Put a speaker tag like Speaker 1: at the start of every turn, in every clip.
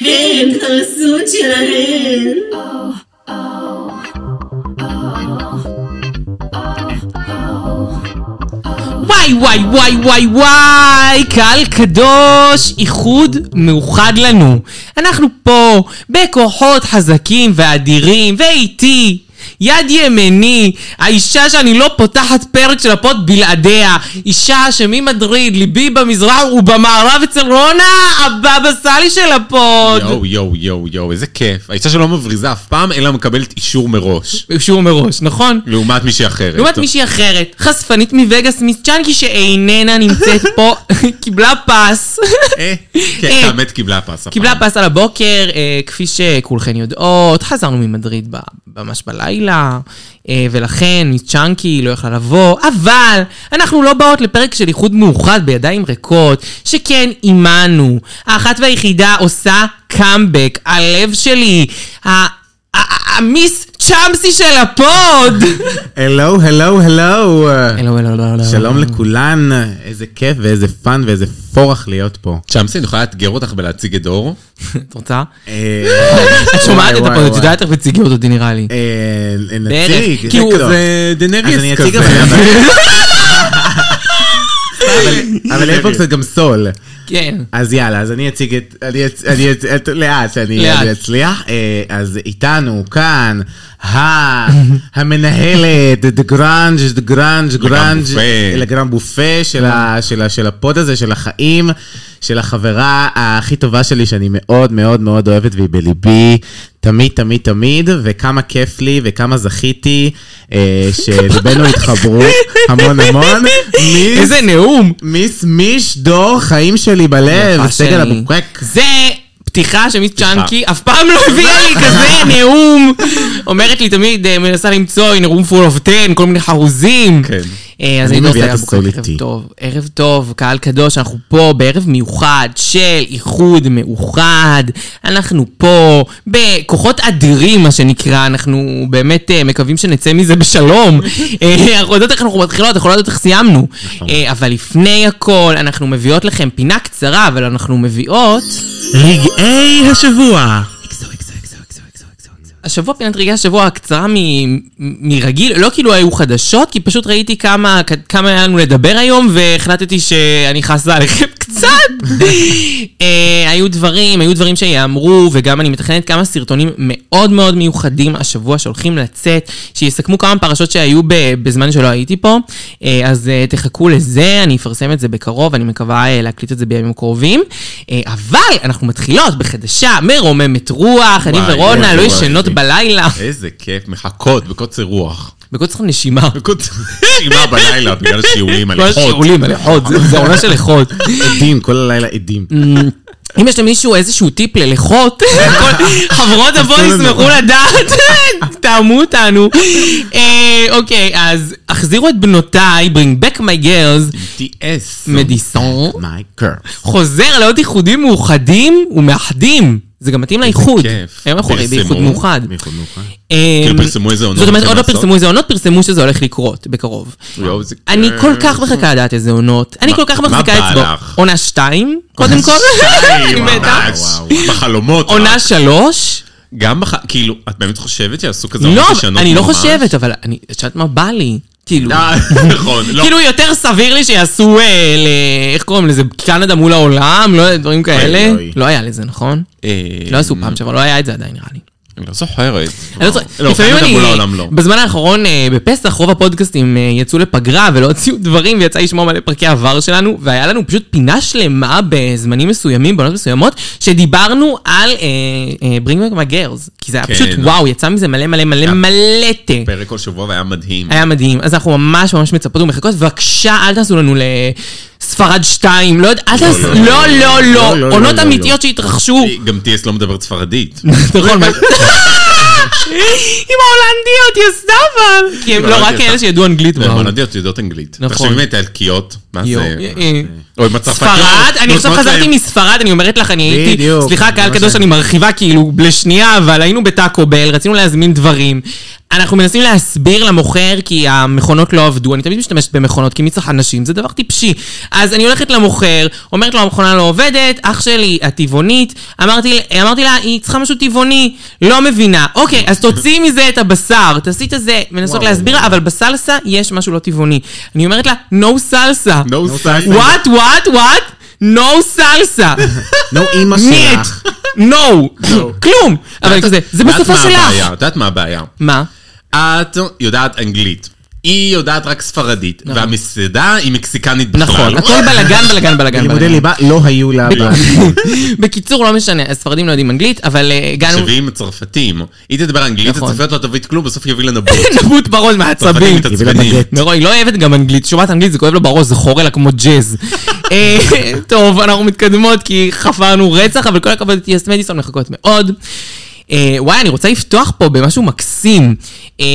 Speaker 1: הם חרסות שלהם.
Speaker 2: וואי וואי וואי וואי וואי, קהל קדוש, איחוד מאוחד לנו. אנחנו פה, בכוחות חזקים ואדירים, ואיתי. יד ימיני, האישה שאני לא פותחת פרק של הפוד בלעדיה, אישה שממדריד, ליבי במזרח ובמערב אצל רונה, הבבא סאלי של הפוד.
Speaker 3: יואו, יואו, יואו, יואו, איזה כיף. האישה שלא מבריזה אף פעם, אלא מקבלת אישור מראש.
Speaker 2: אישור מראש, נכון?
Speaker 3: לעומת מישהי אחרת.
Speaker 2: לעומת מישהי אחרת, חשפנית מווגאס, מיס צ'אנקי שאיננה נמצאת פה, קיבלה פס.
Speaker 3: אה,
Speaker 2: אה.
Speaker 3: כן, האמת קיבלה פס. הפעם.
Speaker 2: קיבלה פס על הבוקר, אה, כפי שכולכן יודעות, חזרנו ממדריד ב- ממש בלילה, אה, ולכן מיס צ'אנקי לא יכלה לבוא, אבל אנחנו לא באות לפרק של איחוד מאוחד בידיים ריקות, שכן עימנו. האחת והיחידה עושה קאמבק, הלב שלי, ה- ה- ה- המיס צ'אמסי של הפוד!
Speaker 4: הלו, הלו, הלו.
Speaker 2: אלו, אלו, אלו, אלו.
Speaker 4: שלום לכולן, איזה כיף ואיזה פאן ואיזה פורח להיות פה.
Speaker 3: צ'אמסי, אני יכולה לאתגר אותך ולהציג את דור?
Speaker 2: את רוצה?
Speaker 4: אה,
Speaker 2: את שומעת את
Speaker 4: וואי,
Speaker 2: הפוד, את
Speaker 4: וואי.
Speaker 2: יודעת איך מציגים אותו, די נראה לי.
Speaker 4: אה,
Speaker 2: בערך,
Speaker 4: נציג,
Speaker 2: כי הוא-
Speaker 4: לא.
Speaker 3: זה
Speaker 4: אז אני
Speaker 3: דנריס
Speaker 4: אציג
Speaker 3: כזה.
Speaker 4: אבל... אבל- אבל איפה קצת גם סול.
Speaker 2: כן.
Speaker 4: אז יאללה, אז אני אציג את... אני אצ- אני אצ- את- לאט, אני
Speaker 2: לאט.
Speaker 4: אני אצליח. אה, אז איתנו כאן ה- המנהלת, דה גראנג', דה גראנג', גראנג',
Speaker 3: בופה.
Speaker 4: לגרם בופה של
Speaker 2: אה.
Speaker 4: ה- של ה- של הפוד הזה, של החיים, של החברה הכי טובה שלי, שאני מאוד מאוד מאוד אוהבת והיא בליבי. תמיד, תמיד, תמיד, וכמה כיף לי, וכמה זכיתי, אה, שליבנו התחברו המון המון. מי
Speaker 2: איזה נאום!
Speaker 4: מיס מיש דור חיים שלי בלב,
Speaker 2: יפה
Speaker 4: אה, סגל
Speaker 2: שלי.
Speaker 4: אבוקק.
Speaker 2: זה פתיחה שמיס צ'אנקי אף פעם לא הביאה לי כזה נאום. אומרת לי תמיד, אה, מנסה למצוא in a room full of 10, כל מיני חרוזים.
Speaker 3: כן.
Speaker 2: אה, אז
Speaker 4: אני
Speaker 2: אני לא
Speaker 4: מביאה
Speaker 2: עושה
Speaker 4: את הסול
Speaker 2: ערב
Speaker 4: איתי.
Speaker 2: טוב, ערב טוב, קהל קדוש, אנחנו פה בערב מיוחד של איחוד מאוחד. אנחנו פה בכוחות אדירים, מה שנקרא, אנחנו באמת אה, מקווים שנצא מזה בשלום. אה, אנחנו יודעות איך אנחנו מתחילות, אנחנו לא יודעות איך סיימנו.
Speaker 4: נכון.
Speaker 2: אה, אבל לפני הכל, אנחנו מביאות לכם פינה קצרה, אבל אנחנו מביאות...
Speaker 4: רגעי השבוע.
Speaker 2: השבוע פינת רגעי השבוע הקצרה מ- מ- מרגיל, לא כאילו היו חדשות, כי פשוט ראיתי כמה, כ- כמה היה לנו לדבר היום, והחלטתי שאני חסה עליכם קצת. אה, היו דברים, היו דברים שיאמרו, וגם אני מתכננת כמה סרטונים מאוד מאוד מיוחדים השבוע שהולכים לצאת, שיסכמו כמה פרשות שהיו ב- בזמן שלא הייתי פה. אה, אז אה, תחכו לזה, אני אפרסם את זה בקרוב, אני מקווה אה, להקליט את זה בימים קרובים. אה, אבל אנחנו מתחילות בחדשה מרוממת רוח, אני
Speaker 3: וואי,
Speaker 2: ורונה
Speaker 3: וואי,
Speaker 2: לא
Speaker 3: וואי.
Speaker 2: ישנות בלילה.
Speaker 3: איזה כיף, מחכות בקוצר רוח.
Speaker 2: בקוצר נשימה.
Speaker 3: בקוצר שימה בלילה בגלל שיעולים על
Speaker 2: כל
Speaker 3: איכות.
Speaker 2: השיעולים על איכות, זה- זה עונה של איכות.
Speaker 4: עדים, כל הלילה עדים.
Speaker 2: אם יש למישהו איזשהו טיפ ללחות, כל- חברות הבון
Speaker 4: לנו.
Speaker 3: נכון.
Speaker 2: ישמחו לדעת, תאמו אותנו. אה, אוקיי, אז החזירו את בנותיי, bring back my girls,
Speaker 3: T.S.
Speaker 2: מדיסון,
Speaker 4: מיי קר.
Speaker 2: חוזר לעוד איחודים מאוחדים ומאחדים. זה גם מתאים לאיחוד.
Speaker 3: כיף.
Speaker 2: היום אנחנו הרי באיחוד
Speaker 3: פרסמו.
Speaker 2: מאוחד. אה,
Speaker 3: כאילו פרסמו איזה עונות
Speaker 2: זאת אומרת,
Speaker 3: הולכים
Speaker 2: עוד לא
Speaker 3: לעשות?
Speaker 2: פרסמו איזה עונות, פרסמו שזה הולך לקרות בקרוב.
Speaker 3: יואו, זה
Speaker 2: אני
Speaker 3: כיף.
Speaker 2: כל כך מחכה לדעת איזה עונות. אני
Speaker 3: אה, מה-
Speaker 2: כל כך
Speaker 3: מה
Speaker 2: מחזיקה
Speaker 3: בא
Speaker 2: אצבע.
Speaker 3: לך?
Speaker 2: עונה שתיים, קודם כל. אני
Speaker 3: וואו,
Speaker 2: מתה.
Speaker 3: וואו, וואו. בחלומות.
Speaker 2: עונה
Speaker 3: רק.
Speaker 2: שלוש?
Speaker 3: גם בח... כאילו, את באמת חושבת שיעשו כזה
Speaker 2: לא,
Speaker 3: עונות
Speaker 2: אבל
Speaker 3: ישנות
Speaker 2: אני לא
Speaker 3: ממש?
Speaker 2: חושבת, אבל אני- את יודעת מה בא לי? כאילו,
Speaker 3: אה, נכון, לא.
Speaker 2: כאילו יותר סביר לי שיעשו, אה, ל- איך קוראים לזה, קנדה מול העולם, לא יודע, דברים כאלה.
Speaker 4: אוי.
Speaker 2: לא היה לזה, נכון?
Speaker 3: אה,
Speaker 2: לא עשו פעם שעברה, לא היה את זה עדיין, נראה לי.
Speaker 3: אני לא זוכרת.
Speaker 2: אני לא צוחק.
Speaker 3: לא,
Speaker 2: לפעמים
Speaker 3: קנדה
Speaker 2: אני,
Speaker 3: מול העולם לא.
Speaker 2: בזמן האחרון, אה, בפסח, רוב הפודקאסטים אה, יצאו לפגרה ולא הוציאו דברים, ויצא לשמוע מלא פרקי עבר שלנו, והיה לנו פשוט פינה שלמה בזמנים מסוימים, בעונות מסוימות, שדיברנו על אה, אה, Bring Back My Girls, כי זה היה
Speaker 3: כן.
Speaker 2: פשוט וואו, יצא מזה מלא מלא מלא מלא תה.
Speaker 3: פרק כל שבוע והיה מדהים.
Speaker 2: היה מדהים, אז אנחנו ממש ממש מצפות ומחכות, בבקשה אל תעשו לנו לספרד 2, לא יודע, אל תעשו, לא לא
Speaker 4: לא, לא,
Speaker 2: לא,
Speaker 4: לא,
Speaker 2: עונות
Speaker 4: לא,
Speaker 3: אה,
Speaker 2: אמיתיות שהתרחשו,
Speaker 3: גם T.S. לא מדברת ספרדית.
Speaker 2: נכון, מה- עם ההולנדיות, יא סבבה. כי הם לא רק
Speaker 3: ההולנדיות.
Speaker 2: כאלה שידעו אנגלית כבר.
Speaker 3: הולנדיות יודעות אנגלית.
Speaker 2: נכון.
Speaker 3: תחשבי אם האיטלקיות, מה
Speaker 2: יואו,
Speaker 3: זה? לא-
Speaker 2: אה, אה.
Speaker 3: או עם הצרפתיות.
Speaker 2: ספרד, אני עכשיו
Speaker 3: נותנות
Speaker 2: חזרתי
Speaker 3: להם-
Speaker 2: מספרד, אני אומרת לך, אני הייתי,
Speaker 4: בדיוק,
Speaker 2: סליחה,
Speaker 4: זה
Speaker 2: קהל
Speaker 4: מה
Speaker 2: קדוש,
Speaker 4: שאני-
Speaker 2: אני מרחיבה כאילו לשנייה, אבל היינו בטאקו בל, רצינו להזמין דברים. אנחנו מנסים להסביר למוכר כי המכונות לא עבדו, אני תמיד משתמשת במכונות כי מי צריך אנשים, זה דבר טיפשי. אז אני הולכת למוכר, אומרת לו המכונה לא עובדת, אח שלי, הטבעונית, אמרתי, אמרתי לה, היא צריכה משהו טבעוני, לא מבינה. אוקיי, אז תוציאי מזה את הבשר, תעשי את הזה, מנסות להסביר לה, אבל בסלסה יש משהו לא טבעוני. אני אומרת לה, no סלסה.
Speaker 3: No sign.
Speaker 2: וואט, וואט, וואט? נו סלסה.
Speaker 4: נו, אימא
Speaker 2: ניט.
Speaker 4: שלך.
Speaker 2: נו. כלום. אבל כזה, זה
Speaker 3: יודעת
Speaker 2: בשפה
Speaker 3: לא. מה הבעיה?
Speaker 2: שלך.
Speaker 3: את יודעת מה הבעיה?
Speaker 2: מה?
Speaker 3: את יודעת אנגלית. היא יודעת רק ספרדית, והמסעדה היא מקסיקנית בכלל.
Speaker 2: נכון, הכל בלאגן, בלאגן, בלאגן.
Speaker 4: לימודי ליבה לא היו לה בעבר.
Speaker 2: בקיצור, לא משנה, הספרדים לא יודעים אנגלית, אבל אה, הגענו...
Speaker 3: תחשבי עם הצרפתים. היא תדבר אנגלית,
Speaker 2: נכון.
Speaker 3: הצרפתיות לא תביא כלום, בסוף יביא לנו בוט.
Speaker 2: נבוט בראש
Speaker 3: הצרפתים
Speaker 2: מעצבים.
Speaker 3: מתעצבנים.
Speaker 4: נגט.
Speaker 2: מירון, היא לא אוהבת גם אנגלית, שומעת אנגלית זה כואב לו בראש, זה חורה לה כמו ג'אז. אה, טוב, אנחנו מתקדמות כי חפרנו רצח, אבל כל הכבוד יס מדיסון מחכות מאוד. אה, וואי, אני רוצה לפתוח פה במשהו מקסים. אה,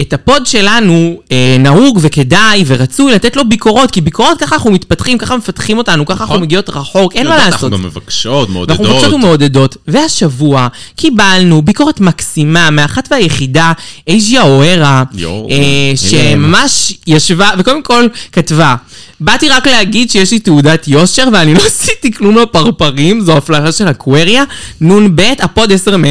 Speaker 2: את הפוד שלנו אה, נהוג וכדאי ורצוי לתת לו ביקורות, כי ביקורות ככה אנחנו מתפתחים, ככה מפתחים אותנו, ככה אנחנו מגיעות רחוק, אין מה
Speaker 3: אנחנו
Speaker 2: לעשות.
Speaker 3: גם מבקשות, מעודדות.
Speaker 2: ואנחנו מבקשות ומעודדות. והשבוע קיבלנו ביקורת מקסימה מאחת והיחידה, אייג'יה אוהרה,
Speaker 3: יואו.
Speaker 2: אה, שממש ישבה, וקודם כל כתבה, באתי רק להגיד שיש לי תעודת יושר ואני לא עשיתי כלום לפרפרים, זו הפללה של אקווריה, נ"ב, הפוד 10 מ-10.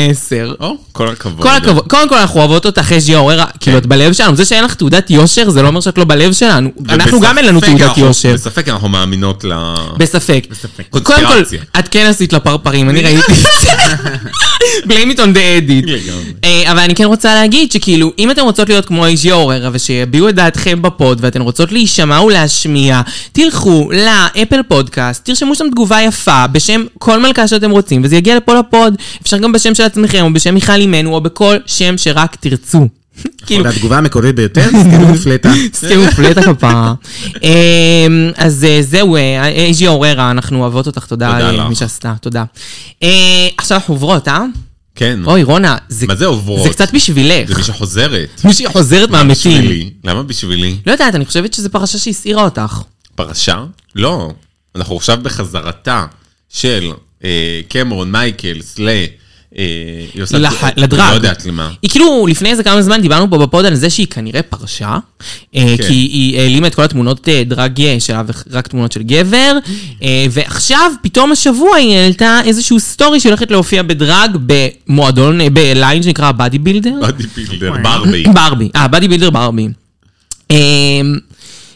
Speaker 3: או, כל הכבוד.
Speaker 2: כל הכבוד, קודם כל אנחנו אוהבות אותך, אייג'יה אוהרה,
Speaker 3: כן.
Speaker 2: כאילו את בלב שלנו, זה שאין לך תעודת יושר זה לא אומר שאת לא בלב שלנו, אנחנו גם אין לנו
Speaker 3: ובספק
Speaker 2: תעודת
Speaker 3: אנחנו-
Speaker 2: יושר.
Speaker 3: בספק אנחנו מאמינות ל...
Speaker 2: בספק.
Speaker 3: אה, בספק.
Speaker 2: קודם כל,
Speaker 3: קונספירציה.
Speaker 2: את כן עשית לפרפרים, אני ראיתי את זה. blame it on the edit.
Speaker 3: לגמרי.
Speaker 2: אה, אבל אני כן רוצה להגיד שכאילו, אם אתן רוצות להיות כמו איג'י אוררה ושיביעו את דעתכם בפוד ואתן רוצות להישמע ולהשמיע, תלכו לאפל פודקאסט, תרשמו שם תגובה יפה בשם כל מלכה שאתם רוצים, וזה יגיע לפה לפוד. אפשר גם בשם של עצמכם, או בשם מיכל אימנו, או בכל שם שרק תרצו. כאילו,
Speaker 4: והתגובה המקורית ביותר, סתירו מפלטה.
Speaker 2: סתירו פלט הכפרה. אמ, אז אה, זהו, אה, איג'י אוררה, אנחנו אוהבות אותך, תודה
Speaker 3: תודה לך.
Speaker 2: למי שעשתה, תודה. אה, עכשיו אנחנו עוברות, אה?
Speaker 3: כן.
Speaker 2: אוי, רונה, זה
Speaker 3: מה זה עוברות?
Speaker 2: זה קצת בשבילך.
Speaker 3: זה מי שחוזרת.
Speaker 2: מישהי חוזרת מהמתים.
Speaker 3: בשבילי. למה בשבילי?
Speaker 2: לא יודעת, אני חושבת שזו פרשה שהסעירה אותך.
Speaker 3: פרשה? לא. אנחנו עכשיו בחזרתה של אה, קמרון מייקלס ל... אה, היא עושה-
Speaker 2: לח-
Speaker 3: אני
Speaker 2: לדרג.
Speaker 3: לא יודעת למה.
Speaker 2: היא כאילו, לפני איזה כמה זמן דיברנו פה בפוד על זה שהיא כנראה פרשה, אה,
Speaker 3: כן.
Speaker 2: כי היא העלימה את כל התמונות אה, דרג שלה ורק תמונות של גבר, אה, ועכשיו, פתאום השבוע היא העלתה איזשהו סטורי שהיא הולכת להופיע בדרג במועדון, אה, בליין שנקרא בדי בילדר.
Speaker 3: באדי פילדר, ברבי.
Speaker 2: ברבי, אה, בדי בילדר ברבי. אה,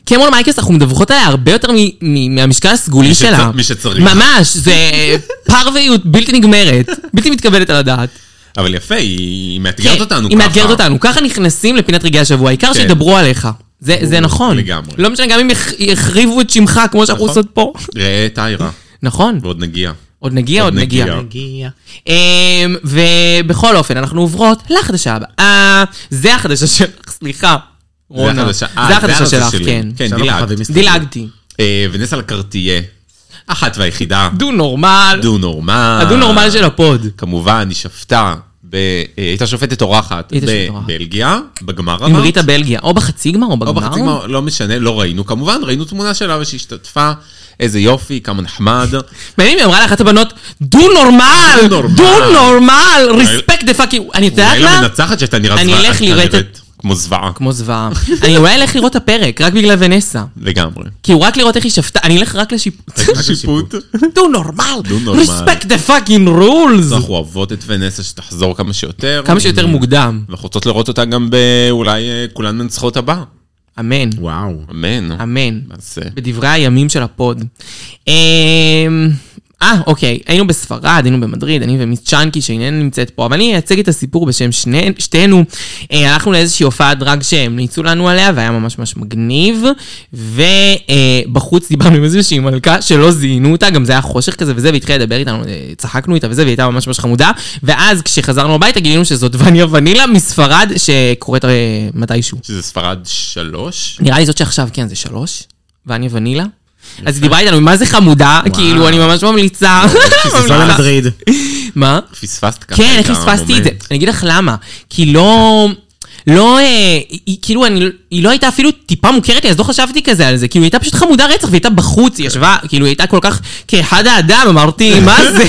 Speaker 2: קמרון מייקלס, אנחנו מדווחות עליה הרבה יותר מ- מ- מהמשקל הסגולי
Speaker 3: מי שצ-
Speaker 2: שלה.
Speaker 3: מי שצריך.
Speaker 2: ממש, זה פרוויות בלתי נגמרת, בלתי מתקבלת על הדעת.
Speaker 3: אבל יפה, היא היא מאתגרת
Speaker 2: כן,
Speaker 3: אותנו ככה.
Speaker 2: היא מאתגרת אותנו. ככה נכנסים לפינת רגעי השבוע, העיקר
Speaker 3: כן.
Speaker 2: שידברו עליך. זה, זה נכון.
Speaker 3: לגמרי.
Speaker 2: לא משנה, גם אם יח- יחריבו את שמך, כמו שאנחנו
Speaker 3: נכון.
Speaker 2: עושות פה.
Speaker 3: ראה את איירה,
Speaker 2: נכון,
Speaker 3: ועוד נגיע.
Speaker 2: עוד נגיע,
Speaker 3: עוד
Speaker 2: עוד נגיע. כן.
Speaker 3: נגיע.
Speaker 2: אמ, ובכל אופן, אנחנו עוברות לחדשה הבאה. אה, זה החדשה שלך, סליחה. רונה.
Speaker 3: החדשה- אה,
Speaker 2: זה
Speaker 3: זה
Speaker 2: החדשה
Speaker 3: הנושא
Speaker 2: שלך,
Speaker 3: שלי.
Speaker 2: כן.
Speaker 3: כן,
Speaker 4: שלום,
Speaker 3: דילגת.
Speaker 4: חברים, מסתכלים.
Speaker 2: דילגתי.
Speaker 3: אה, ונסה לקרטיה, אחת והיחידה,
Speaker 2: דו נורמל.
Speaker 3: דו נורמל. אה,
Speaker 2: הדו אה, נורמל של הפוד.
Speaker 3: כמובן, היא שפטה, ב- אה, הייתה שופטת אורחת
Speaker 2: הייתה שופטת אורחת.
Speaker 3: בבלגיה, בגמר
Speaker 2: עם
Speaker 3: אמרת?
Speaker 2: ריטה בלגיה, או בחצי גמר או בגמר.
Speaker 3: או בחצי גמר, לא משנה, לא ראינו כמובן, ראינו תמונה שלה ושהשתתפה, איזה יופי, כמה נחמד.
Speaker 2: מעניין אם היא אמרה לאחת הבנות, דו נורמל!
Speaker 3: דו נורמל."
Speaker 2: דו נורמל! ריספקט דה פאקינג... אני יודעת
Speaker 3: אולי לא
Speaker 2: מה?
Speaker 3: למנצחת שהייתה נראית
Speaker 2: אני
Speaker 3: זוועה,
Speaker 2: אלך
Speaker 3: הייתה
Speaker 2: לראות את-
Speaker 3: נראית כמו זוועה,
Speaker 2: כמו זוועה. אני אולי אלך לראות את הפרק, רק בגלל ונסה.
Speaker 3: לגמרי.
Speaker 2: כאילו, רק לראות איך היא שפטה, אני אלך רק לשיפוט.
Speaker 3: שיפוט.
Speaker 2: דו נורמל!
Speaker 3: דו נורמל.
Speaker 2: ריספקט דה פאקינג רולס!
Speaker 3: אנחנו אוהבות את ונסה שתחזור כמה שיותר.
Speaker 2: כמה שיותר מוקדם.
Speaker 3: ואנחנו רוצות לראות אותה גם באולי אה, כולן מנצחות הבא.
Speaker 2: אמן.
Speaker 4: וואו.
Speaker 3: אמן.
Speaker 2: אמן.
Speaker 3: אז אה,
Speaker 2: בדברי הימים של הפוד. אמ, אה, אוקיי, היינו בספרד, היינו במדריד, אני ומיס צ'אנקי שאיננה נמצאת פה, אבל אני אייצג את הסיפור בשם שני- שתינו. אה, הלכנו לאיזושהי הופעת דרג שהמליצו לנו עליה, והיה ממש ממש מגניב, ובחוץ דיברנו עם איזושהי מלכה שלא זיהינו אותה, גם זה היה חושך כזה וזה, והיא התחילה לדבר איתנו, אה, צחקנו איתה וזה, והיא הייתה ממש ממש חמודה, ואז כשחזרנו הביתה גילינו שזאת וניה ונילה מספרד, שקורית אה, מתישהו.
Speaker 3: שזה ספרד שלוש?
Speaker 2: נראה לי זאת שעכשיו, כן, זה שלוש, וניה ונילה. אז היא דיברה איתנו, מה זה חמודה? כאילו, אני ממש ממליצה.
Speaker 4: פספסה
Speaker 2: ממליצה.
Speaker 4: למדריד.
Speaker 2: מה?
Speaker 3: פספסת ככה.
Speaker 2: כן,
Speaker 3: את
Speaker 2: איך פספסתי את זה?
Speaker 3: המומנט.
Speaker 2: אני אגיד לך למה. כי לא... לא... אה, היא- היא כאילו, אני, היא לא הייתה אפילו טיפה מוכרת לי, אז לא חשבתי כזה על זה. כאילו, היא הייתה פשוט חמודה רצח, והיא הייתה בחוץ, היא ישבה, כאילו, היא הייתה כל כך כאחד האדם, אמרתי, מה זה?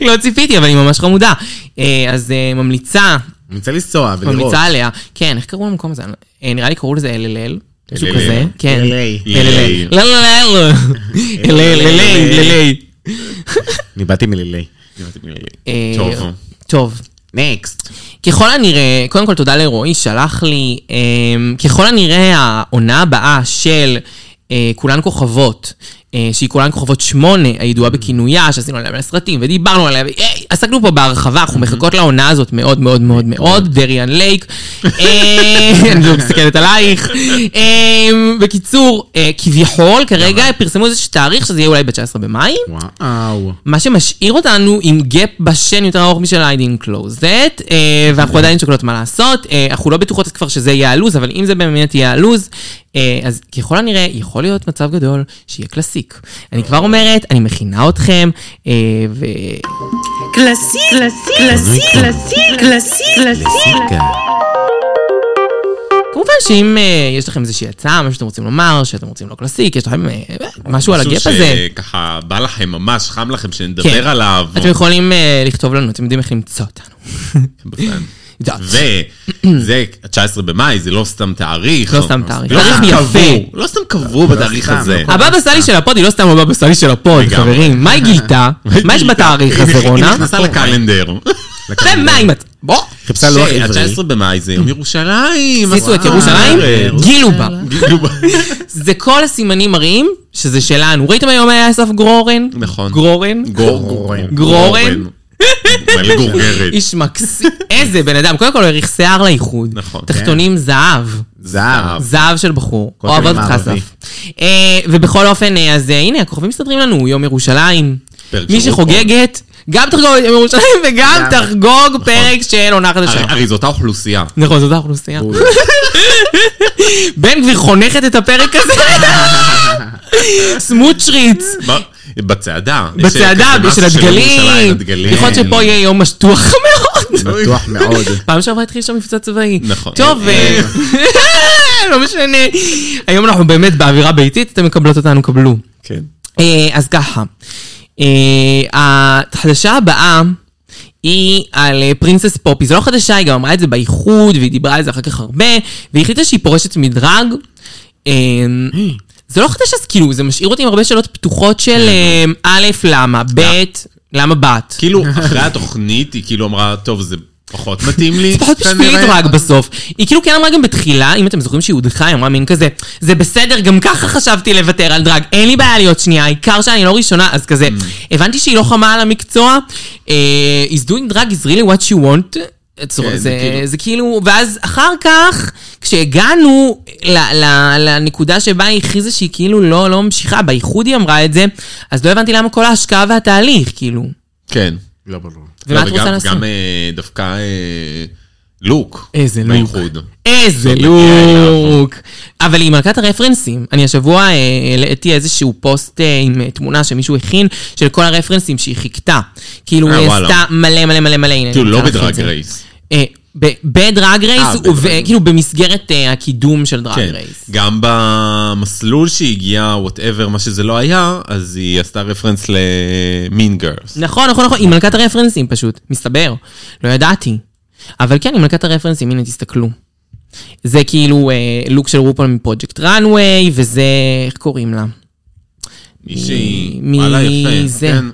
Speaker 2: לא ציפיתי, אבל היא ממש חמודה. אה, אז אה, ממליצה,
Speaker 4: אני רוצה לנסוע ולראות.
Speaker 2: ממליצה עליה. כן, איך קראו למקום הזה? אה, נראה לי קראו לזה אל-אל-אל. משהו
Speaker 3: LLL.
Speaker 2: כזה. כן.
Speaker 4: LLL.
Speaker 2: אל-אל-אל. אל-אל-אל. אל-אל-אל.
Speaker 4: אני באתי מלילי.
Speaker 2: אה,
Speaker 3: טוב.
Speaker 2: טוב.
Speaker 4: נקסט.
Speaker 2: ככל הנראה, קודם כל תודה לרועי, שלח לי, אה, ככל הנראה העונה הבאה של אה, כולן כוכבות, אה, שהיא כולן כוכבות שמונה, הידועה בכינויה, שעשינו עליה מלא סרטים ודיברנו עליה, אה, עסקנו פה בהרחבה, אנחנו מחכות לעונה הזאת מאוד מאוד מאוד מאוד, דריאן לייק, אה, אני לא מסתכלת עלייך. אה, בקיצור, אה, כביכול, כרגע פרסמו איזשהו תאריך שזה יהיה אולי ב-19 במאי.
Speaker 4: וואו.
Speaker 2: מה שמשאיר אותנו עם גאפ בשן יותר ארוך משל ה-Hiding Closet, אה, ואנחנו עדיין שוקלות מה לעשות, אה, אנחנו לא בטוחות כבר שזה יהיה הלו"ז, אבל אם זה באמת יהיה הלו"ז, אה, אז ככל הנראה יכול להיות מצב גדול שיהיה קלאסיק. אני כבר אומרת, אני מכינה אתכם, אה, ו...
Speaker 1: קלאסי, קלאסי, קלאסי, קלאסי, קלאסי, קלאסי.
Speaker 2: כמובן שאם אה, יש לכם איזושהי הצעה, מה שאתם רוצים לומר, שאתם רוצים לא קלאסיק, יש לכם אה, משהו על הגאפ הזה,
Speaker 3: שככה בא לכם ממש, חם לכם
Speaker 2: כן.
Speaker 3: שנדבר עליו.
Speaker 2: אתם יכולים אה, לכתוב לנו, אתם יודעים איך למצוא אותנו.
Speaker 3: וזה, 19 במאי, זה לא סתם תאריך.
Speaker 2: לא סתם תאריך.
Speaker 3: לא
Speaker 2: תאריך
Speaker 3: סתם
Speaker 2: יפה.
Speaker 3: קבעו, לא סתם קבעו בתאריך
Speaker 4: סתם,
Speaker 3: הזה.
Speaker 4: לא
Speaker 2: הבבא סאלי של הפוד היא לא סתם הבבא סאלי של הפוד,
Speaker 3: לגמרי.
Speaker 2: חברים. מה היא גילתה? מה יש בתאריך הזה,
Speaker 3: היא
Speaker 2: רונה?
Speaker 3: נכנסה לקלנדר.
Speaker 2: ומה היא מצ... בוא,
Speaker 4: חיפשה
Speaker 3: לא
Speaker 4: לוח עברי.
Speaker 3: ש-19 במאי זה יום ירושלים.
Speaker 2: סיסו את
Speaker 3: וואו.
Speaker 2: ירושלים,
Speaker 3: אה,
Speaker 2: גילו בה.
Speaker 3: גילו בה.
Speaker 2: זה כל הסימנים מראים שזה שלנו. ראיתם היום היה אסף גרורן?
Speaker 3: נכון.
Speaker 2: גרורן?
Speaker 3: גור- גורן.
Speaker 2: גרורן.
Speaker 3: מלא גורגרת.
Speaker 2: איש מקסים. איזה בן אדם. קודם כל הוא האריך שיער לאיחוד.
Speaker 3: נכון.
Speaker 2: תחתונים זהב.
Speaker 3: אה,
Speaker 2: אה,
Speaker 4: זהב.
Speaker 2: זהב של בחור.
Speaker 4: כותל
Speaker 2: אוהבות אותך
Speaker 4: מערבי.
Speaker 2: אסף. אה, ובכל אופן, אה, אז אה, הנה, הכוכבים מסתדרים לנו, יום ירושלים.
Speaker 3: פרק
Speaker 2: מי
Speaker 3: של
Speaker 2: שחוגגת, גם תחגוג את יום ירושלים וגם
Speaker 4: גם.
Speaker 2: תחגוג פרק של עונה חדשה.
Speaker 3: נכון. הרי- הרי זאת האוכלוסייה.
Speaker 2: נכון, זאת האוכלוסייה. בן גביר חונכת את הפרק הזה. סמוטריץ,
Speaker 3: ב- בצעדה. יש
Speaker 2: בצעדה
Speaker 3: כזה משהו
Speaker 2: של
Speaker 3: ירושלים,
Speaker 2: הדגלים.
Speaker 3: הדגלים.
Speaker 2: יכול להיות שפה יהיה יום משטוח מאוד.
Speaker 4: בטוח מאוד.
Speaker 2: פעם שעברה התחיל שם מבצע צבאי.
Speaker 3: נכון.
Speaker 2: טוב, אה, לא משנה. היום אנחנו באמת באווירה ביתית, אתם מקבלות אותנו, קבלו.
Speaker 3: כן.
Speaker 2: אה, אז ככה, אה, החדשה הבאה היא על אה, פרינסס פופי. זו לא חדשה, היא גם אמרה את זה באיחוד, והיא דיברה על זה אחר כך הרבה, והיא החליטה שהיא פורשת מדרג. אה, זה לא חדש, אז כאילו, זה משאיר אותי עם הרבה שאלות פתוחות של אה, א', למה, ב', למה בת.
Speaker 3: כאילו, אחרי התוכנית היא כאילו אמרה, טוב, זה פחות מתאים לי.
Speaker 2: זה פחות בשבילי
Speaker 3: כנראה."
Speaker 2: דרג בסוף. היא כאילו כן אמרה גם בתחילה, אם אתם זוכרים שהיא הודחה, היא אמרה מין כזה, זה בסדר, גם ככה חשבתי לוותר על דרג, אין לי בעיה להיות שנייה, העיקר שאני לא ראשונה, אז כזה.
Speaker 3: Mm.
Speaker 2: הבנתי שהיא לא חמה על המקצוע, אה, is doing drug is really what you want. צורה,
Speaker 3: כן,
Speaker 2: זה,
Speaker 3: זה כאילו-
Speaker 2: זה כאילו, ואז אחר כך, כשהגענו ל, ל, לנקודה שבה היא הכריזה שהיא כאילו לא, לא ממשיכה, באיחוד היא אמרה את זה, אז לא הבנתי למה כל ההשקעה והתהליך, כאילו.
Speaker 3: כן.
Speaker 4: לא ברור.
Speaker 2: ומה
Speaker 3: לא,
Speaker 2: את רוצה
Speaker 3: וגם-
Speaker 2: לעשות?
Speaker 3: גם אה, דווקא אה, לוק.
Speaker 2: איזה לוק.
Speaker 3: באיחוד.
Speaker 2: איזה
Speaker 3: טוב, מגיע אליו.
Speaker 2: לוק. אבל היא מלכת הרפרנסים. אני השבוע אה, העליתי איזשהו פוסט אה, עם אה, תמונה שמישהו הכין של כל הרפרנסים שהיא חיכתה. כאילו,
Speaker 3: אה,
Speaker 2: היא
Speaker 3: וואלה.
Speaker 2: עשתה מלא מלא מלא מלא. הנה,
Speaker 3: כאילו,
Speaker 2: אני
Speaker 3: לא
Speaker 2: אמצא לך את
Speaker 3: בדרג
Speaker 2: זה.
Speaker 3: רייס.
Speaker 2: אה, ב- בדרג
Speaker 3: אה,
Speaker 2: רייס,
Speaker 3: בדרג
Speaker 2: ו-
Speaker 3: רייס.
Speaker 2: כאילו במסגרת אה, הקידום של דרג
Speaker 3: כן,
Speaker 2: רייס.
Speaker 3: גם במסלול שהיא הגיעה, וואטאבר, מה שזה לא היה, אז היא עשתה רפרנס למין גרס.
Speaker 2: נכון, נכון, נכון, היא מלכת הרפרנסים פשוט, מסתבר. לא ידעתי. אבל כן, היא מלכת הרפרנסים, הנה, תסתכלו. זה כאילו אה, לוק של רופול מפרויקט ראנוויי, וזה, איך קוראים לה?
Speaker 3: מישהי,
Speaker 2: מ-
Speaker 3: וואלה יפה.
Speaker 2: מזה.
Speaker 3: כן.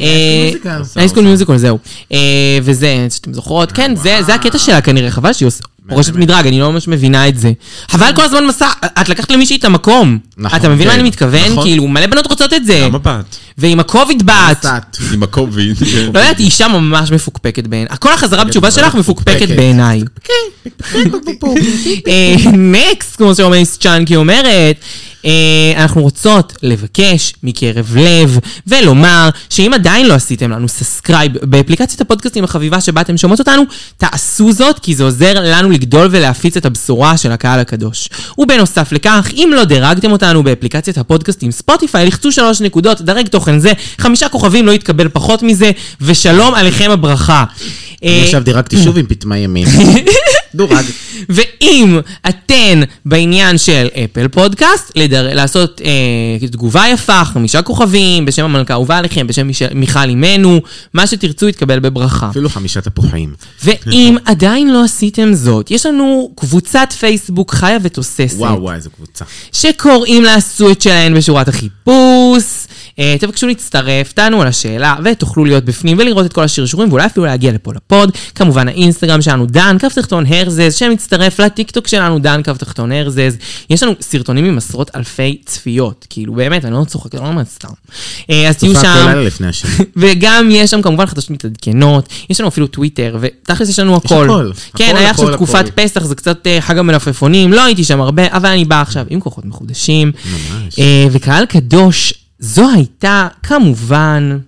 Speaker 2: אה,
Speaker 4: מיוזיקל.
Speaker 2: הייסקול מיוזיקל, זהו. אה, וזה, שאתם זוכרות, כן, זה זה הקטע שלה כנראה, חבל שהיא עוש- פורשת מדרג, אני לא ממש מבינה את זה. חבל כל הזמן מסע, את לקחת למישהי את המקום.
Speaker 4: נכון,
Speaker 2: אתה מבין מה
Speaker 4: כן,
Speaker 2: אני מתכוון?
Speaker 3: נכון.
Speaker 2: כאילו, מלא בנות רוצות את זה.
Speaker 3: גם הבת.
Speaker 2: ועם הקוביד בת.
Speaker 4: קצת.
Speaker 3: עם הקוביד.
Speaker 2: לא יודעת, היא אישה ממש מפוקפקת בעיניי. כל החזרה בתשובה שלך מפוקפקת
Speaker 4: מפוקפקת.
Speaker 2: בעיניי. אה, נקסט, כמו שאומרת צ'אנקי אומרת. אה, אנחנו רוצות לבקש מקרב לב ולומר שאם עדיין לא עשיתם לנו סאסקרייב באפליקציית הפודקאסטים החביבה שבה אתם שומעות אותנו, תעשו זאת כי זה עוזר לנו לגדול ולהפיץ את הבשורה של הקהל הקדוש. ובנוסף לכך, אם לא דירגתם אותנו באפליקציית הפודקאסטים ספוטיפיי, לחצו שלוש נקודות, דרג תוכן זה, חמישה כוכבים לא יתקבל פחות מזה, ושלום עליכם הברכה.
Speaker 4: אני
Speaker 2: אה,
Speaker 4: עכשיו דירקתי שוב עם פטמה ימין. דורג.
Speaker 2: ואם אתן בעניין של אפל פודקאסט, לדר... לעשות אה, תגובה יפה, חמישה כוכבים, בשם המלכה האהובה עליכם, בשם מיש... מיכל אימנו, מה שתרצו יתקבל בברכה.
Speaker 4: אפילו חמישה תפוחים.
Speaker 2: ואם עדיין לא עשיתם זאת, יש לנו קבוצת פייסבוק חיה ותוססת.
Speaker 4: וואו וואו, איזה קבוצה.
Speaker 2: שקוראים לעשו את שלהן בשורת החיפוש. אה, תבקשו להצטרף, תענו על השאלה, ותוכלו להיות בפנים ולראות את כל השרשורים, ואולי אפילו להגיע לפה לפוד. כמובן, האינסטגרם שלנו, דן, קו תחתון הרזז, שמצטרף לטיקטוק שלנו, דן, קו תחתון הרזז. יש לנו סרטונים עם עשרות אלפי צפיות. כאילו, באמת, אני לא צוחק, אני לא אומרת סתם. אה, אז תהיו
Speaker 4: צופה כל
Speaker 2: שם.
Speaker 4: לילה לפני השני.
Speaker 2: וגם יש שם כמובן חדשות מתעדכנות, יש לנו אפילו טוויטר, ותכלס יש לנו הכל.
Speaker 4: הכל.
Speaker 2: כן,
Speaker 4: הכל,
Speaker 2: היה
Speaker 4: הכל,
Speaker 2: עכשיו תקופת
Speaker 4: הכל.
Speaker 2: פסח, זה קצת אה, חג המלפפונים, לא הייתי שם הרבה, אבל אני באה עכשיו עם כוחות מחודשים.
Speaker 4: ממש.
Speaker 2: אה, וקהל קדוש, זו הייתה כמובן,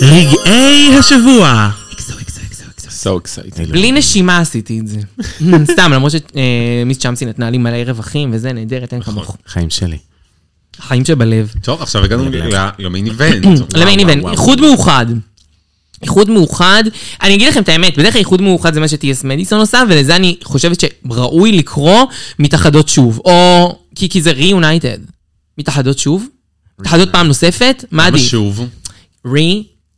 Speaker 4: רגעי השבוע.
Speaker 3: So excited.
Speaker 2: בלי נשימה עשיתי את זה. סתם, למרות שמיס צ'מסי נתנה לי מלא רווחים, וזה נהדרת, אין כמוך.
Speaker 4: חיים שלי.
Speaker 2: חיים שבלב.
Speaker 3: טוב, עכשיו הגענו ל- למיין איבנט.
Speaker 2: למיין
Speaker 3: וואו,
Speaker 2: איבנט,
Speaker 3: וואו,
Speaker 2: איחוד מאוחד. איחוד מאוחד, אני אגיד לכם את האמת, בדרך כלל איחוד מאוחד זה מה שטי.אס מדיסון עושה, ולזה אני חושבת שראוי לקרוא מתאחדות שוב, או כי, כי זה ריאונייטד. מתאחדות שוב? מתאחדות פעם נוספת? מה
Speaker 3: למה
Speaker 2: עדיף?
Speaker 3: שוב?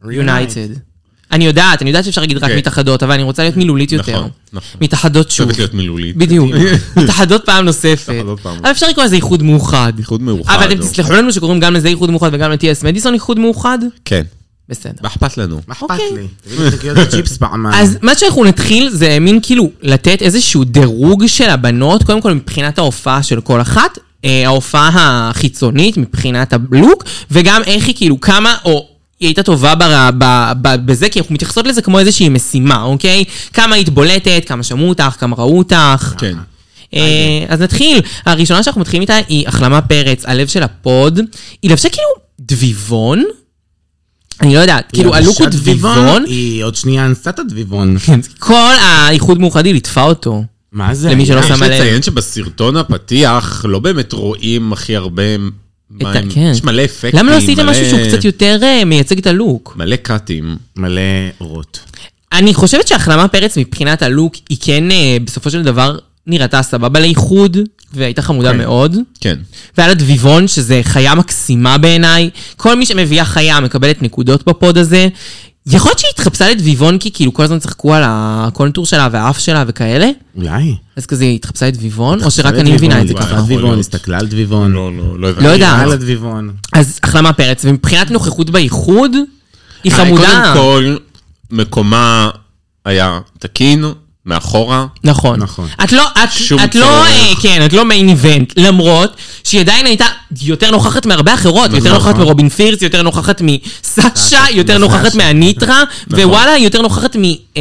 Speaker 2: ריאונייטד. אני יודעת, אני יודעת שאפשר להגיד רק
Speaker 3: כן.
Speaker 2: מתאחדות, אבל אני רוצה להיות מילולית יותר.
Speaker 3: נכון, נכון.
Speaker 2: מתאחדות שוב.
Speaker 3: חייבת להיות מילולית.
Speaker 2: בדיוק. מתאחדות פעם נוספת.
Speaker 3: מתאחדות פעם
Speaker 2: אבל אפשר לקרוא לזה איחוד מאוחד.
Speaker 3: איחוד מאוחד,
Speaker 2: אבל אתם
Speaker 3: או-
Speaker 2: תסלחו לנו שקוראים גם לזה איחוד מאוחד וגם לטי.אס מדיסון איחוד מאוחד?
Speaker 3: כן.
Speaker 2: בסדר.
Speaker 3: מה אכפת לנו?
Speaker 4: מה
Speaker 2: אכפת אוקיי. לי?
Speaker 4: צ'יפס פעמיים.
Speaker 2: אז מה שאנחנו נתחיל זה מין כאילו לתת איזשהו דירוג של הבנות, קודם כל מבחינת ההופעה של כל אחת, אה, ההופעה החיצונית מבחינת הלוק, וגם איך היא כאילו כמה, או... היא הייתה טובה בר, ב, ב, בזה, כי אנחנו מתייחסות לזה כמו איזושהי משימה, אוקיי? כמה היית בולטת, כמה שמעו אותך, כמה ראו אותך.
Speaker 3: כן.
Speaker 2: אה, אז נתחיל. הראשונה שאנחנו מתחילים איתה היא החלמה פרץ, הלב של הפוד. היא לבשה כאילו דביבון? אני לא יודעת, כאילו הלוק הוא דביבון.
Speaker 4: היא עוד שנייה אנסה את הדביבון.
Speaker 2: כן, כל האיחוד מאוחד היא ליטפה אותו.
Speaker 4: מה זה?
Speaker 2: למי שלא
Speaker 4: היה?
Speaker 2: שם
Speaker 3: יש
Speaker 2: מלא.
Speaker 3: לציין שבסרטון הפתיח לא באמת רואים הכי הרבה
Speaker 2: את ה-
Speaker 3: מים.
Speaker 2: כן.
Speaker 3: יש מלא אפקטים.
Speaker 2: למה לא עשיתם
Speaker 3: מלא-
Speaker 2: משהו שהוא קצת יותר אה, מייצג את הלוק?
Speaker 3: מלא קאטים.
Speaker 4: מלא אורות.
Speaker 2: אני חושבת שהחלמה פרץ מבחינת הלוק היא כן אה, בסופו של דבר נראתה סבבה לאיחוד, והייתה חמודה מאוד.
Speaker 3: כן.
Speaker 2: ועל הדביבון, שזה חיה מקסימה בעיניי. כל מי שמביאה חיה מקבלת נקודות בפוד הזה. יכול להיות שהיא התחפשה לדביבון כי כאילו כל הזמן צחקו על הקונטור שלה והאף שלה וכאלה?
Speaker 4: אולי.
Speaker 2: אז כזה היא התחפשה לדביבון, או שרק
Speaker 4: מלא
Speaker 2: אני מבינה את זה
Speaker 4: דביבון,
Speaker 2: ככה?
Speaker 4: לקחה דביבון,
Speaker 3: להיות.
Speaker 4: הסתכלה על דביבון.
Speaker 3: לא, לא, לא הבנתי.
Speaker 2: לא יודע.
Speaker 4: דיברה על הדביבון.
Speaker 2: אז החלמה פרץ, ומבחינת נוכחות באיחוד, היא
Speaker 3: היי,
Speaker 2: חמודה.
Speaker 3: אה, קודם כל, מקומה היה תקין, מאחורה.
Speaker 2: נכון.
Speaker 4: נכון.
Speaker 2: את לא, את,
Speaker 3: שום
Speaker 2: את לא,
Speaker 3: צורך.
Speaker 2: אה, כן, את לא מיין איבנט, למרות שהיא עדיין הייתה יותר נוכחת מהרבה אחרות, יותר
Speaker 3: נכון.
Speaker 2: נוכחת מרובין פירס, יותר נוכחת מסשה, יותר נוכחת מהניטרה, ווואלה, היא יותר נוכחת מסלינה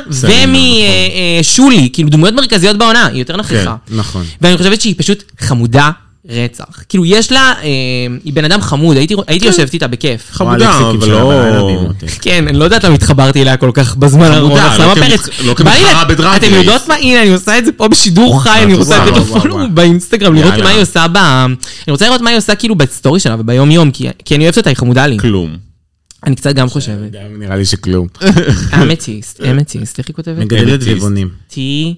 Speaker 3: נכון. סלינה, נכון.
Speaker 2: ומשולי, כאילו דמויות מרכזיות בעונה, היא יותר נכחה.
Speaker 3: כן.
Speaker 4: נכון.
Speaker 2: ואני חושבת שהיא פשוט חמודה רצח. כאילו, יש לה, אה, היא בן אדם חמוד, הייתי הייתי יושבת איתה בכיף.
Speaker 3: חמודה,
Speaker 4: וואלה, הלקסיקים
Speaker 3: אבל
Speaker 4: שלה
Speaker 3: לא-
Speaker 4: בלילה מדהים אותי.
Speaker 2: כן, אני לא יודעת למה התחברתי אליה כל כך בזמן האחרון,
Speaker 3: לא
Speaker 2: אז למה
Speaker 3: כמתח-
Speaker 2: פרץ?
Speaker 3: לא
Speaker 2: בא לי
Speaker 3: כמתחרה
Speaker 2: לה-
Speaker 3: בדרג
Speaker 2: אתם
Speaker 3: רייס.
Speaker 2: יודעות מה, הנה, אני עושה את זה פה בשידור חי, אני רוצה
Speaker 3: אה, וואו,
Speaker 2: לתת
Speaker 3: וואו,
Speaker 2: לפולו
Speaker 3: וואו.
Speaker 2: באינסטגרם, לראות
Speaker 3: יאללה.
Speaker 2: מה היא עושה ב... אני רוצה לראות מה היא עושה כאילו בסטורי שלה וביום יום, כי כי אני אוהבת אותה, היא חמודה לי.
Speaker 3: כלום.
Speaker 2: אני קצת גם חושבת.
Speaker 4: גם נראה לי שכלום.
Speaker 3: כן.
Speaker 2: אמתיסט, אמתיסט, איך היא כותבת?
Speaker 4: מגדלת
Speaker 3: אליטיסט.
Speaker 4: דביבונים.
Speaker 2: טי...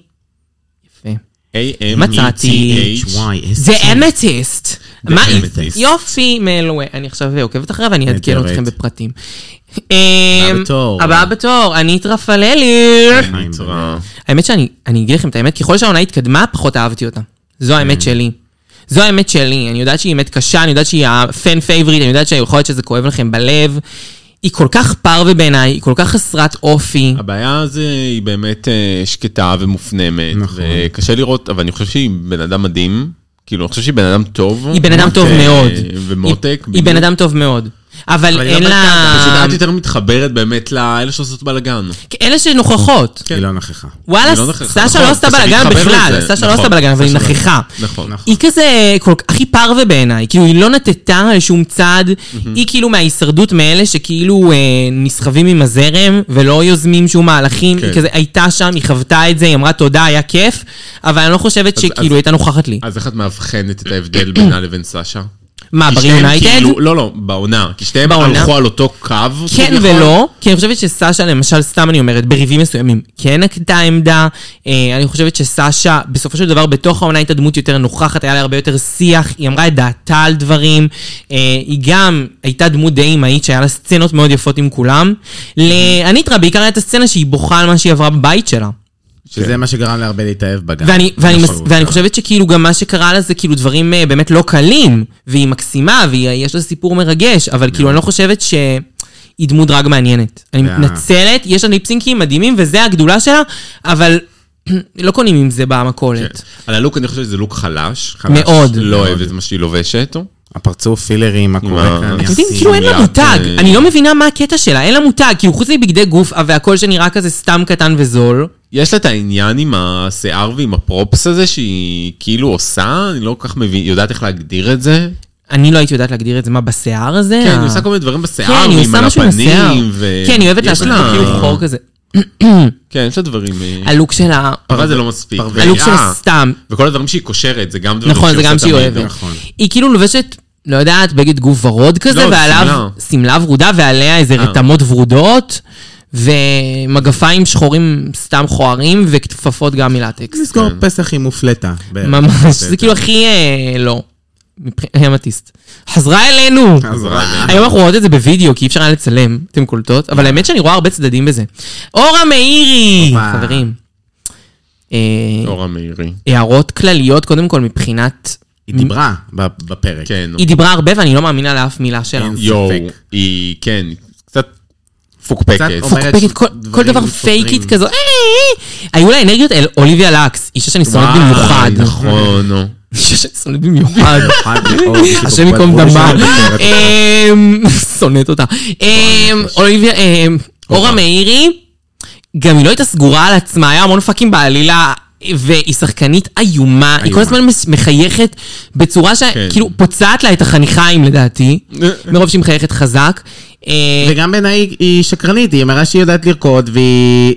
Speaker 2: יפה.
Speaker 3: A-M-E-T-H.
Speaker 2: מצאתי. זה אמתיסט. מה היא?
Speaker 3: אמתיסט.
Speaker 2: יופי מאלווה. אני עכשיו עוקבת אחריה ואני אעדכן
Speaker 4: נהדרת.
Speaker 2: אתכם בפרטים. הבאה
Speaker 4: בתור.
Speaker 2: הבאה בתור, אני טרפללי.
Speaker 3: נתראה.
Speaker 2: האמת שאני אני אגיד לכם את האמת, ככל שהעונה התקדמה, פחות אהבתי אותה. זו
Speaker 3: Mm.
Speaker 2: האמת שלי. זו האמת שלי, אני יודעת שהיא אמת קשה, אני יודעת שהיא הפן פייבוריט, אני יודעת שיכול להיות שזה כואב לכם בלב. היא כל כך פרווה בעיניי, היא כל כך חסרת אופי.
Speaker 3: הבעיה זה, היא באמת אה, שקטה ומופנמת.
Speaker 4: נכון.
Speaker 3: וקשה לראות, אבל אני חושב שהיא בן אדם מדהים. כאילו, אני חושב שהיא בן אדם טוב.
Speaker 2: היא בן אדם טוב
Speaker 3: ו-
Speaker 2: מאוד.
Speaker 3: ומותק.
Speaker 2: היא- היא בן אדם טוב מאוד. אבל
Speaker 4: אני
Speaker 2: אין
Speaker 4: לא
Speaker 2: לה...
Speaker 3: פשוט את יותר מתחברת באמת לאלה שעושות בלאגן.
Speaker 2: אלה שנוכחות.
Speaker 4: היא לא נכחה.
Speaker 2: וואלה,
Speaker 3: כן. היא לא נכחה.
Speaker 2: סשה
Speaker 3: נכון,
Speaker 2: לא עשתה
Speaker 3: סשה
Speaker 2: בלאגן
Speaker 3: מתחברת
Speaker 2: בכלל,
Speaker 3: לזה.
Speaker 2: סשה לא
Speaker 3: נכון,
Speaker 2: עשתה בלאגן, אבל היא
Speaker 3: סשה לא.
Speaker 2: נכחה.
Speaker 3: נכון.
Speaker 2: היא כזה כל, הכי פרווה בעיניי, כאילו היא לא נטטה לשום צד, היא כאילו מההישרדות מאלה שכאילו אה, נסחבים עם הזרם ולא יוזמים שום מהלכים,
Speaker 3: כן.
Speaker 2: היא כזה הייתה שם, היא חוותה את זה, היא אמרה תודה, היה כיף, אבל אני לא חושבת
Speaker 3: אז-
Speaker 2: שכאילו הייתה נוכחת לי.
Speaker 3: אז איך את מאבחנת את ההבדל בינה לבין סשה?
Speaker 2: מה, כן?
Speaker 3: כי
Speaker 2: ברי
Speaker 3: שתיהן
Speaker 2: יונייטד?
Speaker 3: כאילו- לא, לא, בעונה. כי שתיהם
Speaker 2: בעונה.
Speaker 3: הלכו על אותו קו.
Speaker 2: כן
Speaker 3: כביכול.
Speaker 2: ולא, כי אני חושבת שסשה, למשל, סתם אני אומרת, בריבים מסוימים, כן נקטה עמדה. אה, אני חושבת שסשה, בסופו של דבר, בתוך העונה הייתה דמות יותר נוכחת, היה לה הרבה יותר שיח, היא אמרה את דעתה על דברים. אה, היא גם הייתה דמות די אמהית, שהיה לה סצנות מאוד יפות עם כולם. לאניטרה בעיקר הייתה סצנה שהיא בוכה על מה שהיא עברה בבית שלה.
Speaker 4: שזה מה שגרם להרבה להתאהב בגן.
Speaker 2: ואני, ואני,
Speaker 4: נכון,
Speaker 2: מס,
Speaker 4: הוא
Speaker 3: כן.
Speaker 2: ואני
Speaker 4: גם.
Speaker 2: חושבת שכאילו גם מה שקרה לה זה כאילו דברים אה, באמת לא קלים, והיא מקסימה, ויש לה סיפור מרגש, אבל כאילו אני
Speaker 3: Mm.
Speaker 2: לא חושבת שהיא דמות דרג מעניינת. אני
Speaker 3: אה.
Speaker 4: וה-
Speaker 2: מתנצלת, יש לה ליפסינקים מדהימים, וזה הגדולה שלה, אבל לא קונים עם זה במכולת.
Speaker 3: כן. על הלוק אני חושב שזה לוק חלש.
Speaker 4: חלש.
Speaker 2: מאוד.
Speaker 3: לא
Speaker 4: מאוד.
Speaker 3: אוהב את מה שהיא לובשת.
Speaker 4: הפרצוף פילרים, מה
Speaker 3: מה?
Speaker 4: קורה כאן,
Speaker 2: אתם יודעים,
Speaker 4: יאסין.
Speaker 2: כאילו אין לה
Speaker 3: יד,
Speaker 2: מותג,
Speaker 3: אה,
Speaker 2: אני לא מבינה מה הקטע שלה, אין לה מותג, כאילו חוץ מבגדי גוף אה, והכל שנראה כזה סתם קטן וזול.
Speaker 3: יש לה את העניין עם השיער ועם הפרופס הזה שהיא כאילו עושה, אני לא כל כך מבין, יודעת איך להגדיר את זה.
Speaker 2: אני לא הייתי יודעת להגדיר את זה, מה, בשיער הזה?
Speaker 3: כן,
Speaker 2: ה-
Speaker 3: היא עושה כל מיני דברים בשיער,
Speaker 2: כן, היא
Speaker 3: ועם
Speaker 2: עושה
Speaker 3: על
Speaker 2: משהו עם השיער.
Speaker 3: הפנים, ו...
Speaker 2: כן, היא אוהבת
Speaker 3: יש
Speaker 2: לעשות
Speaker 3: לה-
Speaker 2: פה כאילו חור כזה.
Speaker 3: כן, יש לה דברים... אה,
Speaker 2: הלוק שלה,
Speaker 3: אבל זה לא מספיק.
Speaker 4: פרווה.
Speaker 2: הלוק
Speaker 3: אה,
Speaker 2: שלה סתם.
Speaker 3: וכל הדברים שהיא קושרת, זה גם דברים
Speaker 2: נכון, זה
Speaker 3: עושה
Speaker 2: גם שהיא
Speaker 3: תמיד.
Speaker 2: אוהבת.
Speaker 4: נכון.
Speaker 2: היא כאילו לובשת, לא יודעת, בגד גוף ורוד כזה,
Speaker 3: לא,
Speaker 2: ועליו
Speaker 3: שמלה.
Speaker 2: שמלה ורודה, ועליה איזה
Speaker 3: אה.
Speaker 2: רתמות ורודות, ומגפיים שחורים סתם מכוערים, וכפפות גם מלטקס.
Speaker 4: נסגור פסח עם מופלטה.
Speaker 3: כן,
Speaker 4: בערך.
Speaker 2: ממש, זה כאילו הכי... אה, לא. מבח- המתיסט. חזרה אלינו!
Speaker 3: אה.
Speaker 4: חזרה.
Speaker 2: היום אנחנו רואות את זה בווידאו, כי אי אפשר היה לצלם, אתם קולטות,
Speaker 3: אה.
Speaker 2: אבל האמת שאני רואה הרבה צדדים בזה. אורה מאירי!
Speaker 4: אופה.
Speaker 2: חברים. אה,
Speaker 3: אורה מאירי.
Speaker 2: הערות כלליות, קודם כל מבחינת...
Speaker 4: היא דיברה ב- בפרק.
Speaker 3: כן.
Speaker 2: היא דיברה הרבה ואני לא מאמינה לאף מילה שלה.
Speaker 4: אין
Speaker 3: יואו,
Speaker 4: ספק.
Speaker 3: היא, כן, קצת פוקפקת.
Speaker 4: קצת אומרת
Speaker 2: פוקפקת, כל-
Speaker 4: דברים
Speaker 2: כל דבר
Speaker 4: סותרים.
Speaker 2: פייקית כזו, "אה, אה, אה." היו לה אנרגיות אל אוליביה לקס, אישה שאני שונאת
Speaker 3: וואי,
Speaker 2: במיוחד.
Speaker 3: נכון, נו.
Speaker 2: אישה שאני שונאת במיוחד.
Speaker 4: במיוחד מאוד, יש לי
Speaker 2: השם
Speaker 4: פה
Speaker 2: ייקום
Speaker 4: כבר
Speaker 2: דמה.
Speaker 4: דברים שאני אומרת.
Speaker 2: אמ, שונאת אותה. אמ, אוליביה, אמ, אורה מאירי, גם היא לא הייתה סגורה על עצמה, היה המון פאקים בעלילה. והיא שחקנית איומה, היא כל הזמן מש- מחייכת בצורה שכאילו פוצעת לה את החניכיים לדעתי,
Speaker 3: כן.
Speaker 2: מרוב שהיא מחייכת חזק. אה,
Speaker 4: וגם בעיניי היא- היא שקרנית, היא אמרה שהיא יודעת לרקוד והיא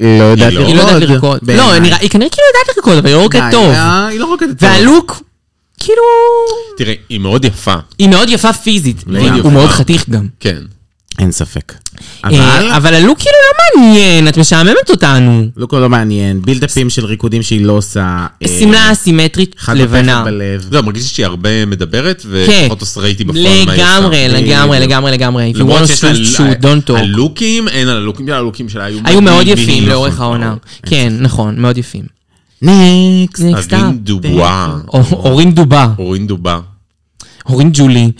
Speaker 4: לא יודעת
Speaker 3: לא.
Speaker 2: היא
Speaker 4: לרקוד.
Speaker 2: לא יודעת לרקוד.
Speaker 4: בעיניי.
Speaker 2: לא, נראה- היא כנראה כאילו יודעת לרקוד, אבל היא לא רוקדת
Speaker 4: די,
Speaker 2: טוב.
Speaker 4: אה, היא לא רוקדת טוב.
Speaker 2: והלוק, כאילו...
Speaker 3: תראה, היא מאוד יפה,
Speaker 2: היא מאוד יפה פיזית, והיא-
Speaker 3: יפה.
Speaker 2: הוא מאוד חתיך גם.
Speaker 3: כן.
Speaker 4: אין ספק. אבל
Speaker 2: אה, אבל הלוק כאילו לא מעניין, את משעממת
Speaker 3: אה,
Speaker 2: אותנו.
Speaker 4: לוק לא מעניין, בילדאפים של ריקודים שהיא לא עושה. אה,
Speaker 2: שמלה אסימטרית
Speaker 4: חד
Speaker 2: לבנה.
Speaker 4: הופכת בלב.
Speaker 3: זהו, לא, מרגיש שהיא הרבה מדברת,
Speaker 2: כן.
Speaker 3: ופחות עושה רייטי בפועל. מה היא עושה.
Speaker 2: לגמרי, לגמרי,
Speaker 4: בדיוק.
Speaker 2: לגמרי, לגמרי. If you
Speaker 3: אה, למרות
Speaker 2: want
Speaker 3: שיש
Speaker 2: to
Speaker 3: לה
Speaker 2: shoot, shoot, don't talk.
Speaker 3: הלוקים, אין על הלוקים, בגלל הלוקים שלה היו
Speaker 2: היו מאוד
Speaker 3: מדהימים,
Speaker 2: יפים
Speaker 3: נכון,
Speaker 2: לאורך העונה.
Speaker 3: נכון.
Speaker 2: כן, נכון, מאוד יפים. לא.
Speaker 4: נקסט.
Speaker 2: Next
Speaker 3: אבין
Speaker 2: up.
Speaker 3: דובה,
Speaker 2: או- הורים דובה,
Speaker 3: אורין דובה.
Speaker 2: הורים ג'ולי.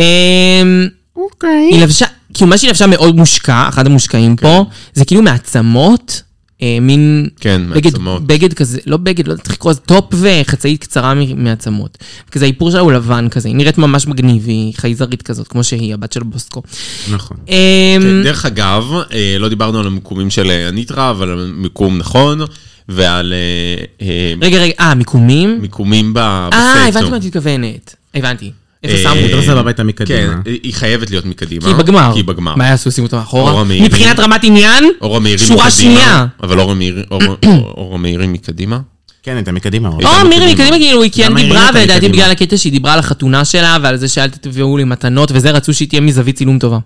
Speaker 2: אמ,
Speaker 4: אוקיי.
Speaker 2: היא לבשה, כאילו מה שהיא לבשה מאוד מושקע, אחד המושקעים פה, זה כאילו מעצמות, אה, מין...
Speaker 3: כן,
Speaker 2: בגד,
Speaker 3: מעצמות.
Speaker 2: בגד כזה, לא בגד, לא יודעת איך לקרוא לזה, טופ וחצאית קצרה מ- מעצמות. כזה האיפור שלה הוא לבן כזה, היא נראית ממש מגניב, היא חייזרית כזאת, כמו שהיא, הבת של בוסקו.
Speaker 4: נכון.
Speaker 2: אמ,
Speaker 3: דרך אגב, אה, לא דיברנו על המיקומים של אה, הניטרה, אבל על מיקום נכון, ועל אה, אה,
Speaker 2: רגע, רגע, אה, מיקומים?
Speaker 3: מיקומים ב- בסט.
Speaker 2: אה, הבנתי
Speaker 3: נו.
Speaker 2: מה את מתכוונת. הבנתי. איפה
Speaker 3: אה,
Speaker 2: שמו
Speaker 4: יותר
Speaker 2: אותה?
Speaker 4: עושה בביתה מקדימה.
Speaker 3: כן, היא חייבת להיות מקדימה.
Speaker 2: כי היא בגמר.
Speaker 3: כי היא בגמר.
Speaker 2: מה יעשו, שימו אותה מאחורה?
Speaker 3: אורה מאירי.
Speaker 2: מבחינת רמת עניין?
Speaker 3: אורה מאירי
Speaker 2: שורה שנייה.
Speaker 3: אבל אורה מאירי- אורה- אורה מאירי מקדימה.
Speaker 4: כן, אתה מקדימה. אור.
Speaker 3: אה,
Speaker 2: או מירי
Speaker 3: מקדימה.
Speaker 2: מקדימה, כאילו, היא כן
Speaker 4: למה היא
Speaker 2: דיברה,
Speaker 4: הרימה את
Speaker 2: ולדעתי
Speaker 4: המקדימה?
Speaker 2: בגלל הקטע שהיא דיברה על החתונה שלה, ועל זה שאל תביאו לי מתנות, וזה רצו שהיא תהיה מזווית צילום טובה.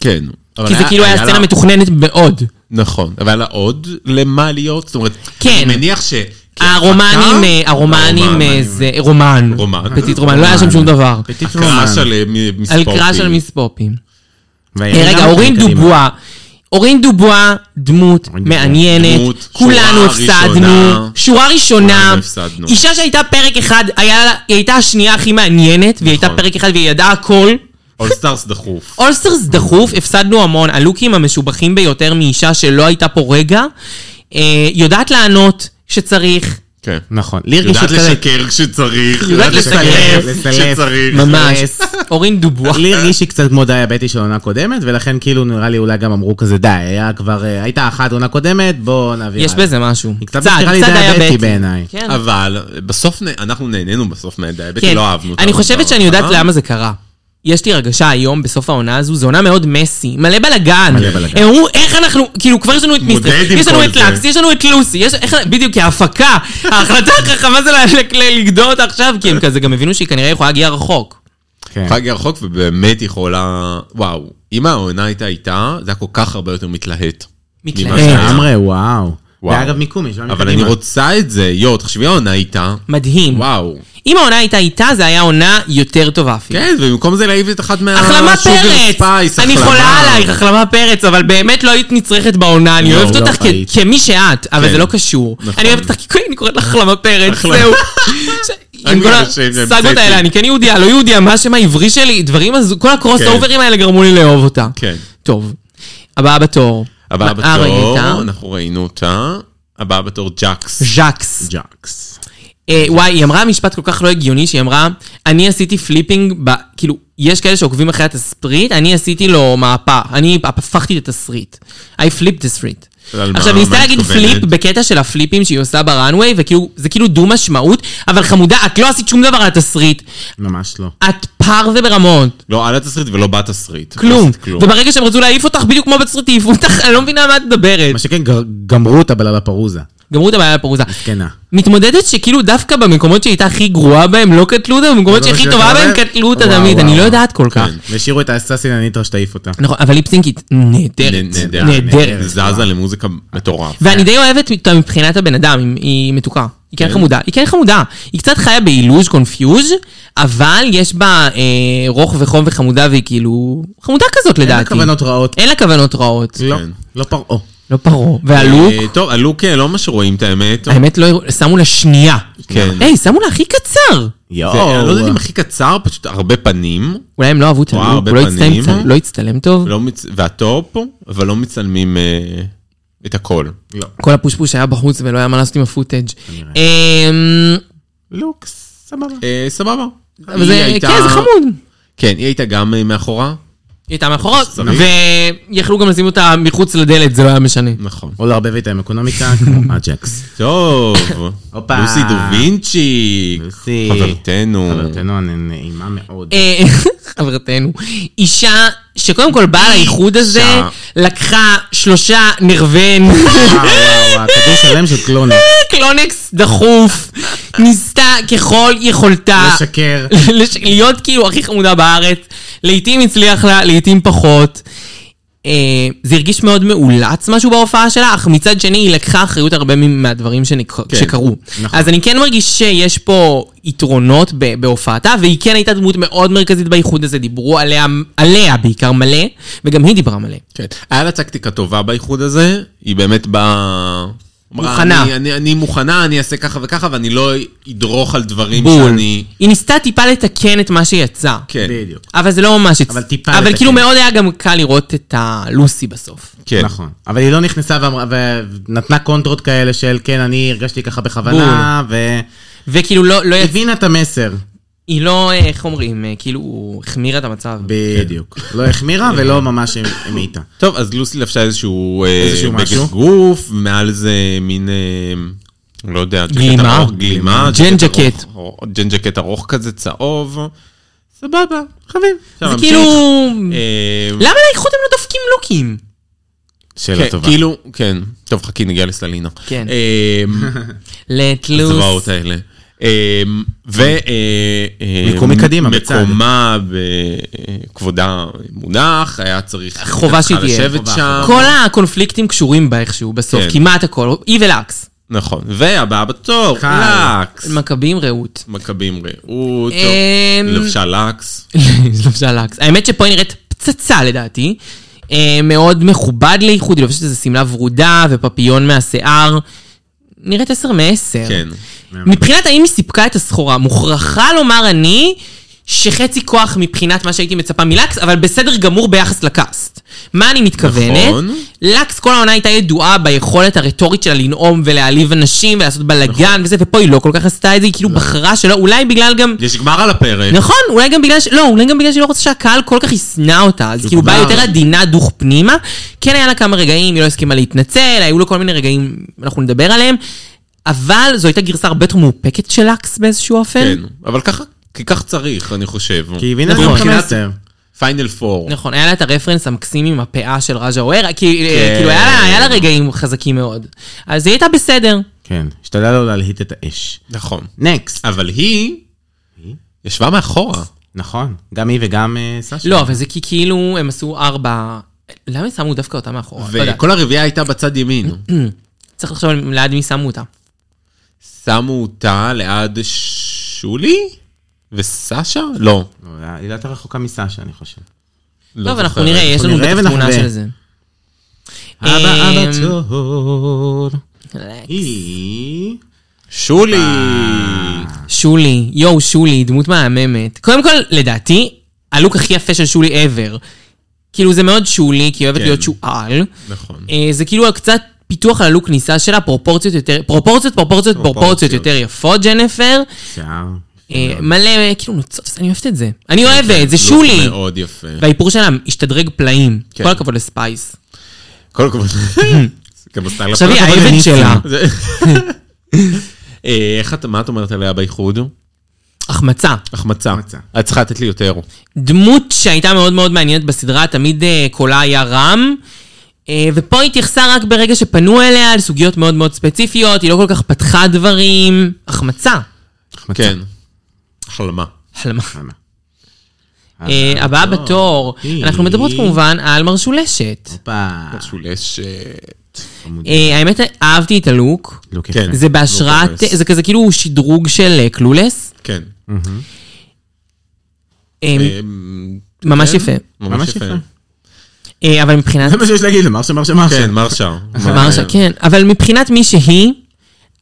Speaker 3: כן. אבל
Speaker 2: כי זה כאילו היה
Speaker 3: לה-
Speaker 2: סצנה מתוכננת מאוד.
Speaker 3: נכון, אבל היה לה עוד למה להיות? זאת אומרת,
Speaker 2: כן.
Speaker 3: אני מניח ש...
Speaker 2: הרומנים, אה, הרומנים אה, זה רומן.
Speaker 3: רומן.
Speaker 2: פטיט רומן, לא היה שם שום דבר.
Speaker 4: פטיט רומן.
Speaker 3: הקרש על אה, מיס
Speaker 2: על
Speaker 3: פופי.
Speaker 2: קרא של מיס פופים.
Speaker 3: כן,
Speaker 4: והיא
Speaker 2: אה, רגע,
Speaker 4: גם
Speaker 2: אורין
Speaker 4: מקדימה.
Speaker 2: דובואה. אורין דובואה, דמות
Speaker 4: דובואה.
Speaker 2: מעניינת,
Speaker 3: דמות,
Speaker 2: כולנו
Speaker 3: שורה
Speaker 2: הפסדנו,
Speaker 3: ראשונה.
Speaker 2: שורה ראשונה,
Speaker 3: כולנו הפסדנו.
Speaker 2: אישה שהייתה פרק אחד, היה לה- היא הייתה השנייה הכי מעניינת, והיא הייתה
Speaker 3: נכון.
Speaker 2: פרק אחד והיא ידעה הכל,
Speaker 3: אולסטארס דחוף.
Speaker 2: אולסטרס דחוף, הפסדנו המון, הלוקים המשובחים ביותר מאישה שלא הייתה פה רגע. אה, יודעת לענות כשצריך,
Speaker 3: כן.
Speaker 4: נכון. לי רגישות
Speaker 3: יודעת
Speaker 4: כזאת,
Speaker 3: לשקר כשצריך,
Speaker 2: יודעת
Speaker 3: יודעת
Speaker 2: לסלף,
Speaker 3: לסלף
Speaker 4: לסלף.
Speaker 3: כשצריך.
Speaker 2: ממש.
Speaker 4: yes.
Speaker 2: אה, אורין דובואה.
Speaker 4: לי הרגיש לי קצת כמו דיאבטי של עונה קודמת, ולכן כאילו נראה לי אולי גם אמרו כזה די, היה כבר, אה, הייתה אחת עונה קודמת, בוא נעביר.
Speaker 2: יש
Speaker 4: הלאה."
Speaker 2: בזה משהו.
Speaker 4: קצת מזכירה לי דיאבטי בעיניי.
Speaker 2: כן.
Speaker 3: אבל בסוף נ- אנחנו נהנינו בסוף מהדיאבטי,
Speaker 2: כן.
Speaker 3: לא אהבנו אותה. אה?
Speaker 2: אני חושבת שאני יודעת למה זה קרה. יש לי הרגשה היום, בסוף העונה הזו, זו עונה מאוד מסי, מלא בלאגן.
Speaker 4: מלא בלאגן.
Speaker 2: הם אמרו, איך אנחנו, כאילו, כבר יש לנו את מיסטר,
Speaker 3: מודד עם
Speaker 2: יש לנו
Speaker 3: כל
Speaker 2: את
Speaker 3: זה.
Speaker 2: לקס, יש לנו את לוסי, יש, איך, בדיוק, כי ההפקה, ההחלטה החכמה זה ל- ל- ל- לגדור אותה עכשיו, כי הם כזה גם הבינו שהיא כנראה יכולה להגיע רחוק.
Speaker 4: כן.
Speaker 3: חג הרחוק, ובאמת יכולה... וואו, אם העונה הייתה איתה, זה היה כל כך הרבה יותר מתלהט.
Speaker 2: מתלהט.
Speaker 3: ממה שהיה.
Speaker 4: אה, לגמרי, וואו.
Speaker 3: אה, וואו.
Speaker 4: זה אגב מיקום, יש
Speaker 3: אבל אני רוצה את זה, יואו, תחשבי העונה איתה.
Speaker 2: מדהים.
Speaker 3: וואו.
Speaker 2: אם העונה הייתה איתה, זה היה עונה יותר טובה אפילו.
Speaker 3: כן, ובמקום זה להעיף את אחת מה...
Speaker 2: החלמה
Speaker 3: שוגר
Speaker 2: פרץ!
Speaker 3: ספייס,
Speaker 2: אני
Speaker 3: החלמה.
Speaker 2: חולה עלייך, החלמה פרץ, אבל באמת לא היית נצרכת בעונה, אני
Speaker 4: לא,
Speaker 2: אוהבת
Speaker 4: לא
Speaker 2: אותך כ-
Speaker 4: היית.
Speaker 2: כמי שאת, אבל
Speaker 3: כן.
Speaker 2: זה לא קשור.
Speaker 3: נכון.
Speaker 2: אני אוהבת אותך כי אני קוראת לך החלמה פרץ,
Speaker 3: החלמה.
Speaker 2: זהו. ש- עם כל
Speaker 3: אנשים שהם
Speaker 2: הסאגות
Speaker 3: פסיכים.
Speaker 2: האלה, אני כן יהודייה, לא יהודייה, מה השם העברי שלי, דברים, הזו- כל הקרוס
Speaker 3: כן.
Speaker 2: אוברים האלה גרמו לי לאהוב אותה.
Speaker 3: כן.
Speaker 2: טוב, הבאה בתור.
Speaker 3: הבאה
Speaker 2: מה אה,
Speaker 3: בתור, נכון.
Speaker 2: ראית?
Speaker 3: אנחנו ראינו אותה. הבאה בתור ג'קס.
Speaker 2: ז'קס.
Speaker 4: ג'אקס.
Speaker 2: אה, וואי, היא אמרה משפט כל כך לא הגיוני, שהיא אמרה, אני עשיתי פליפינג, ב... כאילו, יש כאלה שעוקבים אחרי התסריט, אני עשיתי לו מהפך, אני הפכתי את התסריט. I flipped the street.
Speaker 3: על מה-
Speaker 2: עכשיו, היא ניסתה
Speaker 3: מה
Speaker 2: להגיד
Speaker 3: מתכוונת?
Speaker 2: פליפ בקטע של הפליפים שהיא עושה בראנוויי, וכאילו, זה כאילו דו-משמעות, אבל חמודה, את לא עשית שום דבר על התסריט.
Speaker 4: ממש לא.
Speaker 2: את פרווה ברמות,
Speaker 3: לא על התסריט ולא בתסריט. לא
Speaker 2: כלום.
Speaker 3: עשית כלום.
Speaker 2: וברגע שהם רצו להעיף אותך, בדיוק כמו בתסריט, העיפו אותך, אני לא מבינה על מה את מדברת.
Speaker 4: מה שכן, גר- גמרו אותה בללה פרוזה.
Speaker 2: גמרו את הבעיה הפרוזה.
Speaker 4: זקנה.
Speaker 2: מתמודדת שכאילו דווקא במקומות שהיא הייתה הכי גרועה בהם לא קטלו אותה, במקומות
Speaker 4: אבל
Speaker 2: שהכי
Speaker 4: בשביל
Speaker 2: טובה
Speaker 4: לקבל-
Speaker 2: בהם קטלו אותה
Speaker 4: וואו,
Speaker 2: תמיד,
Speaker 4: וואו,
Speaker 2: אני לא
Speaker 4: וואו.
Speaker 2: יודעת כל כך.
Speaker 3: כן.
Speaker 4: והשאירו את האססין הניטרה שתעיף אותה.
Speaker 2: נכון, אבל ליפסינקית נהדרת,
Speaker 3: נהדרת.
Speaker 2: נהדרת.
Speaker 3: זזה למוזיקה מטורף.
Speaker 2: ואני די אוהבת אותה מבחינת הבן אדם, היא- היא מתוקה. היא כן חמודה, היא כן חמודה. היא קצת חיה באילוז' קונפיוז', אבל יש בה אה, רוך וחום וחמודה, והיא כאילו... חמודה כזאת לדעתי.
Speaker 4: אין לה כוונות רעות.
Speaker 2: אין לה כוונות רעות.
Speaker 4: לא,
Speaker 3: כן.
Speaker 4: לא פרעה.
Speaker 2: לא פרעה. והלוק,
Speaker 3: אה, טוב, הלוק אה, לא מה שרואים את האמת.
Speaker 2: האמת לא... שמו לה שנייה.
Speaker 3: כן.
Speaker 2: היי, שמו לה הכי קצר.
Speaker 3: זה- אני לא יודע אם הכי קצר, פשוט הרבה פנים.
Speaker 2: אולי הם לא אהבו את
Speaker 3: וואו,
Speaker 2: הלוק,
Speaker 3: הרבה
Speaker 2: הוא לא הצטלם-
Speaker 3: פנים.
Speaker 2: צל- לא הצטלם טוב.
Speaker 3: לא מצ- והטופ, אבל לא מצלמים אה, את הכל.
Speaker 4: לא.
Speaker 2: כל הפושפוש היה בחוץ ולא היה מה לעשות עם הפוטאג'. אמ,
Speaker 4: לוק, סבבה.
Speaker 3: אה, סבבה.
Speaker 2: אבל זה,
Speaker 3: היא הייתה-
Speaker 2: כן, זה חמוד.
Speaker 3: כן, היא הייתה גם אה, מאחורה.
Speaker 2: היא הייתה מאחורות,
Speaker 3: שצריך.
Speaker 2: ויכלו גם לשים אותה מחוץ לדלת, זה לא היה משנה.
Speaker 3: נכון.
Speaker 4: או לערבב איתה עם אקונומיקה, כמו אג'קס.
Speaker 3: טוב.
Speaker 4: הופה.
Speaker 3: לוסי דו וינצ'י.
Speaker 4: לוסי.
Speaker 3: חברתנו.
Speaker 4: חברתנו הנעימה מאוד.
Speaker 2: אה, חברתנו, אישה שקודם כל באה לאיחוד הזה,
Speaker 3: אישה.
Speaker 2: לקחה שלושה נרוון.
Speaker 4: וואו, אה, וואו, וואו, כדור שלם של קלונה.
Speaker 2: קלונקס דחוף, ניסתה ככל
Speaker 3: אה.
Speaker 2: יכולתה.
Speaker 4: לשקר.
Speaker 2: לש- להיות כאילו הכי חמודה בארץ. לעתים הצליח לה, לעתים פחות. אה, זה הרגיש מאוד מאולץ משהו בהופעה שלה, אך מצד שני היא לקחה אחריות הרבה מ- מהדברים שנק... כן,
Speaker 3: כן,
Speaker 2: שקרו. נכון.
Speaker 4: נכון.
Speaker 2: אז אני כן מרגיש שיש פה יתרונות ב- בהופעתה, והיא כן הייתה דמות מאוד מרכזית באיחוד הזה, דיברו עליה, עליה בעיקר מלא, וגם היא דיברה מלא.
Speaker 3: כן. היה לה טקטיקה טובה באיחוד הזה, היא באמת באה... אמרה,
Speaker 2: מוכנה.
Speaker 3: אני, אני, אני מוכנה, אני אעשה ככה וככה, ואני לא אדרוך על דברים
Speaker 2: בול.
Speaker 3: שאני...
Speaker 2: היא ניסתה טיפה לתקן את מה שיצא.
Speaker 3: כן,
Speaker 4: בדיוק.
Speaker 2: אבל זה לא ממש...
Speaker 4: אבל טיפה
Speaker 2: אבל
Speaker 4: לתקן.
Speaker 2: כאילו מאוד היה גם קל לראות את הלוסי בסוף.
Speaker 3: כן.
Speaker 4: נכון. אבל היא לא נכנסה ואמרה- ונתנה קונטרות כאלה של כן, אני הרגשתי ככה בכוונה,
Speaker 2: וכאילו לא...
Speaker 3: אה.
Speaker 2: לא יצא-
Speaker 4: והבינה את המסר.
Speaker 2: היא לא, אה, איך אומרים, אה, כאילו, החמירה את המצב.
Speaker 4: בדיוק.
Speaker 3: כן.
Speaker 4: לא החמירה ולא ממש המעיטה.
Speaker 3: טוב, אז לוסי לבשה איזשהו, אה,
Speaker 4: איזשהו
Speaker 3: בגד
Speaker 4: משהו.
Speaker 3: גוף, מעל זה מין, אה, לא יודע, ג'קט
Speaker 2: גלימה.
Speaker 3: ארוך, גלימה,
Speaker 2: ג'ן
Speaker 3: ארוך,
Speaker 2: ג'קט.
Speaker 3: ארוך, ג'ן ג'קט ארוך כזה, צהוב, סבבה, חביב.
Speaker 2: זה
Speaker 3: אפשר להמשיך.
Speaker 2: כאילו...
Speaker 4: Mm.
Speaker 3: אה,
Speaker 2: למה לאיחוד הם לא דופקים לוקים?
Speaker 4: שאלה
Speaker 3: כן,
Speaker 4: טובה.
Speaker 3: כאילו, כן, טוב, חכי, נגיע לסלינה.
Speaker 2: כן.
Speaker 3: אה,
Speaker 2: לטלוס.
Speaker 3: הזוועות האלה. אמ, ו... אה, אה,
Speaker 4: מקומי קדימה, בצד.
Speaker 3: מקומה בכבודה מונח, היה צריך...
Speaker 2: חובה שהיא
Speaker 3: צריכה
Speaker 2: תהיה.
Speaker 3: לשבת
Speaker 4: חובה,
Speaker 3: שם.
Speaker 2: כל הקונפליקטים קשורים בה איכשהו בסוף,
Speaker 3: כן.
Speaker 2: כמעט הכל. היא ולקס.
Speaker 3: נכון. והבאה בתור,
Speaker 4: חי.
Speaker 3: לקס.
Speaker 2: מכבים רעות.
Speaker 3: מכבים ראו אותו.
Speaker 2: אמ,
Speaker 3: לבשה לקס.
Speaker 2: לבשה לקס. האמת שפה היא נראית פצצה לדעתי. אה, מאוד מכובד לאיחוד, היא לובשת איזה שמלה ורודה ופפיון מהשיער. נראית עשר מעשר.
Speaker 3: כן.
Speaker 2: מבחינת האם היא סיפקה את הסחורה, מוכרחה לומר אני שחצי כוח מבחינת מה שהייתי מצפה מלקס, אבל בסדר גמור ביחס לקאסט. מה אני מתכוונת?
Speaker 3: נכון.
Speaker 2: לקס כל העונה הייתה ידועה ביכולת הרטורית שלה לנאום ולהעליב אנשים ולעשות בלאגן וזה, ופה היא לא כל כך עשתה את זה, היא כאילו בחרה שלא, אולי בגלל גם...
Speaker 3: יש גמר על הפרק.
Speaker 2: נכון, אולי גם בגלל ש... לא, אולי גם בגלל שהיא לא רוצה שהקהל כל כך ישנא אותה, אז כאילו באה
Speaker 3: כבר.
Speaker 2: יותר עדינה דוך פנימה. כן היה לה כמה רגעים, היא לא הסכימה להתנצל, היו לה כל מיני רגעים, אנחנו נדבר עליהם, אבל זו הייתה גרסה הרבה יותר מאופקת של לקס באיזשהו אופן.
Speaker 3: כן, אבל ככה, כי כך צריך, אני חושב.
Speaker 4: כי היא הבינה את
Speaker 2: נכון,
Speaker 4: זה
Speaker 2: חמש-
Speaker 4: מבחינת...
Speaker 3: פיינל פור.
Speaker 2: נכון, היה לה את הרפרנס המקסים עם הפאה של רג'ה אוהרה, כי-
Speaker 3: כן.
Speaker 2: כאילו היה לה- היה לה רגעים חזקים מאוד. אז היא הייתה בסדר.
Speaker 4: כן, השתדלה לא להלהיט את האש.
Speaker 3: נכון.
Speaker 4: נקסט.
Speaker 3: אבל היא ישבה מאחורה.
Speaker 4: נכון, גם היא וגם אה, סשה.
Speaker 2: לא, אבל זה כי כאילו הם עשו ארבע... למה הם שמו דווקא אותה מאחורה? לא יודעת.
Speaker 3: וכל הרביעייה הייתה בצד ימין.
Speaker 2: אה? צריך לחשוב על- ליד מי שמו אותה.
Speaker 3: שמו אותה ליד שולי? וסשה? לא.
Speaker 4: לא, היא לא יותר רחוקה מסשה, אני חושב.
Speaker 3: לא
Speaker 2: טוב, אנחנו
Speaker 3: זוכר.
Speaker 2: נראה, יש לנו
Speaker 4: אנחנו נראה
Speaker 2: בטח תמונה
Speaker 4: ונחווה.
Speaker 2: של זה.
Speaker 4: אבא
Speaker 2: אמ,
Speaker 4: אבא צור. היא...
Speaker 3: שולי!
Speaker 2: אה, שולי, יואו שולי, דמות מהממת. קודם כל, לדעתי, הלוק הכי יפה של שולי ever. כאילו זה מאוד שולי, כי היא אוהבת
Speaker 3: כן.
Speaker 2: להיות שועל.
Speaker 3: נכון.
Speaker 2: אה, זה כאילו קצת פיתוח על הלוק כניסה שלה, פרופורציות יותר, פרופורציות, פרופורציות, פרופורציות יותר יפות, ג'נפר.
Speaker 4: שיער.
Speaker 2: אה,
Speaker 3: כן,
Speaker 2: מלא, אה, כאילו נוצות, אני אוהבת את זה. אני אוהבת, זה שולי.
Speaker 3: לוק כן, לא, מאוד יפה.
Speaker 2: והאיפור שלה השתדרג פלאים.
Speaker 3: כן.
Speaker 2: כל הכבוד לספייס.
Speaker 3: כל הכבוד. גם עשתה לה
Speaker 2: עכשיו היא
Speaker 3: כל הכבוד
Speaker 2: האבן
Speaker 3: לניסים.
Speaker 2: שלה.
Speaker 3: זה- אה, איך את, מה את אומרת עליה באיחוד?
Speaker 2: החמצה.
Speaker 3: החמצה.
Speaker 4: החמצה.
Speaker 3: את צריכה לתת לי יותר.
Speaker 2: דמות שהייתה מאוד מאוד מעניינת בסדרה, תמיד אה, קולה היה רם. אה, ופה היא התייחסה רק ברגע שפנו אליה לסוגיות מאוד מאוד ספציפיות, היא לא כל כך פתחה דברים. החמצה.
Speaker 3: כן. החלמה.
Speaker 2: החלמה.
Speaker 4: החלמה.
Speaker 2: אה, הבאה בתור.
Speaker 4: היא-
Speaker 2: אנחנו מדברות כמובן על מרשולשת.
Speaker 4: הופה.
Speaker 3: משולש... אה,
Speaker 2: אה, האמת, אהבתי את הלוק.
Speaker 4: לוק
Speaker 3: כן.
Speaker 4: יפה.
Speaker 2: זה בהשראת,
Speaker 3: קלולס.
Speaker 2: זה כזה כאילו שדרוג של אה, קלולס.
Speaker 3: כן.
Speaker 2: אה,
Speaker 3: אה,
Speaker 2: ממש
Speaker 3: כן?
Speaker 2: יפה.
Speaker 3: ממש יפה.
Speaker 2: אה, אבל מבחינת...
Speaker 4: זה מה שיש להגיד למרשה מרשה מרשה.
Speaker 3: כן, מרשה.
Speaker 2: מרשה, כן. אבל מבחינת מי שהיא,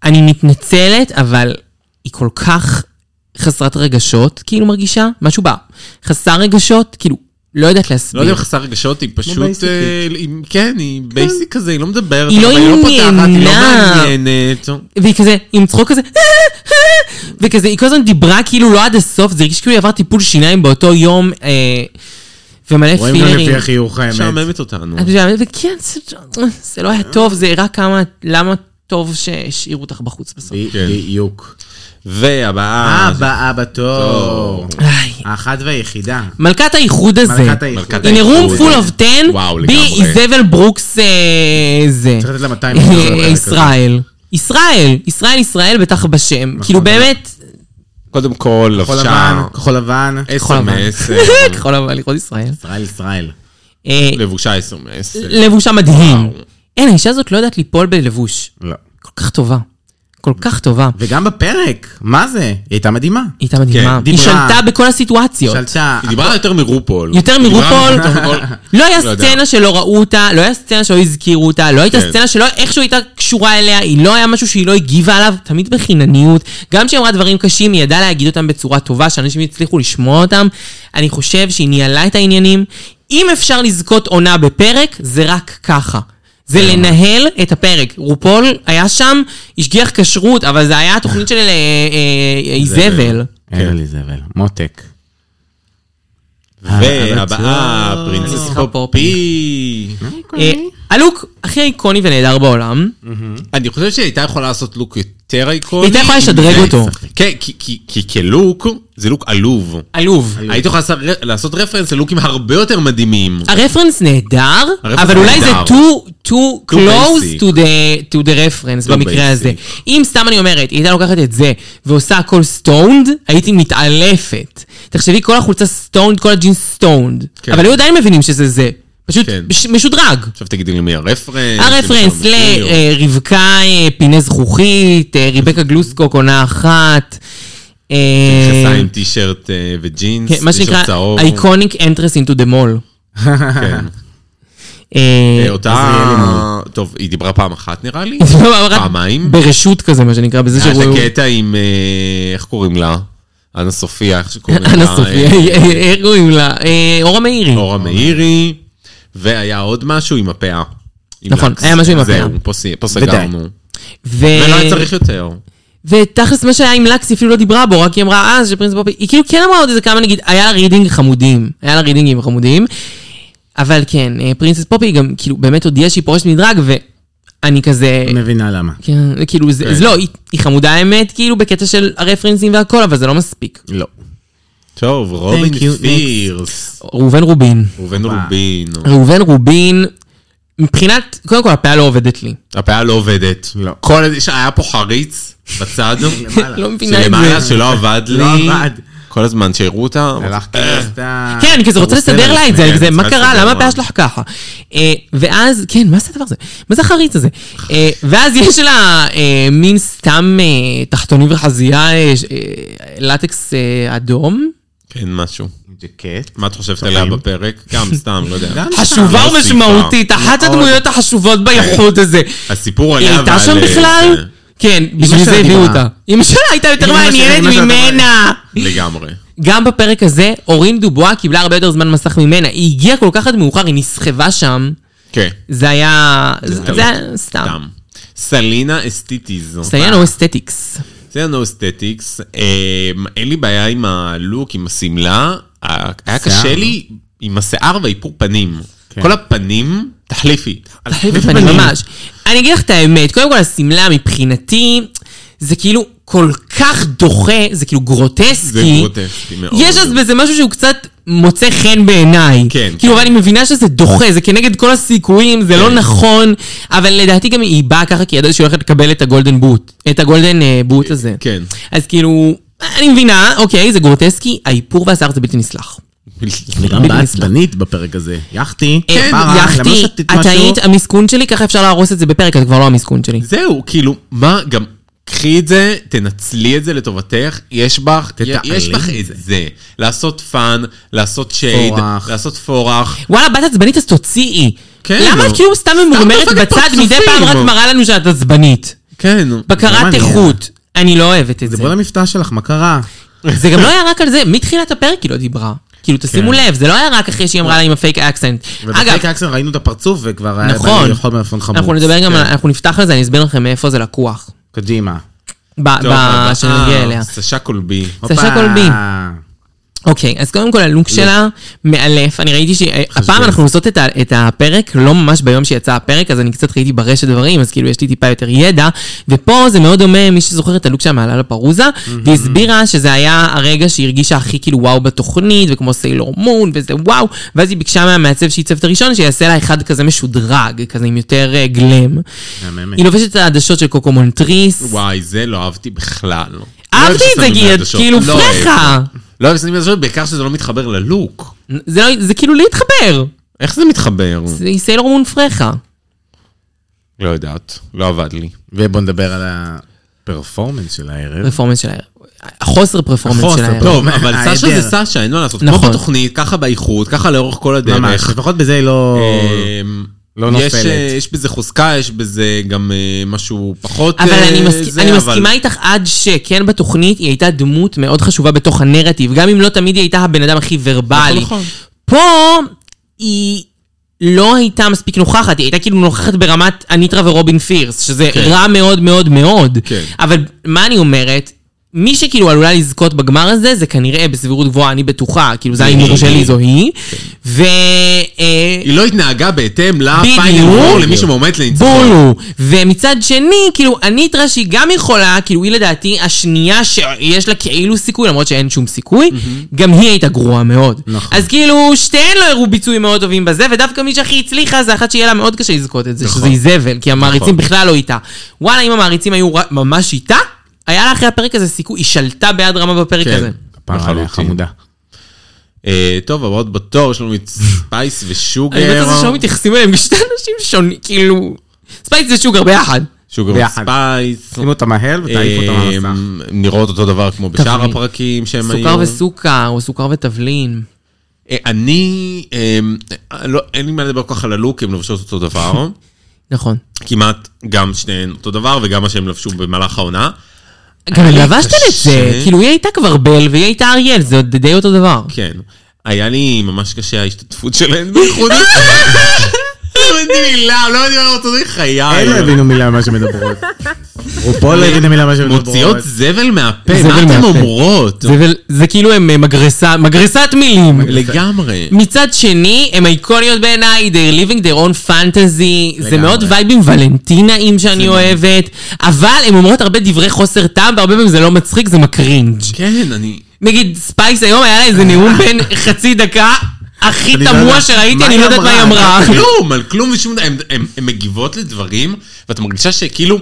Speaker 2: אני מתנצלת, אבל היא כל כך חסרת רגשות, כאילו מרגישה, משהו בה. חסר רגשות, כאילו, לא יודעת
Speaker 3: לא
Speaker 2: להסביר.
Speaker 3: יודע אם חסר רגשות, היא פשוט...
Speaker 4: בייסיקית.
Speaker 3: אה, היא- כן, היא בייסיק כזה, היא לא מדברת,
Speaker 2: היא
Speaker 3: הרבה,
Speaker 2: לא
Speaker 3: פותחת, היא לא
Speaker 2: עניינה.
Speaker 3: מעניינת.
Speaker 2: והיא כזה, עם צחוק כזה, "אה, וכזה, היא כל הזמן דיברה כאילו לא עד הסוף, זה הרגיש כאילו היא עברה טיפול שיניים באותו יום, אה, ומלא
Speaker 4: רואים גם
Speaker 2: פילרים.
Speaker 4: לפי החיוך האמת.
Speaker 3: משעממת אותנו.
Speaker 2: את יודעת, וכן, זה- זה לא היה טוב, זה הראה כמה, למה טוב שהשאירו אותך בחוץ בסוף.
Speaker 4: בדיוק.
Speaker 3: והבאה...
Speaker 4: אה, הבאה בתור.
Speaker 2: איי,
Speaker 4: האחת והיחידה.
Speaker 2: מלכת האיחוד הזה.
Speaker 4: מלכת היחידה.
Speaker 3: מלכת
Speaker 2: In a room
Speaker 3: האיחוד.
Speaker 2: full of 10,
Speaker 3: וואו,
Speaker 2: בי
Speaker 3: לגמרי.
Speaker 2: איזבל ברוקס אה, זה.
Speaker 4: צריך לתת לה 200
Speaker 2: אה,
Speaker 4: מיליון דולר.
Speaker 2: ישראל. ישראל, ישראל, ישראל בטח בשם.
Speaker 4: נכון.
Speaker 2: כאילו באמת,
Speaker 3: קודם כל,
Speaker 4: כחול
Speaker 3: לבשה.
Speaker 4: לבן, כחול לבן,
Speaker 3: אה.
Speaker 2: כחול לבן.
Speaker 3: אס.אם.אס.
Speaker 2: כחול לבן, לכבוד ישראל.
Speaker 4: ישראל ישראל.
Speaker 2: אה,
Speaker 3: לבושה אס.אם.אס.
Speaker 2: לבושה מדהים. אין, האישה הזאת לא יודעת ליפול בלבוש.
Speaker 4: לא.
Speaker 2: כל כך טובה. כל כך טובה. היא
Speaker 4: וגם בפרק, מה זה? היא הייתה מדהימה.
Speaker 2: הייתה מדהימה.
Speaker 3: כן,
Speaker 2: היא לא-
Speaker 4: דיברה.
Speaker 2: שלטה בכל הסיטואציות.
Speaker 4: שלטה.
Speaker 3: היא דיברה יותר מרופול.
Speaker 2: יותר
Speaker 3: היא דיברה
Speaker 2: מרופול.
Speaker 3: יותר מרופול.
Speaker 2: לא היה
Speaker 3: לא יודע.
Speaker 2: סצנה שלא ראו אותה, לא היה סצנה שלא הזכירו אותה, לא הייתה
Speaker 3: כן.
Speaker 2: סצנה שלא איכשהו הייתה קשורה אליה, היא לא היה משהו שהיא לא הגיבה עליו, תמיד בחינניות. גם כשהיא אמרה דברים קשים, היא ידעה להגיד אותם בצורה טובה, שאנשים הצליחו לשמוע אותם. אני חושב שהיא ניהלה את העניינים. אם אפשר לזכות עונה בפרק, זה רק ככה. זה
Speaker 3: כן.
Speaker 2: לנהל את הפרק. רופול היה שם, השגיח כשרות, אבל זה היה התוכנית של אה, אה, אה, איזבל.
Speaker 4: אין לי זבל. מותק.
Speaker 2: אה,
Speaker 3: והבאה, פרינסס
Speaker 2: סליחה,
Speaker 3: פופי.
Speaker 2: אה, הלוק הכי איקוני ונהדר בעולם.
Speaker 3: אני חושב שהיא הייתה יכולה לעשות לוק יותר איקוני.
Speaker 2: הייתה יכולה
Speaker 3: אם
Speaker 2: לשדרג
Speaker 3: זה-
Speaker 2: אותו.
Speaker 3: כן, כי- כי- כי כלוק, זה לוק עלוב.
Speaker 2: עלוב.
Speaker 3: היית יכולה לעשות- לעשות רפרנס ללוקים הרבה יותר מדהימים.
Speaker 2: הרפרנס נהדר,
Speaker 3: הרפרנס
Speaker 2: אבל אולי זה
Speaker 3: נהדר.
Speaker 2: too, too close
Speaker 3: basic.
Speaker 2: to the, to the reference במקרה
Speaker 3: basic.
Speaker 2: הזה. אם סתם אני אומרת, היא הייתה לוקחת את זה ועושה הכל סטונד, הייתי מתעלפת. תחשבי, כל החולצה סטונד, כל הג'ינס סטונד.
Speaker 3: כן.
Speaker 2: אבל היו עדיין מבינים שזה זה. פשוט
Speaker 3: כן. נכון,
Speaker 2: בש- משודרג.
Speaker 3: עכשיו תגידי לי מי הרפרנס.
Speaker 2: הרפרנס אה,
Speaker 3: למי שם הטריו.
Speaker 2: לרבקה פיני זכוכית, אה, ריבקה גלוסקוק עונה אחת. אה,
Speaker 3: נכנסה עם טישרט אה, וג'ינס,
Speaker 2: כן, מה
Speaker 3: טישרט
Speaker 2: שנקרא,
Speaker 3: צהוב.
Speaker 2: אייקוניק אנטרס אינטו דה מול.
Speaker 3: כן. אה, אותה... טוב, היא דיברה פעם אחת נראה לי. פעמיים. אה, כן.
Speaker 2: ברשות כזה, מה שנקרא, בזה
Speaker 3: היה את
Speaker 2: לא שרואים...
Speaker 3: הקטע עם, אה, איך קוראים לה? אנה
Speaker 2: אה,
Speaker 3: סופיה, איך שקוראים לה?
Speaker 2: אנה סופיה,
Speaker 3: אה,
Speaker 2: איך קוראים לה? אה, אורה מאירי.
Speaker 3: אורה מאירי. והיה עוד משהו עם הפאה. עם
Speaker 2: נכון,
Speaker 3: לקס.
Speaker 2: היה משהו עם
Speaker 3: זהו,
Speaker 2: הפאה. אה,
Speaker 3: פה סי- פה סגרנו.
Speaker 2: ו...
Speaker 3: ולא לא היה צריך יותר.
Speaker 2: ותכלס מה שהיה עם לקס, היא אפילו לא דיברה בו, רק היא אמרה אז שפרינס פופי, היא כאילו כן אמרה עוד איזה כמה נגיד, היה לה רידינג חמודים, היה לה רידינגים חמודים, אבל כן, אה, פרינסס פופי היא גם כאילו באמת הודיעה שהיא פורשת מדרג, ואני כזה,
Speaker 4: לא מבינה למה.
Speaker 2: כן, כאילו זה, אז לא, היא- היא חמודה האמת, כאילו בקטע של הרפרנסים והכל, אבל זה לא מספיק.
Speaker 4: לא.
Speaker 3: טוב, רובין
Speaker 4: you, next.
Speaker 3: פירס,
Speaker 2: ראובן רובין,
Speaker 3: ראובן
Speaker 4: וואו.
Speaker 3: רובין.
Speaker 2: ראובן רובין, מבחינת, קודם כל הפאה לא עובדת לי.
Speaker 3: הפאה לא עובדת.
Speaker 4: לא.
Speaker 3: כל איזה שהיה פה חריץ בצד.
Speaker 2: לא מבינה את
Speaker 3: שלמעלה
Speaker 2: זה.
Speaker 3: שלא עבד לי.
Speaker 4: לא עבד.
Speaker 3: כל הזמן שהראו אותה.
Speaker 4: הלך כסתה.
Speaker 2: כן, אני כזה רוצה לסדר לה את זה, לא- אני
Speaker 3: כן,
Speaker 2: כזה, מה
Speaker 3: צריכה
Speaker 2: קרה?
Speaker 3: לסדר
Speaker 2: למה
Speaker 3: לה."
Speaker 2: הבעיה שלך ככה? אה, ואז, כן, מה זה הדבר הזה? מה זה החריץ הזה? אה, ואז יש לה אה, מין סתם אה, תחתוני וחזייה, אה, ש- אה, לטקס אה, אדום.
Speaker 3: כן, משהו.
Speaker 4: ג'קט.
Speaker 3: מה את חושבת עליה בפרק? גם סתם, לא יודע.
Speaker 4: גם
Speaker 2: חשובה
Speaker 3: לא
Speaker 2: ומשמעותית, אחת הדמויות החשובות באיכות הזה.
Speaker 3: הסיפור
Speaker 2: היא
Speaker 3: עליה
Speaker 2: הייתה שם
Speaker 3: ועל, אה,
Speaker 2: בכלל? כן, בשביל
Speaker 4: שלה
Speaker 2: זה הביאו
Speaker 4: דיברה.
Speaker 2: אותה. אמא שלה הייתה יותר
Speaker 4: אמא שלה- אמא
Speaker 2: מעניינת
Speaker 4: שלה דיברה.
Speaker 2: ממנה.
Speaker 3: זה. לגמרי.
Speaker 2: גם בפרק הזה, אורין דובואה קיבלה הרבה יותר זמן מסך ממנה. היא הגיעה כל כך עד מאוחר, היא נסחבה שם.
Speaker 3: כן.
Speaker 2: זה היה... זה
Speaker 3: טעות.
Speaker 2: היה סתם. לא
Speaker 3: סתם. סלינה אסתיטיז.
Speaker 2: סטיינו אסתטיקס.
Speaker 3: סלינה אסתטיקס. אמ, אין לי בעיה עם הלוק, עם השמלה. ה- היה
Speaker 4: שיער. לא?
Speaker 3: קשה לי עם השיער והאיפור פנים.
Speaker 4: כן.
Speaker 3: כל הפנים, תחליפי.
Speaker 2: תחליף בפנים ממש. אני אגיד לך את האמת, קודם כל השמלה מבחינתי, זה כאילו כל כך דוחה, זה כאילו גרוטסקי.
Speaker 3: זה גרוטסקי מאוד.
Speaker 2: יש אז בזה משהו שהוא קצת מוצא חן בעיניי.
Speaker 3: כן,
Speaker 2: כאילו,
Speaker 3: כן.
Speaker 2: אבל אני מבינה שזה דוחה, זה כנגד כל הסיכויים, זה לא נכון, אבל לדעתי גם היא באה ככה כי היא ידעה שהיא הולכת לקבל את הגולדן בוט. את הגולדן אה, בוט הזה.
Speaker 3: כן.
Speaker 2: אז כאילו, אני מבינה, אוקיי, זה גרוטסקי, האיפור והשיער זה בלתי נסלח.
Speaker 4: וגם
Speaker 2: בדיוק.
Speaker 4: בעצבנית בפרק הזה. יחתי.
Speaker 2: אה,
Speaker 4: פרה, למה
Speaker 2: יחתי,
Speaker 4: שתית
Speaker 2: את
Speaker 4: משהו?
Speaker 2: היית המסכון שלי, ככה אפשר להרוס את זה בפרק, את כבר לא המסכון שלי.
Speaker 3: זהו, כאילו, מה, גם קחי את זה, תנצלי את זה לטובתך, יש בך,
Speaker 4: תתעלי
Speaker 3: יש בך
Speaker 4: את
Speaker 3: את זה. לעשות פאן, לעשות שייד,
Speaker 4: פורח.
Speaker 3: לעשות פורח.
Speaker 2: וואלה, בת עצבנית אז תוציאי.
Speaker 3: כן,
Speaker 2: למה
Speaker 3: נו.
Speaker 2: את כאילו סתם ממורמרת
Speaker 3: דופקת
Speaker 2: בצד,
Speaker 3: פרצופים.
Speaker 2: מדי פעם רק מראה לנו שאת עצבנית?
Speaker 3: כן.
Speaker 4: זה
Speaker 2: בקרת
Speaker 4: מעניין.
Speaker 2: איכות. אני לא אוהבת את זה.
Speaker 4: זה בוא למבטא שלך, מה קרה?
Speaker 2: זה גם לא היה רק על זה, מתחילת הפרק היא לא דיברה. כאילו, תשימו לב, זה לא היה רק אחרי שהיא אמרה לה עם הפייק אקסנט. אגב,
Speaker 4: ובפרק אקסן ראינו את הפרצוף וכבר היה
Speaker 2: נכון.
Speaker 4: בא לי לאכול מלפון חמוץ. כן,
Speaker 2: אנחנו נדבר גם, על- אנחנו נפתח על זה, אני אסביר לכם מאיפה זה לקוח.
Speaker 4: קדימה.
Speaker 2: ב-
Speaker 3: טוב, אה,
Speaker 2: ב-
Speaker 3: הבאה,
Speaker 2: שנגיע אליה.
Speaker 3: סשה לא, קולבי.
Speaker 2: סשה
Speaker 4: הופה.
Speaker 2: קולבי. אוקיי, אז קודם כל הלוק שלה מאלף. אני ראיתי שהפעם אנחנו עושות את ה- את הפרק, לא ממש ביום שיצא הפרק, אז אני קצת ראיתי ברשת דברים, אז כאילו יש לי טיפה יותר ידע. ופה זה מאוד דומה, מי שזוכר את הלוק שלה מעלה לפרוזה, והיא הסבירה שזה היה הרגע שהיא הרגישה הכי כאילו וואו בתוכנית, וכמו סיילור מון, וזה וואו. ואז היא ביקשה מהמעצב שעיצב את הראשון, שיעשה לה אחד כזה משודרג, כזה עם יותר אה, גלם.
Speaker 4: מהממת.
Speaker 2: היא לובשת את העדשות של קוקו מונטריס.
Speaker 3: וואי, זה לא אהבתי בכלל.
Speaker 2: אהבתי את זה, גיאת, כאילו פרחה.
Speaker 3: לא אוהב שמים מהדשות, בעיקר שזה לא מתחבר ללוק.
Speaker 2: זה לא- זה כאילו להתחבר.
Speaker 3: איך זה מתחבר?
Speaker 2: זה היא סיילור מון פרחה.
Speaker 3: לא יודעת, לא עבד לי.
Speaker 4: ובוא נדבר על הפרפורמנס של הערב.
Speaker 2: פרפורמנס של הערב. החוסר פרפורמנס
Speaker 4: החוסר,
Speaker 2: של הערב.
Speaker 4: טוב.
Speaker 3: טוב, אבל
Speaker 4: ההיעדר.
Speaker 3: סשה זה סשה, אין מה לעשות. כמו
Speaker 2: נכון.
Speaker 3: בתוכנית, ככה באיכות, ככה לאורך כל
Speaker 4: ממש,
Speaker 3: הדרך.
Speaker 4: לפחות בזה היא לא...
Speaker 2: אה,
Speaker 3: אמ,
Speaker 4: לא
Speaker 3: יש,
Speaker 4: נופלת.
Speaker 3: אה, יש בזה חוזקה, יש בזה גם אה, משהו פחות...
Speaker 2: אבל
Speaker 3: אה,
Speaker 2: אני, מסכ...
Speaker 3: זה,
Speaker 2: אני
Speaker 3: אבל-
Speaker 2: מסכימה איתך עד שכן בתוכנית היא הייתה דמות מאוד חשובה בתוך הנרטיב, גם אם לא תמיד היא הייתה הבן אדם הכי ורבלי.
Speaker 3: נכון, נכון.
Speaker 2: פה היא לא הייתה מספיק נוכחת, היא הייתה כאילו נוכחת ברמת אניטרה ורובין פירס, שזה כן.
Speaker 3: כן.
Speaker 2: רע מאוד מאוד מאוד.
Speaker 3: כן.
Speaker 2: אבל מה אני אומרת? מי שכאילו עלולה לזכות בגמר הזה, זה כנראה בסבירות גבוהה, אני בטוחה, כאילו זה ההימור
Speaker 3: היא. כן.
Speaker 2: שלי, זו היא. ו... אה,
Speaker 3: היא לא התנהגה בהתאם לפיינל
Speaker 2: בדיוק.
Speaker 3: וור, למי שמועמד
Speaker 2: בול
Speaker 3: לניצחון.
Speaker 2: הוא. ומצד שני, כאילו, אניטרה שהיא גם יכולה, כאילו, היא לדעתי השנייה שיש לה כאילו סיכוי, למרות שאין שום סיכוי, גם היא הייתה גרועה מאוד.
Speaker 4: נכון.
Speaker 2: אז כאילו, שתיהן לא הראו ביצועים מאוד טובים בזה, ודווקא מי שהכי הצליחה זה אחת שיהיה לה מאוד קשה לזכות את זה,
Speaker 3: נכון.
Speaker 2: שזה איזבל, כי המעריצים בכלל לא איתה. וואלה, אם המעריצים היו ר- ממש איתה, היה לה אחרי הפרק הזה סיכוי, היא שלטה ביד רמה בפרק
Speaker 3: כן.
Speaker 2: הזה.
Speaker 4: הפרה עליה חמודה.
Speaker 3: אה, טוב, הבאות בתור, יש לנו את ספייס
Speaker 2: אני לא באמת
Speaker 3: ושוגר.
Speaker 2: חושב שלא מתייחסים אליהם כשתי אנשים שונים, כאילו... ספייס ושוגר ביחד.
Speaker 3: שוגר
Speaker 4: ביחד.
Speaker 3: וספייס.
Speaker 4: שימו אותה מהר ותעיף אותה
Speaker 2: אמ,
Speaker 4: מהמסך.
Speaker 3: אה, נראות אותו דבר כמו בשאר
Speaker 2: תבלין.
Speaker 3: הפרקים שהם היו.
Speaker 2: סוכר וסוכר, או סוכר ותבלין.
Speaker 3: אה, אני, אה, לא- אין לי מה לדבר כל כך על הלוק, הן לובשות אותו דבר.
Speaker 2: נכון.
Speaker 3: כמעט גם שניהן אותו דבר, וגם מה שהם לבשו במהלך העונה.
Speaker 2: גם
Speaker 3: היה לי
Speaker 2: לבשתם את זה,
Speaker 3: קשה.
Speaker 2: כאילו היא הייתה כבר בל והיא הייתה אריאל, זה עוד די אותו דבר.
Speaker 3: כן. היה לי ממש קשה ההשתתפות שלהן באיחוד הצלה. לא יודעים מילה, לא יודעים מה רוצות לחיי.
Speaker 4: הם לא הבינו מילה ממה שמדברות. רופו לא הבינה מילה ממה שמדברות.
Speaker 3: מוציאות זבל מהפה,
Speaker 2: זבל
Speaker 3: מה אתן
Speaker 2: מהפה.
Speaker 3: אומרות?
Speaker 2: זה, ול- זה כאילו הם אה, מגרסה, מגרסת מילים.
Speaker 3: לגמרי.
Speaker 2: מצד שני, הם איקוניות בעיניי, they're living their own fantasy, זה מאוד וייבים ולנטינאים שאני אוהבת, אבל הן אומרות הרבה דברי חוסר טעם, והרבה פעמים זה לא מצחיק, זה מקרינג'.
Speaker 3: כן, אני...
Speaker 2: נגיד, ספייס היום היה לה איזה נאום בן חצי דקה, הכי
Speaker 4: אני לא
Speaker 2: תמוה
Speaker 4: יודע-
Speaker 2: שראיתי,
Speaker 4: מה
Speaker 2: אני
Speaker 4: היא
Speaker 2: לא יודעת מה היא אמרה.
Speaker 4: אמרה?
Speaker 3: על כלום, על כלום ושום דבר. הן- הן הן מגיבות לדברים, ואת מרגישה שכאילו,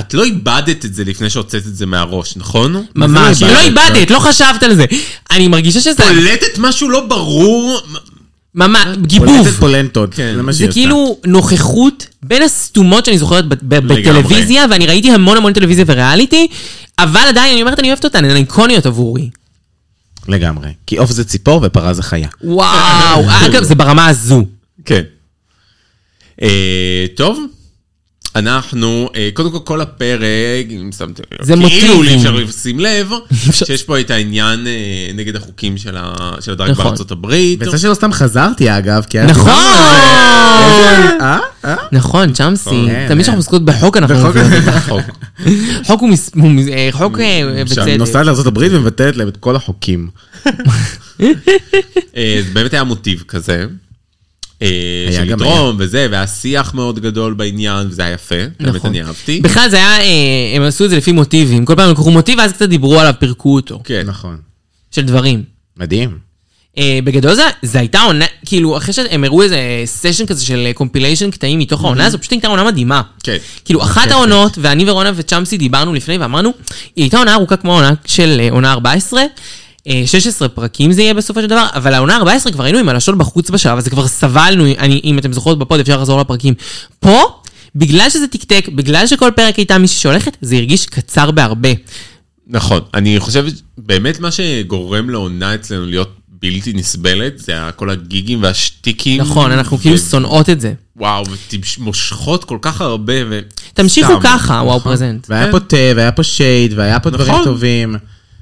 Speaker 3: את לא איבדת את זה לפני שהוצאת את זה מהראש, נכון?
Speaker 2: ממש,
Speaker 3: מה זה
Speaker 2: לא איבדת, לא חשבת על זה. אני מרגישה שזה
Speaker 3: קולטת משהו לא ברור.
Speaker 2: ממש גיבוב.
Speaker 4: פולטת פולנטות.
Speaker 3: כן.
Speaker 4: זה מה
Speaker 2: זה
Speaker 4: שהיא עושה.
Speaker 2: כאילו נוכחות בין הסתומות שאני זוכרת ב- ב-
Speaker 3: לגמרי.
Speaker 2: בטלוויזיה, ואני ראיתי המון המון טלוויזיה וריאליטי, אבל עדיין אני אומרת, אני אוהבת אותן, הן איקוניות עבורי.
Speaker 4: לגמרי. כי עוף זה ציפור ופרה זה חיה.
Speaker 2: וואו, אגב, זה ברמה הזו.
Speaker 3: כן. אה, טוב, אנחנו, אה, קודם כל כל הפרק, אם שמתם לב,
Speaker 2: זה
Speaker 3: כאילו
Speaker 2: מוטיבים.
Speaker 3: אי אפשר לשים לב,
Speaker 2: אפשר-
Speaker 3: שיש פה את העניין אה, נגד החוקים של ה- של הדרג
Speaker 2: נכון.
Speaker 3: בארצות הברית.
Speaker 4: ויצא שלא סתם חזרתי אגב, כי היה...
Speaker 2: נכון!
Speaker 4: אה? אה?
Speaker 2: נכון, צ'אמסי.
Speaker 4: כן,
Speaker 2: תמיד
Speaker 4: כן.
Speaker 2: כשאנחנו עוסקות בחוק, אנחנו...
Speaker 4: בחוק.
Speaker 3: חוק.
Speaker 2: חוק הוא מס... הוא מס- אה, חוק אה,
Speaker 4: שאני
Speaker 2: בצדק.
Speaker 4: נוסעת לארה"ב ומבטלת להם את כל החוקים.
Speaker 3: אה, זה באמת היה מוטיב כזה. אה,
Speaker 4: היה
Speaker 3: של
Speaker 4: גם
Speaker 3: לתרום וזה, והיה שיח מאוד גדול בעניין, וזה היה יפה, באמת אני אהבתי.
Speaker 2: נכון. בכלל זה היה, אה, הם עשו את זה לפי מוטיבים. כל פעם לקחו מוטיב, ואז קצת דיברו עליו, פירקו אותו.
Speaker 3: כן,
Speaker 4: נכון.
Speaker 2: של דברים.
Speaker 4: מדהים.
Speaker 2: אה, בגדול זה, זה הייתה עונה, כאילו, אחרי שהם הראו איזה סשן כזה של קומפיליישן קטעים מתוך העונה, זו פשוט הייתה עונה מדהימה.
Speaker 3: כן.
Speaker 2: כאילו, אחת העונות, ואני ורונה וצ'אמסי דיברנו לפני ואמרנו, היא הייתה עונה ארוכה כמו העונה של אה, עונה 14. אה, 16 פרקים זה יהיה בסופו של דבר, אבל העונה 14 כבר היינו עם הלשון בחוץ בשלב, אז כבר סבלנו, אני, אם אתם זוכרות בפוד אפשר לחזור לפרקים. פה, בגלל שזה תקתק, בגלל שכל פרק הייתה מישהי שהולכת, זה הרגיש קצר בהרבה.
Speaker 3: נכון. אני חושב, באמת מה שגורם לעונה אצלנו להיות בלתי נסבלת, זה היה כל הגיגים והשטיקים.
Speaker 2: נכון, אנחנו כאילו
Speaker 3: ו-
Speaker 2: שונאות את זה.
Speaker 3: וואו, ומושכות כל כך הרבה, ו...
Speaker 2: תמשיכו
Speaker 3: סתם.
Speaker 2: ככה, וואו פרזנט.
Speaker 4: והיה פה תה, והיה פה שייד, והיה פה דברים
Speaker 3: נכון.
Speaker 4: טובים.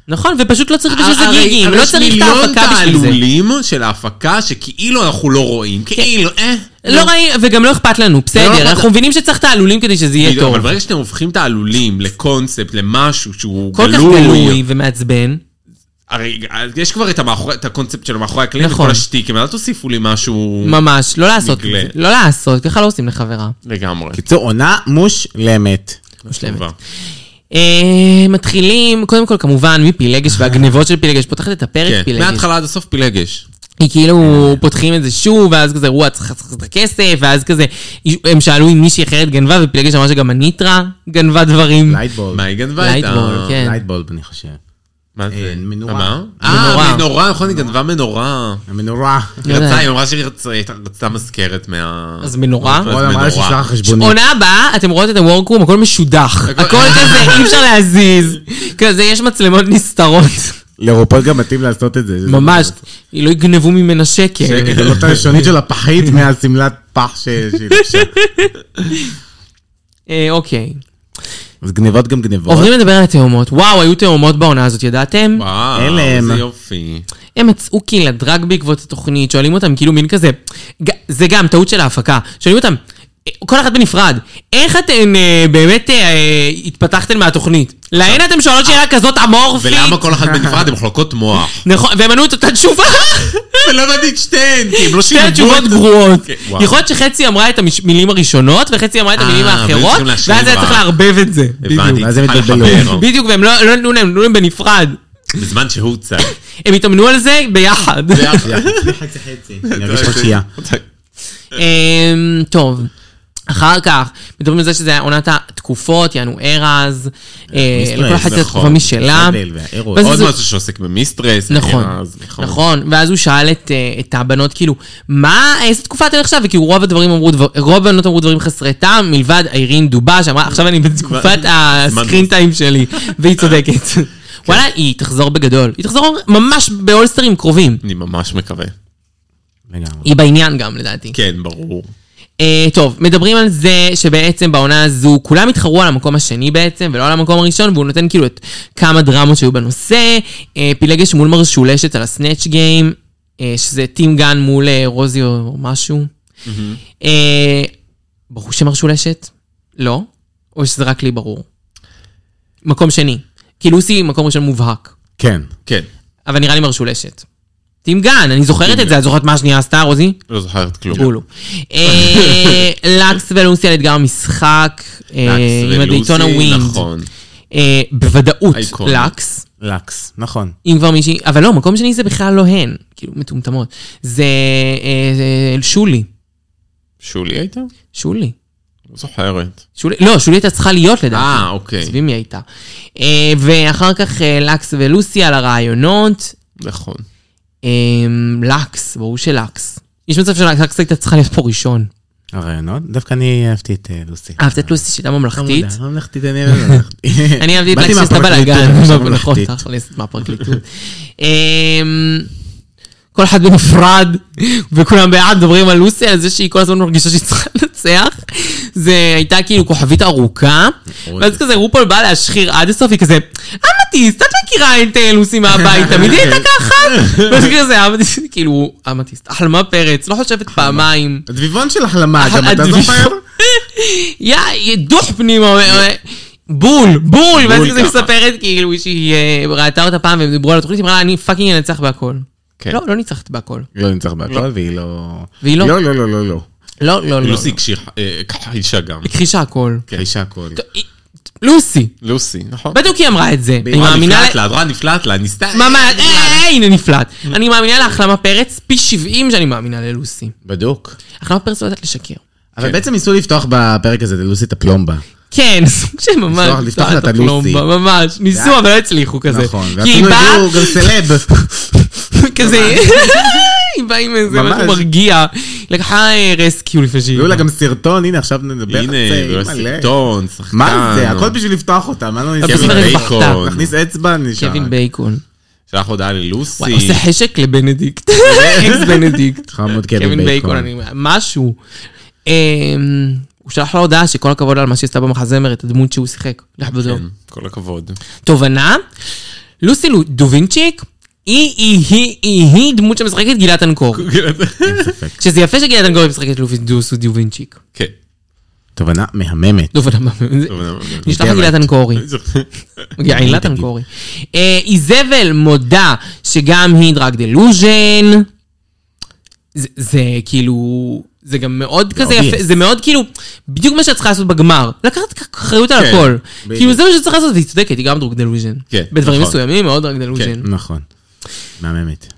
Speaker 2: נכון, ופשוט לא צריך בשביל זה
Speaker 3: אה, הרי-
Speaker 2: גיגים,
Speaker 3: הרי
Speaker 2: לא
Speaker 3: יש
Speaker 2: צריך את ההפקה בשביל זה. כן.
Speaker 3: מיליון תעלולים של ההפקה שכאילו אנחנו לא רואים, כאילו, אה.
Speaker 2: לא ראינו, וגם לא אכפת לנו,
Speaker 3: לא אכפת-
Speaker 2: בסדר, אנחנו מבינים שצריך תעלולים כדי שזה יהיה
Speaker 3: בדיוק,
Speaker 2: טוב.
Speaker 3: כאילו, אבל ברגע שאתם הופכים תעלולים לקונספט, למשהו שהוא
Speaker 2: כל כך גלוי ומעצבן.
Speaker 3: כן. הרי אז יש כבר את, המאחורי, את הקונספט של מאחורי הקלעים, נכון.
Speaker 2: נכון.
Speaker 3: כל השטיקים, אל תוסיפו לי משהו
Speaker 2: ממש, לא לעשות את
Speaker 3: נגלה.
Speaker 2: זה. לא לעשות, ככה לא עושים לחברה.
Speaker 3: לגמרי.
Speaker 2: כן,
Speaker 4: קיצור, עונה מושלמת.
Speaker 2: מושלמת.
Speaker 3: טובה.
Speaker 2: אה, מתחילים, קודם כל כמובן, מפילגש והגנבות של פילגש, פותחת את
Speaker 3: כן,
Speaker 2: הפרק פילגש.
Speaker 3: מההתחלה עד הסוף פילגש.
Speaker 2: היא כאילו פותחים את זה שוב, ואז כזה, וואו, צריך לחסוך את הכסף, ואז כזה, הם שאלו אם מישהי אחרת גנבה, ופילגש אמרה שגם הניטרה גנבה דברים.
Speaker 4: לייטבולד.
Speaker 3: מה היא גנבה את ה...
Speaker 2: לייטבול, כן.
Speaker 4: לייטבולד, אני חושב.
Speaker 3: מה זה?
Speaker 4: אה, מנורה.
Speaker 3: מה?
Speaker 2: מנורה.
Speaker 3: אה, מנורה, נכון, היא גנבה מנורה.
Speaker 4: המנורה.
Speaker 2: לא יודעת.
Speaker 3: רצה, היא אמרה שהיא רצה- היא רצתה מזכרת מה...
Speaker 2: אז מנורה?
Speaker 3: אז
Speaker 4: וואלה, מה יש לשלוח
Speaker 3: מנורה.
Speaker 4: החשבונית?
Speaker 2: עונה הבאה, אתם רואות את הוורקרום, הכל משודח.
Speaker 3: הכל-
Speaker 2: הכל כזה, אי אפשר להזיז. כזה, יש מצלמות נסתרות.
Speaker 4: לרופול גם מתאים לעשות את זה. זה
Speaker 2: ממש. לא יגנבו ממנה שקל.
Speaker 4: זאת הראשונית של הפחית מהשמלת פח ש- שהיא לבשה.
Speaker 2: אה, אוקיי.
Speaker 4: אז גניבות גם גניבות.
Speaker 2: עוברים לדבר על התאומות. וואו, היו תאומות בעונה הזאת, ידעתם?
Speaker 3: וואו,
Speaker 4: הלם.
Speaker 3: איזה יופי.
Speaker 2: הם מצאו קהילת דרג בעקבות התוכנית, שואלים אותם כאילו מין כזה, ג- זה גם טעות של ההפקה, שואלים אותם, אה, כל אחת בנפרד, איך אתן אה, באמת אה, אה, התפתחתם מהתוכנית? להן אתם שואלות שאלה כזאת אמורפית?
Speaker 3: ולמה כל אחת בנפרד הן חולקות מוח?
Speaker 2: נכון, והם ענו את אותה תשובה!
Speaker 3: ולא הבנתי את שתיהן, כי הם לא
Speaker 2: שתי
Speaker 3: שילמו את
Speaker 2: התשובות
Speaker 3: זה.
Speaker 2: גרועות.
Speaker 3: כן, וואו.
Speaker 2: יכול להיות שחצי אמרה את המילים הראשונות, וחצי אמרה את המילים
Speaker 3: אה, והיו
Speaker 2: האחרות,
Speaker 3: צריכים
Speaker 2: ואז
Speaker 3: להשלים
Speaker 2: היה צריך
Speaker 3: בה.
Speaker 2: לערבב את זה.
Speaker 3: הבנתי,
Speaker 4: ואז הם
Speaker 3: צריכה
Speaker 4: התבלבלו.
Speaker 3: לחבר.
Speaker 2: בדיוק, והם לא לא נתנו להם, נתנו להם בנפרד.
Speaker 3: בזמן שהוא צד.
Speaker 2: הם התאמנו על זה ביחד.
Speaker 4: חצי חצי. אני ארגיש חושייה.
Speaker 2: אמ, טוב. אחר כך, מדברים על זה שזה היה עונת התקופות, יענו ארז, אה,
Speaker 4: מיסטרס,
Speaker 2: לכל אחת
Speaker 3: נכון.
Speaker 2: זה תקופה משלה.
Speaker 4: סבל והאירוס.
Speaker 2: ואז
Speaker 3: עוד
Speaker 2: זה-
Speaker 3: משהו שעוסק במיסטרס.
Speaker 2: נכון,
Speaker 3: אה, אז
Speaker 2: נכון, ואז הוא שאל את, אה, את הבנות, כאילו, מה, איזה תקופה אתן עכשיו? וכאילו רוב הדברים אמרו, דבר, רוב הבנות אמרו דברים חסרי טעם, מלבד איירין דובה, שאמרה, עכשיו אני בתקופת הסקרין טיים שלי, והיא צודקת. וואלה, היא תחזור בגדול. היא תחזור ממש באולסטרים קרובים.
Speaker 3: אני ממש מקווה.
Speaker 4: לגמרי.
Speaker 2: היא בעניין גם, לדעתי.
Speaker 3: כן, ברור.
Speaker 2: אה, טוב, מדברים על זה שבעצם בעונה הזו כולם התחרו על המקום השני בעצם, ולא על המקום הראשון, והוא נותן כאילו את כמה דרמות שהיו בנושא. אה, פילגש מול מרשולשת על הסנאצ' גיים. אה, שזה טים גן מול אה, רוזי או משהו. אה, ברור שהם הרשו לשת? לא? או שזה רק לי ברור? מקום שני. כי לוסי מקום ראשון מובהק,
Speaker 4: כן.
Speaker 3: כן,
Speaker 2: אבל נראה לי הם הרשו לשת. טים גן, אני זוכרת את זה, את זוכרת מה השנייה עשתה, רוזי?
Speaker 3: לא זוכרת כלום.
Speaker 2: בולו. אה, לקס ולוסי על אתגר המשחק, אה, עם
Speaker 3: לקס
Speaker 2: הדייטונה
Speaker 3: ולוסי,
Speaker 2: ווינד.
Speaker 3: נכון.
Speaker 2: אה, בוודאות
Speaker 3: אייקונית.
Speaker 2: לקס.
Speaker 4: לקס, נכון.
Speaker 2: אם כבר מישהי, אבל לא, מקום שני זה בכלל לא הן, כאילו מטומטמות. זה אה, זה שולי,
Speaker 3: שולי הייתה?
Speaker 2: שולי,
Speaker 3: לא זוכרת.
Speaker 2: שולי, לא, שולי הייתה צריכה להיות לדעתי.
Speaker 3: אה, אוקיי.
Speaker 2: עזבי מי הייתה. אה, ואחר כך אה, לקס ולוסי על הרעיונות.
Speaker 3: נכון.
Speaker 2: אה, לקס, ברור שלקס. יש מצב שלקס הייתה צריכה להיות פה ראשון.
Speaker 4: הרעיונות? דווקא אני אהבתי את אה, לוסי.
Speaker 2: אהבת את לוסי שהייתה ממלכתית?
Speaker 4: חמודה, ממלכתית, לא אני אוהב ממלכתית.
Speaker 2: אני אהבתי את
Speaker 4: באתי
Speaker 2: לקס שעשתה
Speaker 4: מהפרקליטות, לא
Speaker 2: בלאגן.
Speaker 4: עכשיו
Speaker 2: נכון,
Speaker 4: ממלכתית.
Speaker 2: תכלס, מהפרקליטות. אמ, כל אחד בנפרד, וכולם ביחד מדברים על לוסי, על זה שהיא כל הזמן מרגישה שהיא צריכה לנצח. זה הייתה כאילו כוכבית ארוכה,
Speaker 4: נכון.
Speaker 2: ואז כזה רופול בא להשחיר עד הסוף, היא כזה, אמתיסט, את מכירה את אה, לוסי מהבית, תמיד היא הייתה ככה? ואז היא כזה, "אמתיסט", כאילו, אמתיסט, החלמה פרץ, לא חושבת פעמיים.
Speaker 4: הדביבון של החלמה, גם אתה
Speaker 2: הדביבון.
Speaker 4: זוכר?
Speaker 2: יא, יא, דוח פנימה, אה, בול, בול, ואז
Speaker 3: בול
Speaker 2: היא
Speaker 3: ככה.
Speaker 2: מספרת כאילו שהיא אה, ראתה אותה פעם והם דיברו על התוכנית, היא אמרה לה, אני פאקינג אנצח בהכל.
Speaker 3: כן.
Speaker 2: לא, לא ניצחת בהכל.
Speaker 4: לא נמצא בהכל, והיא לא...
Speaker 2: והיא לא.
Speaker 4: לא, לא, לא, לא, לא.
Speaker 2: לא, לא, לא.
Speaker 3: לוסי הקשיחה, אה, הכחישה גם.
Speaker 2: הכחישה הכל.
Speaker 4: האישה הכול.
Speaker 2: היא- לוסי,
Speaker 3: לוסי, נכון.
Speaker 2: בדיוק היא אמרה את זה. אני
Speaker 3: את רואה,
Speaker 2: מאמינה...
Speaker 3: נפלט
Speaker 2: לה-
Speaker 3: לה, את רואה, נפלט לה, ניסתה...
Speaker 2: ממש, אה, אה, הנה נפלט. אני מאמינה להחלמה פרץ פי 70 שאני מאמינה ללוסי.
Speaker 4: בדוק. כן.
Speaker 2: החלמה פרץ לא יודעת לשקר.
Speaker 4: אבל בעצם ניסו לפתוח בפרק הזה ללוסי את הפלומבה.
Speaker 2: כן, סוג של ממש,
Speaker 4: לפתוח- לא, לפתוח לה את
Speaker 2: הפלומבה,
Speaker 4: הלוסי.
Speaker 2: ממש, ניסו אבל לא הצליחו כזה.
Speaker 4: נכון.
Speaker 2: כי היא
Speaker 4: ואפילו
Speaker 2: באה,
Speaker 4: הביאו גם סלב.
Speaker 2: כזה, היא באה עם איזה
Speaker 4: ממש.
Speaker 2: משהו מרגיע. היא לקחה אה, רסקיו לפני שהיא...
Speaker 4: הביאו לה גם סרטון, הנה עכשיו נדבר על
Speaker 3: הנה,
Speaker 4: זה.
Speaker 3: ולא
Speaker 4: מלא.
Speaker 3: סרטון, שחקן.
Speaker 4: מה זה? הכל בשביל לפתוח אותה, מה לא
Speaker 2: בסוף
Speaker 4: נסתכל?
Speaker 2: היא
Speaker 4: עליה?
Speaker 2: בכתה.
Speaker 3: בייקון.
Speaker 4: נכניס אצבע, נשאר.
Speaker 2: קווין בייקון.
Speaker 3: שלח הודעה ללוסי.
Speaker 2: וואי, עושה חשק לבנדיקט. אקס בנדיקט.
Speaker 4: חמוד
Speaker 2: קווין בייקון, אני... משהו. אמ, הוא שלח לה הודעה שכל הכבוד על מה שעשתה במחזמרת, הדמות שהוא שיחק. לכבודו.
Speaker 3: כן, כל הכבוד.
Speaker 2: תובנה, לוסי לו- דובינצ'יק, היא, היא, היא, היא, היא דמות שמשחקת גילת אנקור. שזה יפה שגילת אנקור משחקת לופי דוסו דובינצ'יק.
Speaker 3: כן.
Speaker 4: תובנה מהממת.
Speaker 2: דובנה, מה- זה-
Speaker 3: טוב, לא-
Speaker 2: נשלח לה גילת אנקורי. גאילת אנקורי. אה, איזבל מודה שגם היא דרג דלוז'ן. זה- זה כאילו, זה גם מאוד כזה
Speaker 4: obvious.
Speaker 2: יפה, זה מאוד כאילו, בדיוק מה שאת צריכה לעשות בגמר. לקחת אחריות על
Speaker 3: כן,
Speaker 2: הכל.
Speaker 4: בדיוק.
Speaker 2: כאילו זה מה שאת צריכה לעשות, והיא צודקת, היא גם דרג דלוז'ן.
Speaker 3: כן,
Speaker 2: בדברים
Speaker 3: נכון.
Speaker 2: מסוימים היא מאוד דרג דלוז'ן.
Speaker 4: נכון. מהממת.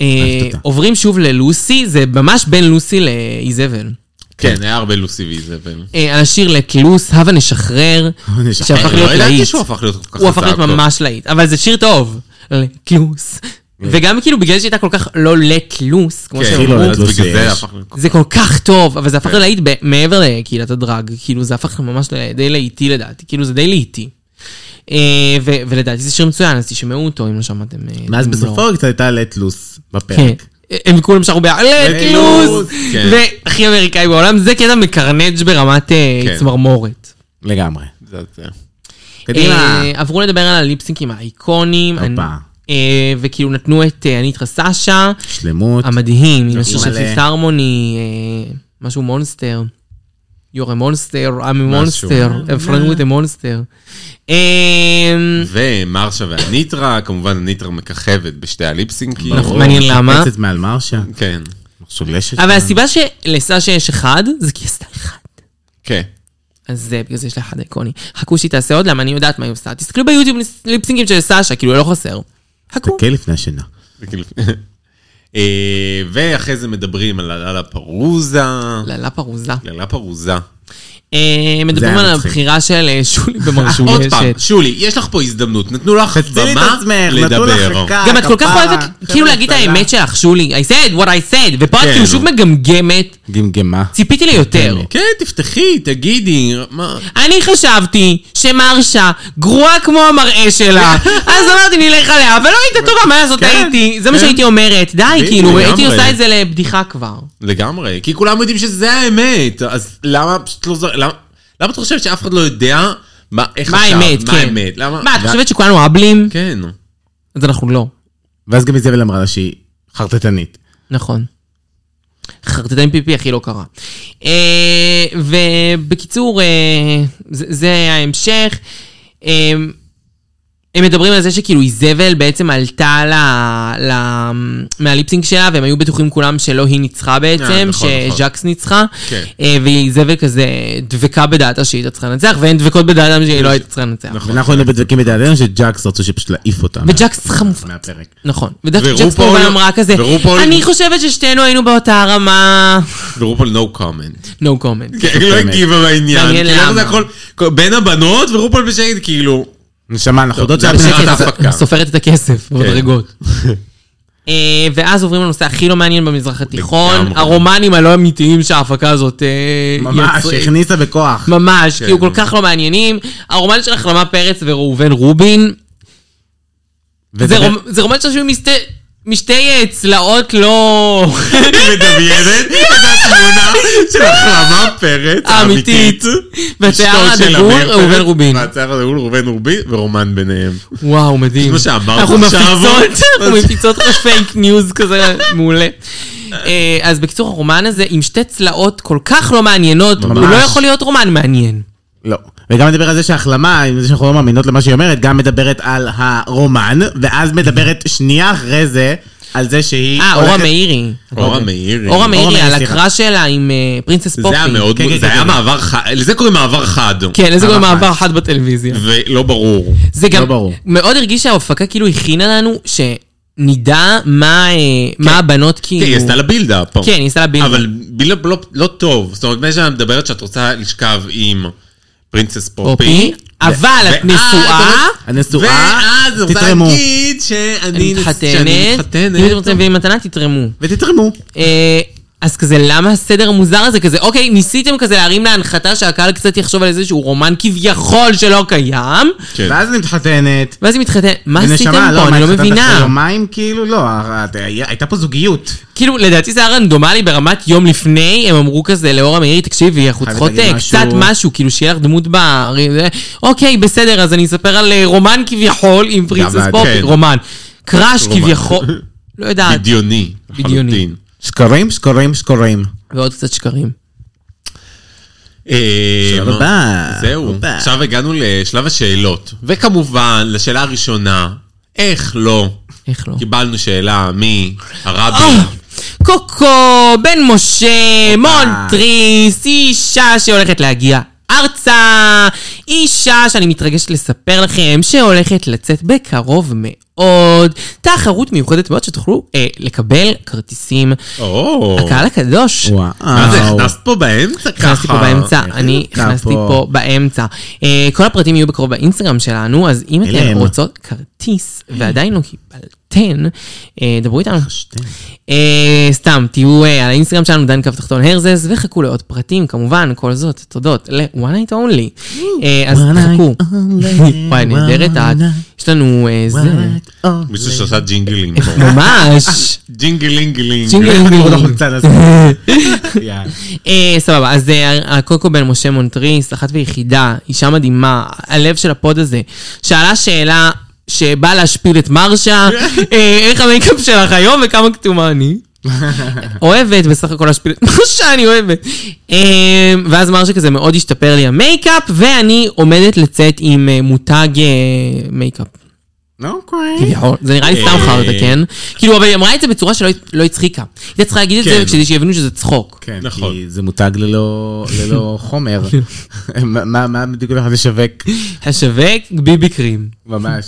Speaker 2: אה,
Speaker 4: אהבת אותה.
Speaker 2: עוברים שוב ללוסי, זה ממש בין לוסי לאיזבל.
Speaker 3: כן, היה הרבה לוסי ואיזבל.
Speaker 2: אה, על השיר לקלוס, הבה נשחרר,
Speaker 4: נשחרר.
Speaker 2: שהפך
Speaker 3: לא
Speaker 2: להיות
Speaker 3: ידעתי
Speaker 2: להיט.
Speaker 3: שהוא הפך להיות כל כך
Speaker 2: הוא הפך
Speaker 3: הצעה
Speaker 2: להיות ממש להיט, אבל זה שיר טוב. לקלוס. וגם כאילו בגלל שהייתה כל כך לא לקלוס, כמו
Speaker 3: טוב. כן,
Speaker 2: שאמרו,
Speaker 4: לא,
Speaker 3: אז
Speaker 4: לוסי
Speaker 3: בגלל זה
Speaker 4: יש.
Speaker 3: הפך להיות...
Speaker 2: זה כל כך טוב, אבל זה הפך ללהיט ב- מעבר לקהילת הדרג, כאילו זה הפך ממש ל- די להיטי לדעתי, כאילו זה די להיטי. אה, ו- ולדעתי זה שיר מצוין, אז תשמעו אותו אם לא שמעתם. אה,
Speaker 4: ואז
Speaker 2: אם לא.
Speaker 4: בסופו קצת הייתה לטלוס
Speaker 2: כן.
Speaker 4: בפרק.
Speaker 2: הם כולם שרו בהעלת לוז,
Speaker 4: לוז.
Speaker 3: כן.
Speaker 2: והכי אמריקאי בעולם, זה קטע מקרנג' ברמת אה,
Speaker 3: כן.
Speaker 2: צמרמורת.
Speaker 4: לגמרי.
Speaker 3: זה- זה-
Speaker 4: קדימה.
Speaker 2: אה, עברו לדבר על הליפסינקים האיקונים, אני-
Speaker 4: הופה.
Speaker 2: אה, וכאילו נתנו את אה, אניטרה סאשה,
Speaker 4: שלמות.
Speaker 2: המדהים, עם השיר של
Speaker 4: מלא.
Speaker 2: פיס הרמוני, אה, משהו מונסטר. You're a monster, I'm a monster, a friend with a monster. אה,
Speaker 3: ומרשה והניטרה, כמובן הניטרה מככבת בשתי הליפסינקים.
Speaker 2: נכון, מעניין למה.
Speaker 4: קצת מעל מרשה.
Speaker 3: כן,
Speaker 4: משולשת.
Speaker 2: אבל הסיבה שלסאשה יש אחד, זה כי היא עשתה אחד.
Speaker 3: כן.
Speaker 2: אז אה, בגלל זה יש לה אחד איקוני. חכו שהיא תעשה עוד, למה אני יודעת מה היא עושה. תסתכלו ביוטיוב ליפסינקים של סאשה, כאילו לא חסר. חכו.
Speaker 4: תקה לפני השינה.
Speaker 3: זה כאילו- אה, ואחרי זה מדברים על הללה פרוזה.
Speaker 4: כן.
Speaker 2: ללה פרוזה.
Speaker 3: ללה פרוזה.
Speaker 2: אה, מדברים
Speaker 4: היה
Speaker 2: על
Speaker 4: מצחיק.
Speaker 2: הבחירה של אה, שולי במרשום
Speaker 3: עוד פעם,
Speaker 2: רשת.
Speaker 3: שולי, יש לך פה הזדמנות, נתנו לך
Speaker 4: תצילי את
Speaker 3: במה
Speaker 4: עצמך, נתנו לך
Speaker 3: לדבר.
Speaker 4: חכה.
Speaker 2: גם את כל כך
Speaker 4: אה, כפרה.
Speaker 2: אוהבת כאילו
Speaker 4: חבר'ה,
Speaker 2: להגיד את
Speaker 4: סללה.
Speaker 2: האמת שלך, שולי. I said what I said, ופה את
Speaker 3: כן.
Speaker 2: כאילו שוב מגמגמת,
Speaker 4: גמגמה.
Speaker 2: ציפיתי ליותר.
Speaker 4: באמת.
Speaker 3: כן, תפתחי, תגידי, מה...
Speaker 2: אני חשבתי שמרשה גרועה כמו המראה שלה, אז אמרתי נלך עליה, אבל לא הייתה טובה, מה לעשות,
Speaker 3: כן,
Speaker 2: הייתי, זה מה
Speaker 3: כן.
Speaker 2: שהייתי אומרת, די,
Speaker 3: בדיוק,
Speaker 2: כאילו, הייתי
Speaker 3: לגמרי.
Speaker 2: עושה את זה לבדיחה כבר.
Speaker 3: לגמרי, כי כולם יודעים שזה האמת, אז למה פשוט לא זו... למה, למה את חושבת שאף אחד לא יודע מה, איך
Speaker 2: מה
Speaker 3: עכשיו,
Speaker 2: האמת,
Speaker 3: מה
Speaker 2: כן.
Speaker 3: האמת, למה...
Speaker 2: מה, את חושבת שכולנו אבלים?
Speaker 3: אה, כן,
Speaker 2: אז אנחנו לא.
Speaker 4: ואז גם איזבל אמרה לה שהיא חרטטנית.
Speaker 2: נכון. חרטטה עם פיפי הכי לא קרה. אה, ובקיצור, אה, זה, זה ההמשך. אה, הם מדברים על זה שכאילו איזבל בעצם עלתה ל, ל, מהליפסינג שלה, והם היו בטוחים כולם שלא היא ניצחה
Speaker 3: אה,
Speaker 2: בעצם,
Speaker 3: נכון, נכון.
Speaker 2: שז'קס ניצחה.
Speaker 3: כן.
Speaker 2: אה, ואיזבל כזה דבקה בדעתה שהיא הייתה צריכה לנצח, והן דבקות בדעתם שהיא לא הייתה צריכה לנצח.
Speaker 3: נכון.
Speaker 4: ואנחנו היינו בדבקים בדעתנו שג'קס רצו שפשוט להעיף אותם.
Speaker 2: וג'קס חמופה.
Speaker 4: מהפרק.
Speaker 2: נכון, וג'קס
Speaker 3: ורופול-
Speaker 2: כמובן אמרה כזה,
Speaker 3: ורופול-
Speaker 2: אני חושבת ששתינו היינו באותה רמה,
Speaker 3: ורופול no comment.
Speaker 2: no comment.
Speaker 3: כן, היא לא
Speaker 4: באמת.
Speaker 3: הגיבה בעניין.
Speaker 2: מעניין
Speaker 3: כאילו, איך זה
Speaker 2: למה.
Speaker 3: יכול... בין הבנות ורופול בשקט, כאילו...
Speaker 4: נשמה, אנחנו יודעות
Speaker 2: לא,
Speaker 3: זה
Speaker 4: שאת
Speaker 3: בשקט.
Speaker 4: מנצחת.
Speaker 3: ההפקה. כן.
Speaker 2: סופרת את הכסף במדרגות. אה, ואז עוברים לנושא הכי לא מעניין במזרח התיכון,
Speaker 3: לגמרי.
Speaker 2: הרומנים הלא אמיתיים שההפקה הזאת אה,
Speaker 4: ממש,
Speaker 2: יצרה-
Speaker 4: הכניסה בכוח.
Speaker 2: ממש, כי הוא כל
Speaker 3: ממש.
Speaker 2: כך לא מעניינים. הרומן של החלמה פרץ וראובן רובין, זה
Speaker 4: וזה-
Speaker 2: רומ- זה רומן שיושבים משתי- משתי אה, צלעות לא...
Speaker 3: מדמיינת את התמונה של החלמה פרץ
Speaker 2: האמיתית.
Speaker 3: האמיתית.
Speaker 2: והשיער
Speaker 3: אשתו של
Speaker 2: הדגול,
Speaker 3: עמיר
Speaker 2: ראובן
Speaker 3: פרץ,
Speaker 2: רובין.
Speaker 3: והשיער הדגול ראובן רובין ורומן ביניהם.
Speaker 2: וואו, מדהים.
Speaker 3: כמו שאמרת
Speaker 2: אנחנו
Speaker 3: עכשיו. אוקיי.
Speaker 2: מפיצות, אנחנו מפיצות פייק ניוז כזה מעולה. אה, אז בקיצור, הרומן הזה עם שתי צלעות כל כך לא מעניינות, הוא
Speaker 4: ממש.
Speaker 2: לא יכול להיות רומן מעניין. אה,
Speaker 4: לא. וגם מדבר על זה שההחלמה, עם זה שאנחנו לא מאמינות למה שהיא אומרת, גם מדברת על הרומן, ואז מדברת שנייה אחרי זה, על זה שהיא...
Speaker 2: אה, אורה
Speaker 4: הולכת-
Speaker 2: מאירי.
Speaker 3: אוקיי, אורה מאירי.
Speaker 2: אורה מאירי,
Speaker 4: מאירי,
Speaker 2: על
Speaker 4: סליחה.
Speaker 2: הקרא שלה עם אה, פרינסס פופי.
Speaker 3: זה היה מאוד,
Speaker 4: כן, כן,
Speaker 3: זה היה
Speaker 4: כן.
Speaker 3: מעבר חד, לזה קוראים מעבר חד.
Speaker 2: כן, איזה גם
Speaker 4: מעבר
Speaker 2: מעבר חד בטלוויזיה.
Speaker 3: ולא ברור.
Speaker 2: זה גם
Speaker 4: לא ברור.
Speaker 2: מאוד הרגיש שההופקה כאילו הכינה לנו שנדע מה אה, מה הבנות
Speaker 3: כן, היא
Speaker 2: כאילו...
Speaker 3: עשתה לה בילדאפ.
Speaker 2: כן, היא עשתה לה בילדאפ.
Speaker 3: אבל בילדאפ לא- לא טוב. זאת אומרת, מה שאת מדברת שאת רוצה לשכב עם פרינסס פופי.
Speaker 2: פופי, אבל את
Speaker 3: ואז- אה, לא-
Speaker 2: נשואה.
Speaker 4: הנשואה,
Speaker 3: ואז אני רוצה
Speaker 4: תתרמו.
Speaker 3: להגיד שאני
Speaker 2: אני
Speaker 3: נס-
Speaker 2: מתחתנת, אם
Speaker 3: שאני
Speaker 2: אתם רוצים
Speaker 3: מתחתנת.
Speaker 2: להביא לי מתנה, תתרמו.
Speaker 4: ותתרמו.
Speaker 2: אה, אז כזה, למה הסדר המוזר הזה? כזה, אוקיי, ניסיתם כזה להרים להנחתה שהקהל קצת יחשוב על איזשהו רומן כביכול שלא קיים,
Speaker 3: כן.
Speaker 4: ואז היא מתחתנת.
Speaker 2: ואז היא מתחתנת, מה עשיתם
Speaker 4: ונשמה,
Speaker 2: פה?
Speaker 4: מה,
Speaker 2: אני לא
Speaker 4: התחתנת אחרי
Speaker 2: מבינה.
Speaker 4: יומיים כאילו, לא, הת- הייתה פה זוגיות.
Speaker 2: כאילו, לדעתי זה היה רנדומלי ברמת יום לפני, הם אמרו כזה לאורה מאירי, תקשיבי, אנחנו
Speaker 4: חייבת
Speaker 2: צריכות
Speaker 4: להגיד
Speaker 2: אה,
Speaker 4: משהו."
Speaker 2: קצת משהו, כאילו שיהיה לך דמות ב... זה- אוקיי, בסדר, אז אני אספר על אה, רומן כביכול עם פרינסס
Speaker 3: אבל,
Speaker 2: פופי,
Speaker 3: כן.
Speaker 2: רומן. קראש
Speaker 3: רומן.
Speaker 2: כביכול, לא יודעת,
Speaker 3: בדיוני.
Speaker 2: בדיוני.
Speaker 3: לחלוטין.
Speaker 4: שקרים, שקרים, שקרים.
Speaker 2: ועוד קצת שקרים.
Speaker 3: אה,
Speaker 4: שלב
Speaker 3: מה?
Speaker 4: הבא.
Speaker 3: זהו.
Speaker 4: הבא.
Speaker 3: עכשיו הגענו לשלב השאלות. וכמובן, לשאלה הראשונה, איך לא?
Speaker 2: איך לא?
Speaker 3: קיבלנו שאלה מהרבי.
Speaker 2: אה, קוקו, בן משה, מונטריס, אישה שהולכת להגיע ארצה, אישה שאני מתרגשת לספר לכם שהולכת לצאת בקרוב מאוד. תחרות מיוחדת מאוד שתוכלו אה, לקבל כרטיסים.
Speaker 3: או.
Speaker 2: הקהל הקדוש.
Speaker 4: וואו.
Speaker 3: מה זה, הכנסת פה באמצע ככה?
Speaker 2: הכנסתי פה באמצע,
Speaker 4: איך
Speaker 2: אני
Speaker 4: אתה
Speaker 2: הכנסתי
Speaker 4: אה, פה?
Speaker 2: פה באמצע. אה, כל הפרטים יהיו בקרוב באינסטגרם שלנו, אז אם אתן
Speaker 4: אליהם.
Speaker 2: רוצות כרטיס ועדיין לא קיבלתן, אה, דברו איתנו. אה, סתם, תהיו אה, על האינסטגרם שלנו, דן קו תחתון הרזז, וחכו לעוד פרטים, כמובן, כל זאת, תודות ל-one night only. אה, אז
Speaker 4: One night
Speaker 2: חכו.
Speaker 4: only,
Speaker 2: וואי,
Speaker 4: one
Speaker 2: נהדרת את.
Speaker 4: night.
Speaker 2: יש לנו אה, זה.
Speaker 3: מישהו שעשה ג'ינגלים פה.
Speaker 2: ממש.
Speaker 3: ג'ינגלינגלינג.
Speaker 2: ג'ינגלינג.
Speaker 4: אני עוד לא חמצן הזה. יאללה.
Speaker 2: אה, סבבה, אז אה, הקוקו בן משה מונטריס, אחת ויחידה, אישה מדהימה, הלב של הפוד הזה, שאלה שאלה שבאה להשפיל את מרשה, אה, איך המייקאפ שלך היום וכמה כתומה אני? אוהבת בסך הכל להשפיל את מרשה, אני אוהבת. אה, ואז מרשה כזה מאוד השתפר לי המייקאפ, ואני עומדת לצאת עם אה, מותג אה, מייקאפ.
Speaker 4: אוקיי.
Speaker 2: כביכול. זה נראה לי סתם
Speaker 3: אה.
Speaker 2: חרטא, כן? כאילו, אבל היא אמרה את זה בצורה שלא לא הצחיקה. היא הייתה צריכה להגיד את זה
Speaker 3: כן.
Speaker 2: כדי שיבינו שזה צחוק.
Speaker 4: כן,
Speaker 3: נכון.
Speaker 4: נכון. כי זה מותג ללא, ללא חומר. מה- מה מה בדיוק הולך לשווק?
Speaker 2: השווק ביבי קרים.
Speaker 4: ממש.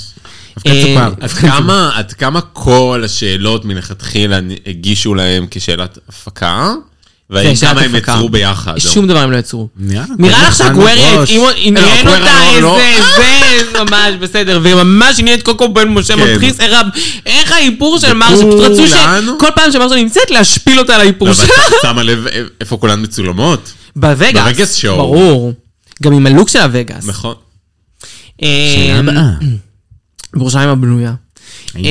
Speaker 4: אבקת
Speaker 2: אה,
Speaker 4: סוכר.
Speaker 3: עד כמה, עד כמה כל השאלות מלכתחילה נ- הגישו להם כשאלת הפקה? והאם
Speaker 2: זה שאלת
Speaker 3: כמה הם
Speaker 2: הפקה.
Speaker 3: יצרו ביחד?
Speaker 2: שום דבר הם לא יצרו.
Speaker 4: נראה,
Speaker 2: נראה לך
Speaker 4: כל הזמן
Speaker 2: שהגווריה
Speaker 4: מראש.
Speaker 2: עניין- עניין
Speaker 3: לא,
Speaker 2: אותה
Speaker 3: הגווריה לא-
Speaker 2: איזה זה, ממש בסדר, והיא ממש עניינת קוקו בן משה
Speaker 3: כן.
Speaker 2: מטריס, איך ה- איך האיפור של מרשה, פשוט
Speaker 3: וכולן-
Speaker 2: רצו שכל פעם שמרשה נמצאת להשפיל אותה על האיפור
Speaker 3: לא,
Speaker 2: שלה.
Speaker 3: אבל את שמה לב א- איפה כולן מצולמות?
Speaker 2: בווגאס.
Speaker 3: בווגאס שואו.
Speaker 2: ברור. גם עם הלוק של הווגאס.
Speaker 3: נכון.
Speaker 2: אה,
Speaker 4: שאלה הבאה.
Speaker 2: בירושלים הבנויה. אמ,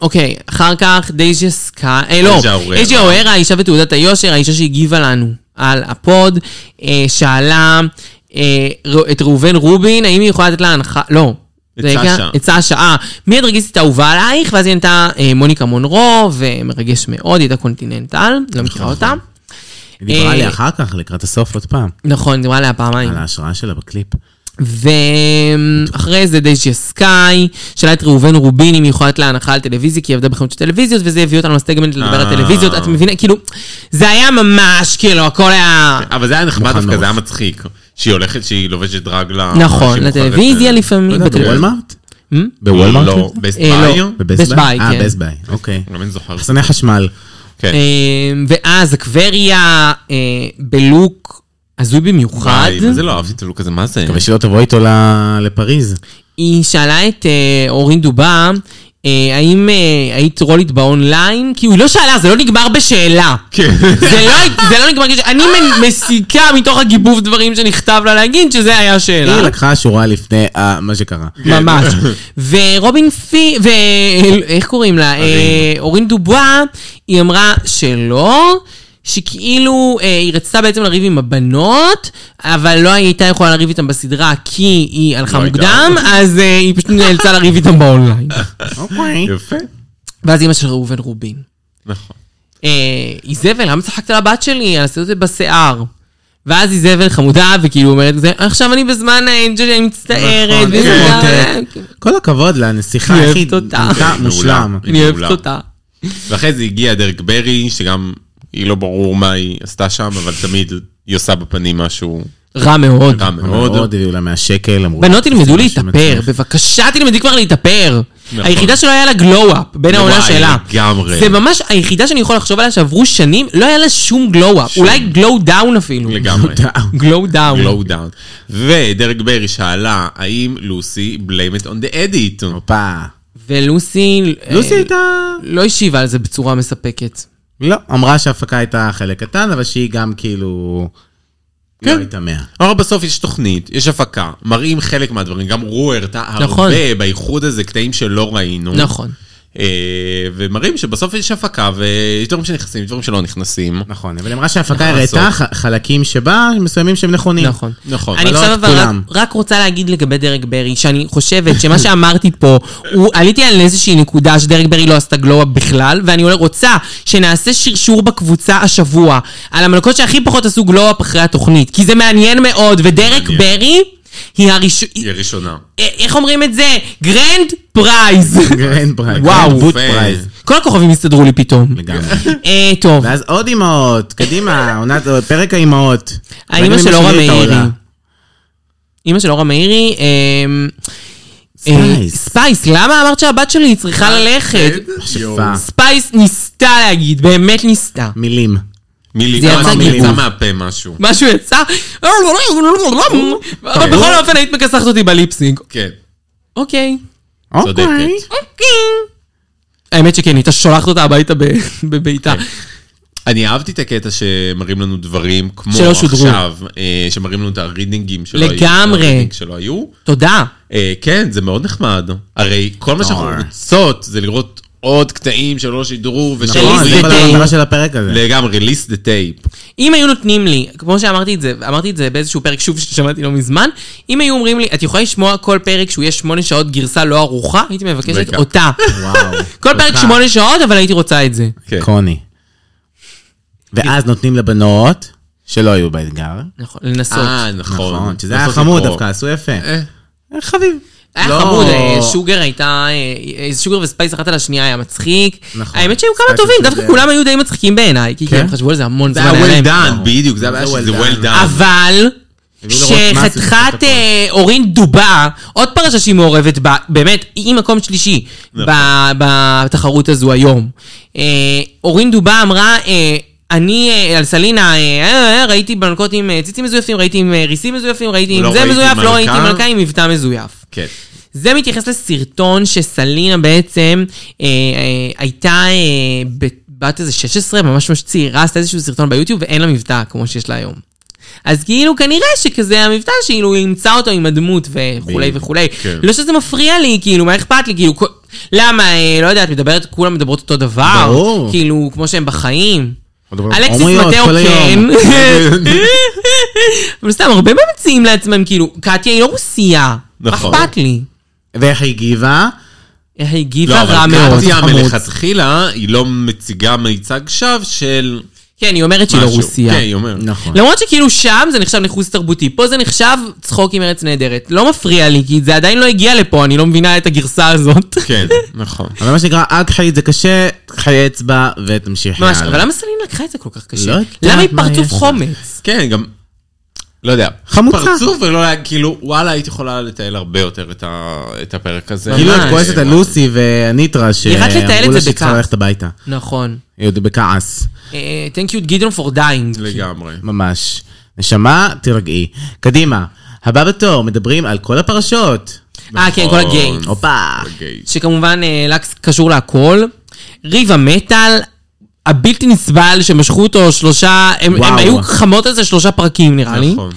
Speaker 2: אוקיי, אחר כך דייג'ה סקאי, אה לא,
Speaker 3: דייג'ה אוררה.
Speaker 2: דייג'ה אוהרה, האישה בתעודת היושר, האישה שהגיבה לנו על הפוד, אה, שאלה אה, ר- את ראובן רובין, האם היא יכולה לתת לה הנחה, לא,
Speaker 3: עצה
Speaker 2: רגע,
Speaker 3: שעה.
Speaker 2: עצה השעה. מי הדרגיסטית האהובה עלייך? ואז היא ענתה אה, מוניקה מונרו, ומרגש מאוד, היא הייתה קונטיננטל, לא
Speaker 3: נכון.
Speaker 2: מכירה אותה.
Speaker 4: היא דיברה
Speaker 2: אה,
Speaker 4: עליה אחר כך, לקראת הסוף עוד פעם,
Speaker 2: נכון, דיברה עליה פעמיים.
Speaker 4: על ההשראה שלה בקליפ.
Speaker 2: ואחרי זה דייג'יה סקאי, שאלה את ראובן רובין אם היא יכולת להנחה על טלוויזיה, כי היא עבדה בחנות של טלוויזיות, וזה הביא אותנו לסטגמנט לדבר על
Speaker 3: אה.
Speaker 2: טלוויזיות, את מבינה? כאילו, זה היה ממש, כאילו, הכל היה...
Speaker 3: אבל זה היה נחמד
Speaker 4: מוכן
Speaker 3: דווקא,
Speaker 4: מראש.
Speaker 3: זה היה מצחיק. שהיא הולכת, שהיא לובשת דרג ל...
Speaker 2: נכון,
Speaker 3: שהיא מוכרת,
Speaker 2: לטלוויזיה
Speaker 3: כן. אה,
Speaker 2: לפעמים,
Speaker 3: לא יודע,
Speaker 2: בטלוויזיה.
Speaker 4: בוולמארט?
Speaker 2: Hmm?
Speaker 4: בוולמארט?
Speaker 3: לא, בסט
Speaker 2: אה,
Speaker 3: ביי?
Speaker 2: לא.
Speaker 4: בבסט
Speaker 2: Best
Speaker 4: ביי?
Speaker 2: Buy,
Speaker 4: אה,
Speaker 2: כן.
Speaker 4: בסט ביי, אוקיי.
Speaker 3: לא מבין זוכר.
Speaker 4: מחסני חשמל.
Speaker 3: כן.
Speaker 2: אמ, ואז אקווריה אה, בלוק הזוי במיוחד.
Speaker 3: וואי, זה לא אהבתי את הלוק הזה, מה זה?
Speaker 4: מקווה שלא תבוא איתו ל- לפריז.
Speaker 2: היא שאלה את אה, אורין דובה, אה, האם אה, היית רולית באונליין? כי היא לא שאלה, זה לא נגמר בשאלה.
Speaker 3: כן.
Speaker 2: זה לא, זה לא נגמר כשאלה. אני מ- מסיקה מתוך הגיבוב דברים שנכתב לה להגיד שזה היה
Speaker 4: היא
Speaker 2: השאלה.
Speaker 4: לקחה שורה לפני אה, מה שקרה.
Speaker 2: ממש.
Speaker 3: כן.
Speaker 2: ורובין פי... ו... איך קוראים לה? אה, אורין דובה, היא אמרה שלא. שכאילו אה, היא רצתה בעצם לריב עם הבנות, אבל לא הייתה יכולה לריב איתן בסדרה כי היא הלכה
Speaker 3: לא הייתה.
Speaker 2: מוקדם, אז אה, היא פשוט נאלצה לריב איתן באונליין.
Speaker 4: אוקיי.
Speaker 3: יפה.
Speaker 2: ואז אימא של ראובן רובין.
Speaker 3: נכון.
Speaker 2: אה, איזבל, למה צחקת על הבת שלי? על עשית את זה בשיער. ואז איזבל חמודה, וכאילו אומרת, "זה- עכשיו אני בזמן האנג'ל, אני מצטערת.
Speaker 4: נכון,
Speaker 2: וזה
Speaker 4: איזה
Speaker 2: גם-
Speaker 4: מותק. כל הכבוד לנסיכה
Speaker 2: אני
Speaker 4: הכי
Speaker 2: אוהבת אותה.
Speaker 4: דמותה מושלם.
Speaker 3: מעולה.
Speaker 2: אני
Speaker 3: מעולה.
Speaker 2: אוהבת אותה.
Speaker 3: ואחרי זה הגיע דרק ברי, שגם היא לא ברור מה היא עשתה שם, אבל תמיד היא עושה בפנים משהו
Speaker 2: רע מאוד. לא-
Speaker 3: רע
Speaker 4: נכון, מאוד
Speaker 3: מאוד.
Speaker 4: הביאו לה מהשקל, אמרו לה,
Speaker 2: בנות תלמדו
Speaker 4: "זה משהו
Speaker 2: להתאפר,
Speaker 4: מצליח".
Speaker 2: בבקשה תלמדי כבר להתאפר.
Speaker 3: נכון.
Speaker 2: היחידה שלא היה לה גלו-אפ בין העונה
Speaker 3: וואי,
Speaker 2: שלה.
Speaker 3: לגמרי.
Speaker 2: זה ממש היחידה שאני יכול לחשוב עליה שעברו שנים, לא היה לה שום גלו-אפ.
Speaker 3: שום.
Speaker 2: אולי גלו-דאון אפילו.
Speaker 3: לגמרי.
Speaker 4: אה,
Speaker 2: גלו-דאון.
Speaker 3: גלואו דאון. ודרק ברי שאלה, האם לוסי בליימת און דה אדיט?
Speaker 4: הופה.
Speaker 2: ולוסי... אה,
Speaker 4: לוסי הייתה...
Speaker 2: לא השיבה על זה בצורה מספקת.
Speaker 4: לא, אמרה שההפקה הייתה חלק קטן, אבל שהיא גם כאילו... לא
Speaker 3: כן.
Speaker 4: הייתה מאה.
Speaker 3: אבל בסוף יש תוכנית, יש הפקה, מראים חלק מהדברים, גם רו הראתה
Speaker 2: נכון.
Speaker 3: הרבה באיחוד הזה, קטעים שלא ראינו.
Speaker 2: נכון.
Speaker 3: אה, ומראים שבסוף יש הפקה ויש דברים שנכנסים, יש דברים שלא נכנסים.
Speaker 4: נכון, אבל אמרה שההפקה
Speaker 3: נכון,
Speaker 4: הראתה
Speaker 3: לעשות.
Speaker 4: ח- חלקים שבה מסוימים שהם נכונים.
Speaker 2: נכון.
Speaker 3: נכון.
Speaker 2: אני
Speaker 4: אבל לא
Speaker 2: עכשיו
Speaker 4: את
Speaker 2: אבל רק,
Speaker 4: כולם.
Speaker 2: רק רוצה להגיד לגבי דרג ברי, שאני חושבת שמה שאמרתי פה, הוא, עליתי על איזושהי נקודה שדרג ברי לא עשתה גלו-אפ בכלל, ואני רוצה שנעשה שרשור בקבוצה השבוע על המלכות שהכי פחות עשו גלו-אפ אחרי התוכנית, כי זה מעניין מאוד, ודרג
Speaker 3: מעניין.
Speaker 2: ברי היא הראש...
Speaker 3: היא הראשונה.
Speaker 2: א- איך אומרים את זה? גרנד פרייז.
Speaker 4: גרנד פרייז.
Speaker 2: וואו.
Speaker 4: גרנד בוט
Speaker 3: יפה.
Speaker 4: פרייז.
Speaker 2: כל הכוכבים הסתדרו לי פתאום.
Speaker 4: לגמרי.
Speaker 2: אה, טוב,
Speaker 4: ואז עוד אימהות, קדימה, עונת, פרק האימהות.
Speaker 2: האימא של
Speaker 4: ואני
Speaker 2: אורה
Speaker 4: משמיע את
Speaker 2: מאירי.
Speaker 4: העולה.
Speaker 2: אימא של אורה מאירי, אמ, אה,
Speaker 4: ספייס.
Speaker 2: ספייס, למה אמרת שהבת שלי צריכה ללכת?
Speaker 3: אוקיי. יואו.
Speaker 4: שפה,
Speaker 2: ספייס ניסתה להגיד, באמת ניסתה.
Speaker 4: מילים.
Speaker 3: מילי,
Speaker 2: זה
Speaker 3: כמה
Speaker 2: יצא
Speaker 3: מילים
Speaker 2: גיבוב.
Speaker 3: מהפה משהו.
Speaker 2: משהו יצא, אבל בכל אופן היית מכסחת אותי בליפסינג.
Speaker 3: כן.
Speaker 2: אוקיי.
Speaker 3: צודקת.
Speaker 4: אוקיי.
Speaker 2: האמת שכן, הייתה שולחת אותה הביתה ב- בביתה.
Speaker 4: כן.
Speaker 3: אני אהבתי את הקטע שמראים לנו דברים כמו
Speaker 2: שלא שודרו.
Speaker 3: עכשיו, אה, שמראים לנו את הרידינגים שלא היו.
Speaker 2: לגמרי.
Speaker 3: הרידינג שלא היו.
Speaker 2: תודה.
Speaker 3: אה, כן, זה מאוד נחמד. הרי כל מה שאנחנו
Speaker 4: נורא.
Speaker 3: רוצות זה לראות עוד קטעים שלא שידרו ושלא...
Speaker 2: נכון,
Speaker 4: נכון, זה
Speaker 2: זה
Speaker 4: כל
Speaker 2: די.
Speaker 4: המטרה של הפרק הזה.
Speaker 3: לגמרי, ליסט דה טייפ.
Speaker 2: אם היו נותנים לי, כמו שאמרתי את זה, אמרתי את זה באיזשהו פרק שוב ששמעתי לא מזמן, אם היו אומרים לי, את יכולה לשמוע כל פרק שהוא יהיה שמונה שעות גרסה לא ערוכה, הייתי מבקשת
Speaker 3: רגע.
Speaker 2: אותה.
Speaker 4: וואו.
Speaker 2: כל פרק שמונה שעות, אבל הייתי רוצה את זה.
Speaker 4: קוני. ואז נותנים לבנות, שלא היו באתגר.
Speaker 2: נכון, לנסות.
Speaker 3: אה, נכון.
Speaker 4: נכון, שזה היה
Speaker 3: בסוף
Speaker 4: חמוד
Speaker 3: לקרוא.
Speaker 4: דווקא, עשו יפה.
Speaker 3: אה,
Speaker 4: אה, חביב.
Speaker 2: היה
Speaker 4: לא.
Speaker 2: חמוד, אה, שוגר הייתה, אה, אה, שוגר וספייס אחת על השנייה היה מצחיק.
Speaker 4: נכון.
Speaker 2: האמת שהיו כמה
Speaker 4: ספייס
Speaker 2: טובים,
Speaker 4: ושוגר.
Speaker 2: דווקא כולם היו די מצחיקים בעיניי, כי
Speaker 4: כן?
Speaker 2: הם חשבו על זה המון
Speaker 3: זה
Speaker 2: זמן.
Speaker 3: היה
Speaker 2: היה להם.
Speaker 3: well done, בדיוק, זה הבעיה
Speaker 4: נכון. זה well
Speaker 3: שזה well
Speaker 4: done.
Speaker 3: done.
Speaker 2: אבל...
Speaker 4: הביאו לרוץ מאסי בסך
Speaker 2: שחתיכת
Speaker 4: הכל.
Speaker 2: אה, אורין דובה, עוד פרשה שהיא מעורבת בה, באמת, היא מקום שלישי
Speaker 3: נכון.
Speaker 2: ב- בתחרות הזו היום. אה, אורין דובה אמרה, אה, אני אה, על סלינה, אה, אה, אה, ראיתי בלנקות עם אה, ציצים מזויפים, ראיתי עם אה, ריסים מזויפים, ראיתי
Speaker 3: לא
Speaker 2: עם זה
Speaker 3: ראיתי
Speaker 2: מזויף,
Speaker 3: מלכה.
Speaker 2: לא ראיתי מלכה עם מבטא מזויף.
Speaker 3: כן.
Speaker 2: זה מתייחס לסרטון שסלינה בעצם אה, אה, הייתה אה, בת- בת איזה 16, ממש ממש צעירה, עשתה איזשהו סרטון ביוטיוב ואין לה מבטא כמו שיש לה היום. אז כאילו כנראה שכזה המבטא שכאילו היא אימצה אותו עם הדמות וכולי
Speaker 4: ב-
Speaker 2: וכולי.
Speaker 3: כן.
Speaker 2: לא שזה מפריע לי, כאילו, מה אכפת לי, כאילו, כל- למה, אה, לא יודעת, מדברת, כולם מדברות אותו דבר.
Speaker 4: ברור.
Speaker 2: כאילו, כמו שהם בחיים.
Speaker 4: מדברות
Speaker 2: אלכסיס
Speaker 4: הומואיות
Speaker 2: מתאו
Speaker 4: כל
Speaker 2: כן.
Speaker 4: היום.
Speaker 2: אבל סתם, הרבה ממציאים לעצמם, כאילו, קטיה היא לא רוסייה. מה
Speaker 3: נכון.
Speaker 2: אכפת לי?
Speaker 4: ואיך היא הגיבה?
Speaker 2: איך היא הגיבה
Speaker 3: לא,
Speaker 2: רע
Speaker 3: אבל
Speaker 2: מאוד,
Speaker 3: קרטיה
Speaker 2: חמוד.
Speaker 3: מלכתחילה, היא לא מציגה מיצג שווא של
Speaker 2: כן, היא אומרת שהיא לא
Speaker 3: משהו.
Speaker 2: רוסיה.
Speaker 3: כן, היא אומרת.
Speaker 4: נכון.
Speaker 2: למרות שכאילו שם זה נחשב ניחוס תרבותי, פה זה נחשב צחוק עם ארץ נהדרת. לא מפריע לי, כי זה עדיין לא הגיע לפה, אני לא מבינה את הגרסה הזאת.
Speaker 3: כן, נכון.
Speaker 4: אבל מה שנקרא, את חיית זה קשה, חיי אצבע ותמשיכי
Speaker 2: ממש,
Speaker 4: הלאה.
Speaker 2: אבל למה סלין לקחה את זה כל כך קשה?
Speaker 4: לא יודעת
Speaker 2: למה היא
Speaker 4: מה
Speaker 2: פרצוף
Speaker 4: יש לה.
Speaker 2: חומץ?
Speaker 3: כן, גם, לא יודע.
Speaker 4: חמוצה.
Speaker 3: פרצוף ולא היה, כאילו, וואלה, היית יכולה לתעל הרבה יותר את, ה, את הפרק הזה.
Speaker 4: כאילו את
Speaker 2: ממש.
Speaker 4: כועסת על לוסי והניטרה,
Speaker 2: רק לתעל את
Speaker 4: שאמרו
Speaker 2: זה
Speaker 4: לה שהיא צריכה
Speaker 2: בכעס.
Speaker 4: ללכת הביתה.
Speaker 2: נכון.
Speaker 4: היא עוד בכעס,
Speaker 2: אה, Thank you גדעון for dying.
Speaker 3: לגמרי.
Speaker 4: ממש. נשמה, תירגעי. קדימה, הבא בתור, מדברים על כל הפרשות.
Speaker 2: אה, כן, כל הגיימס.
Speaker 3: נכון.
Speaker 4: הופה.
Speaker 3: הגייט.
Speaker 2: שכמובן אה, לקס קשור להכל. ריבה מטאל, הבלתי נסבל, שמשכו אותו שלושה, הם, הם
Speaker 4: וואו.
Speaker 2: היו חמות על זה שלושה פרקים נראה לי.
Speaker 3: נכון.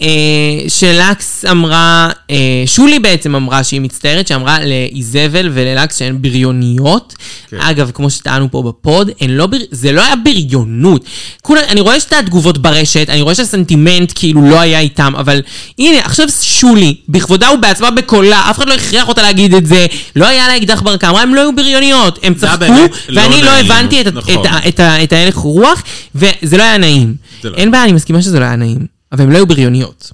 Speaker 2: אה, שלקס אמרה, אה, שולי בעצם אמרה שהיא מצטערת, שאמרה לאיזבל וללקס שהן בריוניות. כן. אגב, כמו שטענו פה בפוד, הן לא בר... זה לא היה בריונות. כולה, אני רואה שאת התגובות ברשת, אני רואה שהסנטימנט כאילו לא היה איתם, אבל הנה, עכשיו שולי, בכבודה ובעצמה בקולה, אף אחד לא הכריח אותה להגיד את זה, לא היה לה אקדח ברקה, אמרה, הן לא היו בריוניות, הן
Speaker 3: זה היה
Speaker 2: צחקו,
Speaker 3: באמת לא
Speaker 2: ואני לא,
Speaker 3: נעים.
Speaker 2: הבנתי את, ה-
Speaker 3: נכון.
Speaker 2: את, ה- את, ה- את ההלך רוח, וזה לא היה נעים.
Speaker 3: זה לא
Speaker 2: אין בעיה, אני מסכימה שזה לא היה נעים. אבל הם לא היו בריוניות.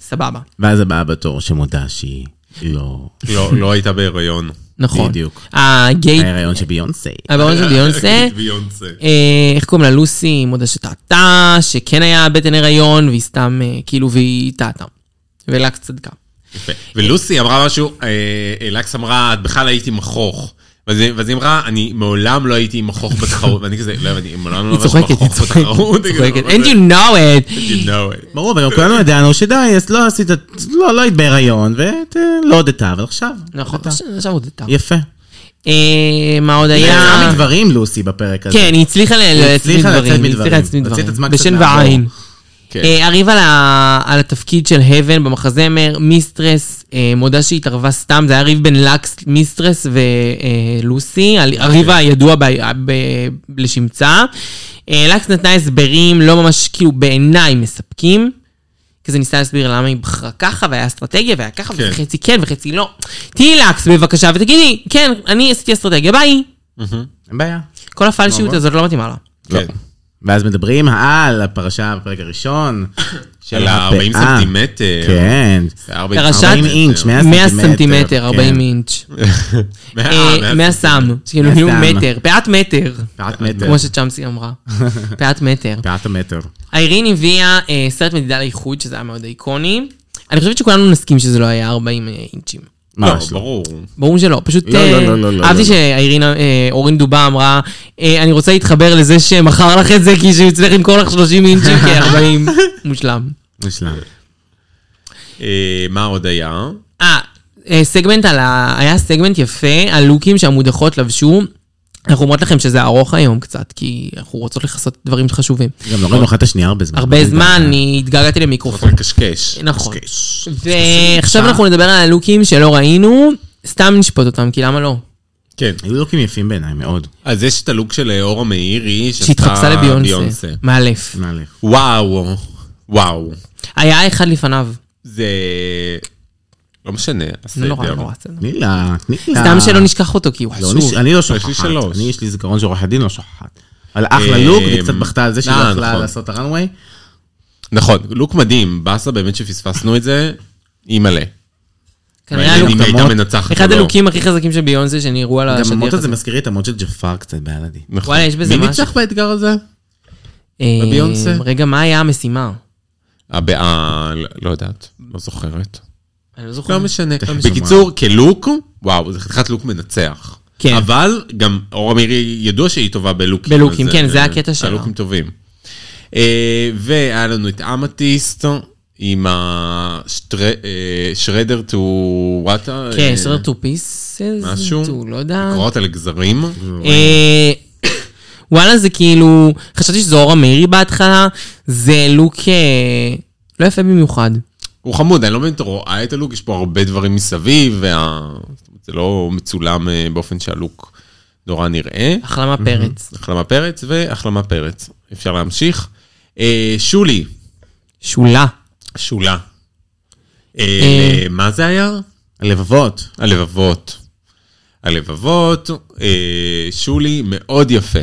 Speaker 2: סבבה.
Speaker 4: ואז הבאה בתור שמודה שהיא לא...
Speaker 3: לא, לא הייתה בהיריון.
Speaker 2: נכון.
Speaker 4: בדיוק. אה,
Speaker 2: הגייט,
Speaker 4: ההיריון של ביונסה.
Speaker 2: הבעון של ביונסה.
Speaker 3: ביונסה.
Speaker 2: אה, איך קוראים לה? לוסי, היא מודה שטעתה, שכן היה בטן הריון, והיא סתם, אה, כאילו, והיא טעתה. ולקס צדקה.
Speaker 4: לא,
Speaker 3: יפה. ולוסי אמרה משהו, אה, אה, לקס אמרה, את בכלל הייתי מכוך. ואז היא ואז היא אמרה, אני מעולם לא הייתי מכוך בתחרות, ואני כזה, לא הבנתי, מעולם לא
Speaker 2: היא
Speaker 3: ממש
Speaker 2: צוחקת, היא
Speaker 3: מכוך
Speaker 2: צוחקת,
Speaker 4: לא
Speaker 3: בתחרות.
Speaker 2: היא צוחקת. And you know it.
Speaker 3: You know it.
Speaker 4: ברור, וגם כולנו ידענו שדי, אז לא עשית, לא, לא היית בהיריון, ולא הודית, אבל עכשיו.
Speaker 2: נכון,
Speaker 4: הודתה.
Speaker 2: עכשיו הודתה.
Speaker 4: יפה.
Speaker 2: אה, מה עוד
Speaker 4: היא יצאה
Speaker 2: היה?
Speaker 4: מדברים, לוסי, בפרק הזה.
Speaker 2: כן, היא הצליחה ל- להצליב
Speaker 4: הצליחה לצאת
Speaker 2: דברים. היא
Speaker 4: מדברים.
Speaker 2: הצליחה להצליב
Speaker 4: להוציא את עצמה
Speaker 2: דברים.
Speaker 4: קצת
Speaker 2: בשן
Speaker 4: מהבור.
Speaker 2: ועין.
Speaker 3: כן.
Speaker 2: אה, אריב על, ה... על התפקיד של האבן במחזמר, מיסטרס, אה, מודה שהתערבה סתם, זה היה ריב בין לקס, מיסטרס אה, ולוסי, הריב הידוע ב... ב... לשמצה. אה, לקס נתנה הסברים לא ממש, כאילו, בעיניי מספקים. כזה ניסה להסביר למה היא בחרה ככה, והיה אסטרטגיה, והיה ככה,
Speaker 3: כן.
Speaker 2: וחצי כן וחצי לא. תהיי לקס בבקשה, ותגידי, כן, אני עשיתי אסטרטגיה, ביי.
Speaker 4: אין בעיה.
Speaker 2: כל הפלשיות הזאת לא מתאימה לה.
Speaker 3: כן.
Speaker 4: ואז מדברים על הפרשה בפרק הראשון.
Speaker 3: על ה-40
Speaker 4: הפאה.
Speaker 3: סנטימטר.
Speaker 4: כן.
Speaker 3: ארבעים-
Speaker 2: פרשת-
Speaker 4: 40 אינץ', 100 סנטימטר.
Speaker 2: 100 סנטימטר,
Speaker 4: כן.
Speaker 2: 40 אינץ'.
Speaker 3: מאה,
Speaker 2: אה,
Speaker 3: מאה
Speaker 2: מהסם, כאילו
Speaker 4: מהסם.
Speaker 2: כאילו מטר, פאת מטר,
Speaker 4: פאת מטר.
Speaker 2: כמו שצ'אמסי אמרה, פאת מטר.
Speaker 4: פאת המטר.
Speaker 2: איירין הביאה אה, סרט מדידה לאיחוד, שזה היה מאוד איקוני. אני חושבת שכולנו נסכים שזה לא היה 40 אינצ'ים.
Speaker 3: לא,
Speaker 4: ממש לא.
Speaker 3: ברור.
Speaker 2: ברור שלא, פשוט
Speaker 4: לא,
Speaker 2: אה,
Speaker 4: לא, לא, לא, לא,
Speaker 2: אהבתי
Speaker 4: לא.
Speaker 2: שאיירין, אה, אורין דובה אמרה, אה, אני רוצה להתחבר לזה שמכר לך את זה, כי שהוא יצטרך למכור לך 30 אינצ'ים, כי 40 מושלם.
Speaker 4: מושלם.
Speaker 3: אה, מה עוד היה?
Speaker 2: אה, אה, סגמנט על ה... היה סגמנט יפה, הלוקים שהמודחות לבשו. אנחנו אומרות לכם שזה ארוך היום קצת, כי אנחנו רוצות לכסות דברים חשובים.
Speaker 4: גם לא ראינו אחת את השנייה הרבה זמן.
Speaker 2: הרבה זמן, אני התגעגעתי למיקרופון.
Speaker 3: אוקיי. לקשקש.
Speaker 2: נכון.
Speaker 3: לקשקש.
Speaker 2: ועכשיו אנחנו נדבר על הלוקים שלא ראינו, סתם נשפוט אותם, כי למה לא?
Speaker 3: כן.
Speaker 4: היו לוקים יפים בעיניי, מאוד.
Speaker 3: אז יש את הלוק של אה, אורה מאירי, שעשתה
Speaker 2: שהתחפשה לביונסה. מאלף.
Speaker 4: מאלף.
Speaker 3: וואו, וואו.
Speaker 2: היה אחד לפניו.
Speaker 3: זה... לא משנה,
Speaker 2: זה
Speaker 3: הסדר.
Speaker 2: נורא נורא בסדר.
Speaker 4: תני לה, תני לה.
Speaker 2: סתם שלא נשכח אותו, כי הוא
Speaker 4: אה. לא,
Speaker 2: חשוב.
Speaker 4: נש- אני לא
Speaker 3: לי
Speaker 4: שוכחת.
Speaker 3: שלוש.
Speaker 4: אני, יש לי זיכרון שעורך הדין לא שוכחת. אבל אחלה
Speaker 3: אה,
Speaker 4: לוק, והיא קצת בכתה על זה שהיא לא
Speaker 3: אה,
Speaker 4: יכלה
Speaker 3: נכון.
Speaker 4: לעשות את הראנוויי.
Speaker 3: נכון, לוק מדהים, באסה באמת שפספסנו את זה, אימא'לה.
Speaker 2: כנראה הלוק...
Speaker 3: אם הייתה
Speaker 4: המוט-
Speaker 3: מנצחת
Speaker 2: אחד
Speaker 3: או לא.
Speaker 2: הלוקים הכי חזקים של ביונסה שנראו על
Speaker 4: גם
Speaker 2: השטיח
Speaker 4: המוט הזה
Speaker 2: הזה.
Speaker 4: מזכיר לי את המוט של ג'פר קצת בילדי.
Speaker 3: נכון.
Speaker 2: וואלה, יש בזה
Speaker 3: מי
Speaker 2: משהו.
Speaker 3: ניצח באתגר הזה?
Speaker 2: אה,
Speaker 3: בביונסה?
Speaker 2: רגע, מה היה המשימה?
Speaker 3: הבעה, לא- לא יודעת, לא זוכרת.
Speaker 2: אני לא זוכר.
Speaker 3: לא משנה.
Speaker 4: משנה.
Speaker 3: בקיצור, כלוק, וואו, זה חתיכת לוק מנצח.
Speaker 2: כן.
Speaker 3: אבל גם אורה מירי ידוע שהיא טובה בלוקים.
Speaker 2: בלוקים,
Speaker 3: אז,
Speaker 2: כן, זה
Speaker 3: אה,
Speaker 2: הקטע שלה.
Speaker 3: הלוקים טובים. אה, והיה לנו את אמתיסט עם השרדר טו וואטה.
Speaker 2: כן, שריר טו פיסס,
Speaker 3: אה, משהו?
Speaker 2: לא יודע.
Speaker 3: קוראות על גזרים.
Speaker 2: אה, וואלה, זה כאילו, חשבתי שזה אורה מאירי בהתחלה, זה לוק אה, לא יפה במיוחד.
Speaker 3: הוא חמוד, אני לא מבין, אתה רואה את הלוק, יש פה הרבה דברים מסביב, וה... זאת אומרת, זה לא מצולם אה, באופן שהלוק נורא נראה.
Speaker 2: החלמה פרץ.
Speaker 3: החלמה פרץ והחלמה פרץ. אפשר להמשיך. אה, שולי,
Speaker 2: שולה.
Speaker 3: שולה. אה,
Speaker 2: אה.
Speaker 3: מה זה היה?
Speaker 4: הלבבות.
Speaker 3: הלבבות. הלבבות, אה, שולי מאוד יפה.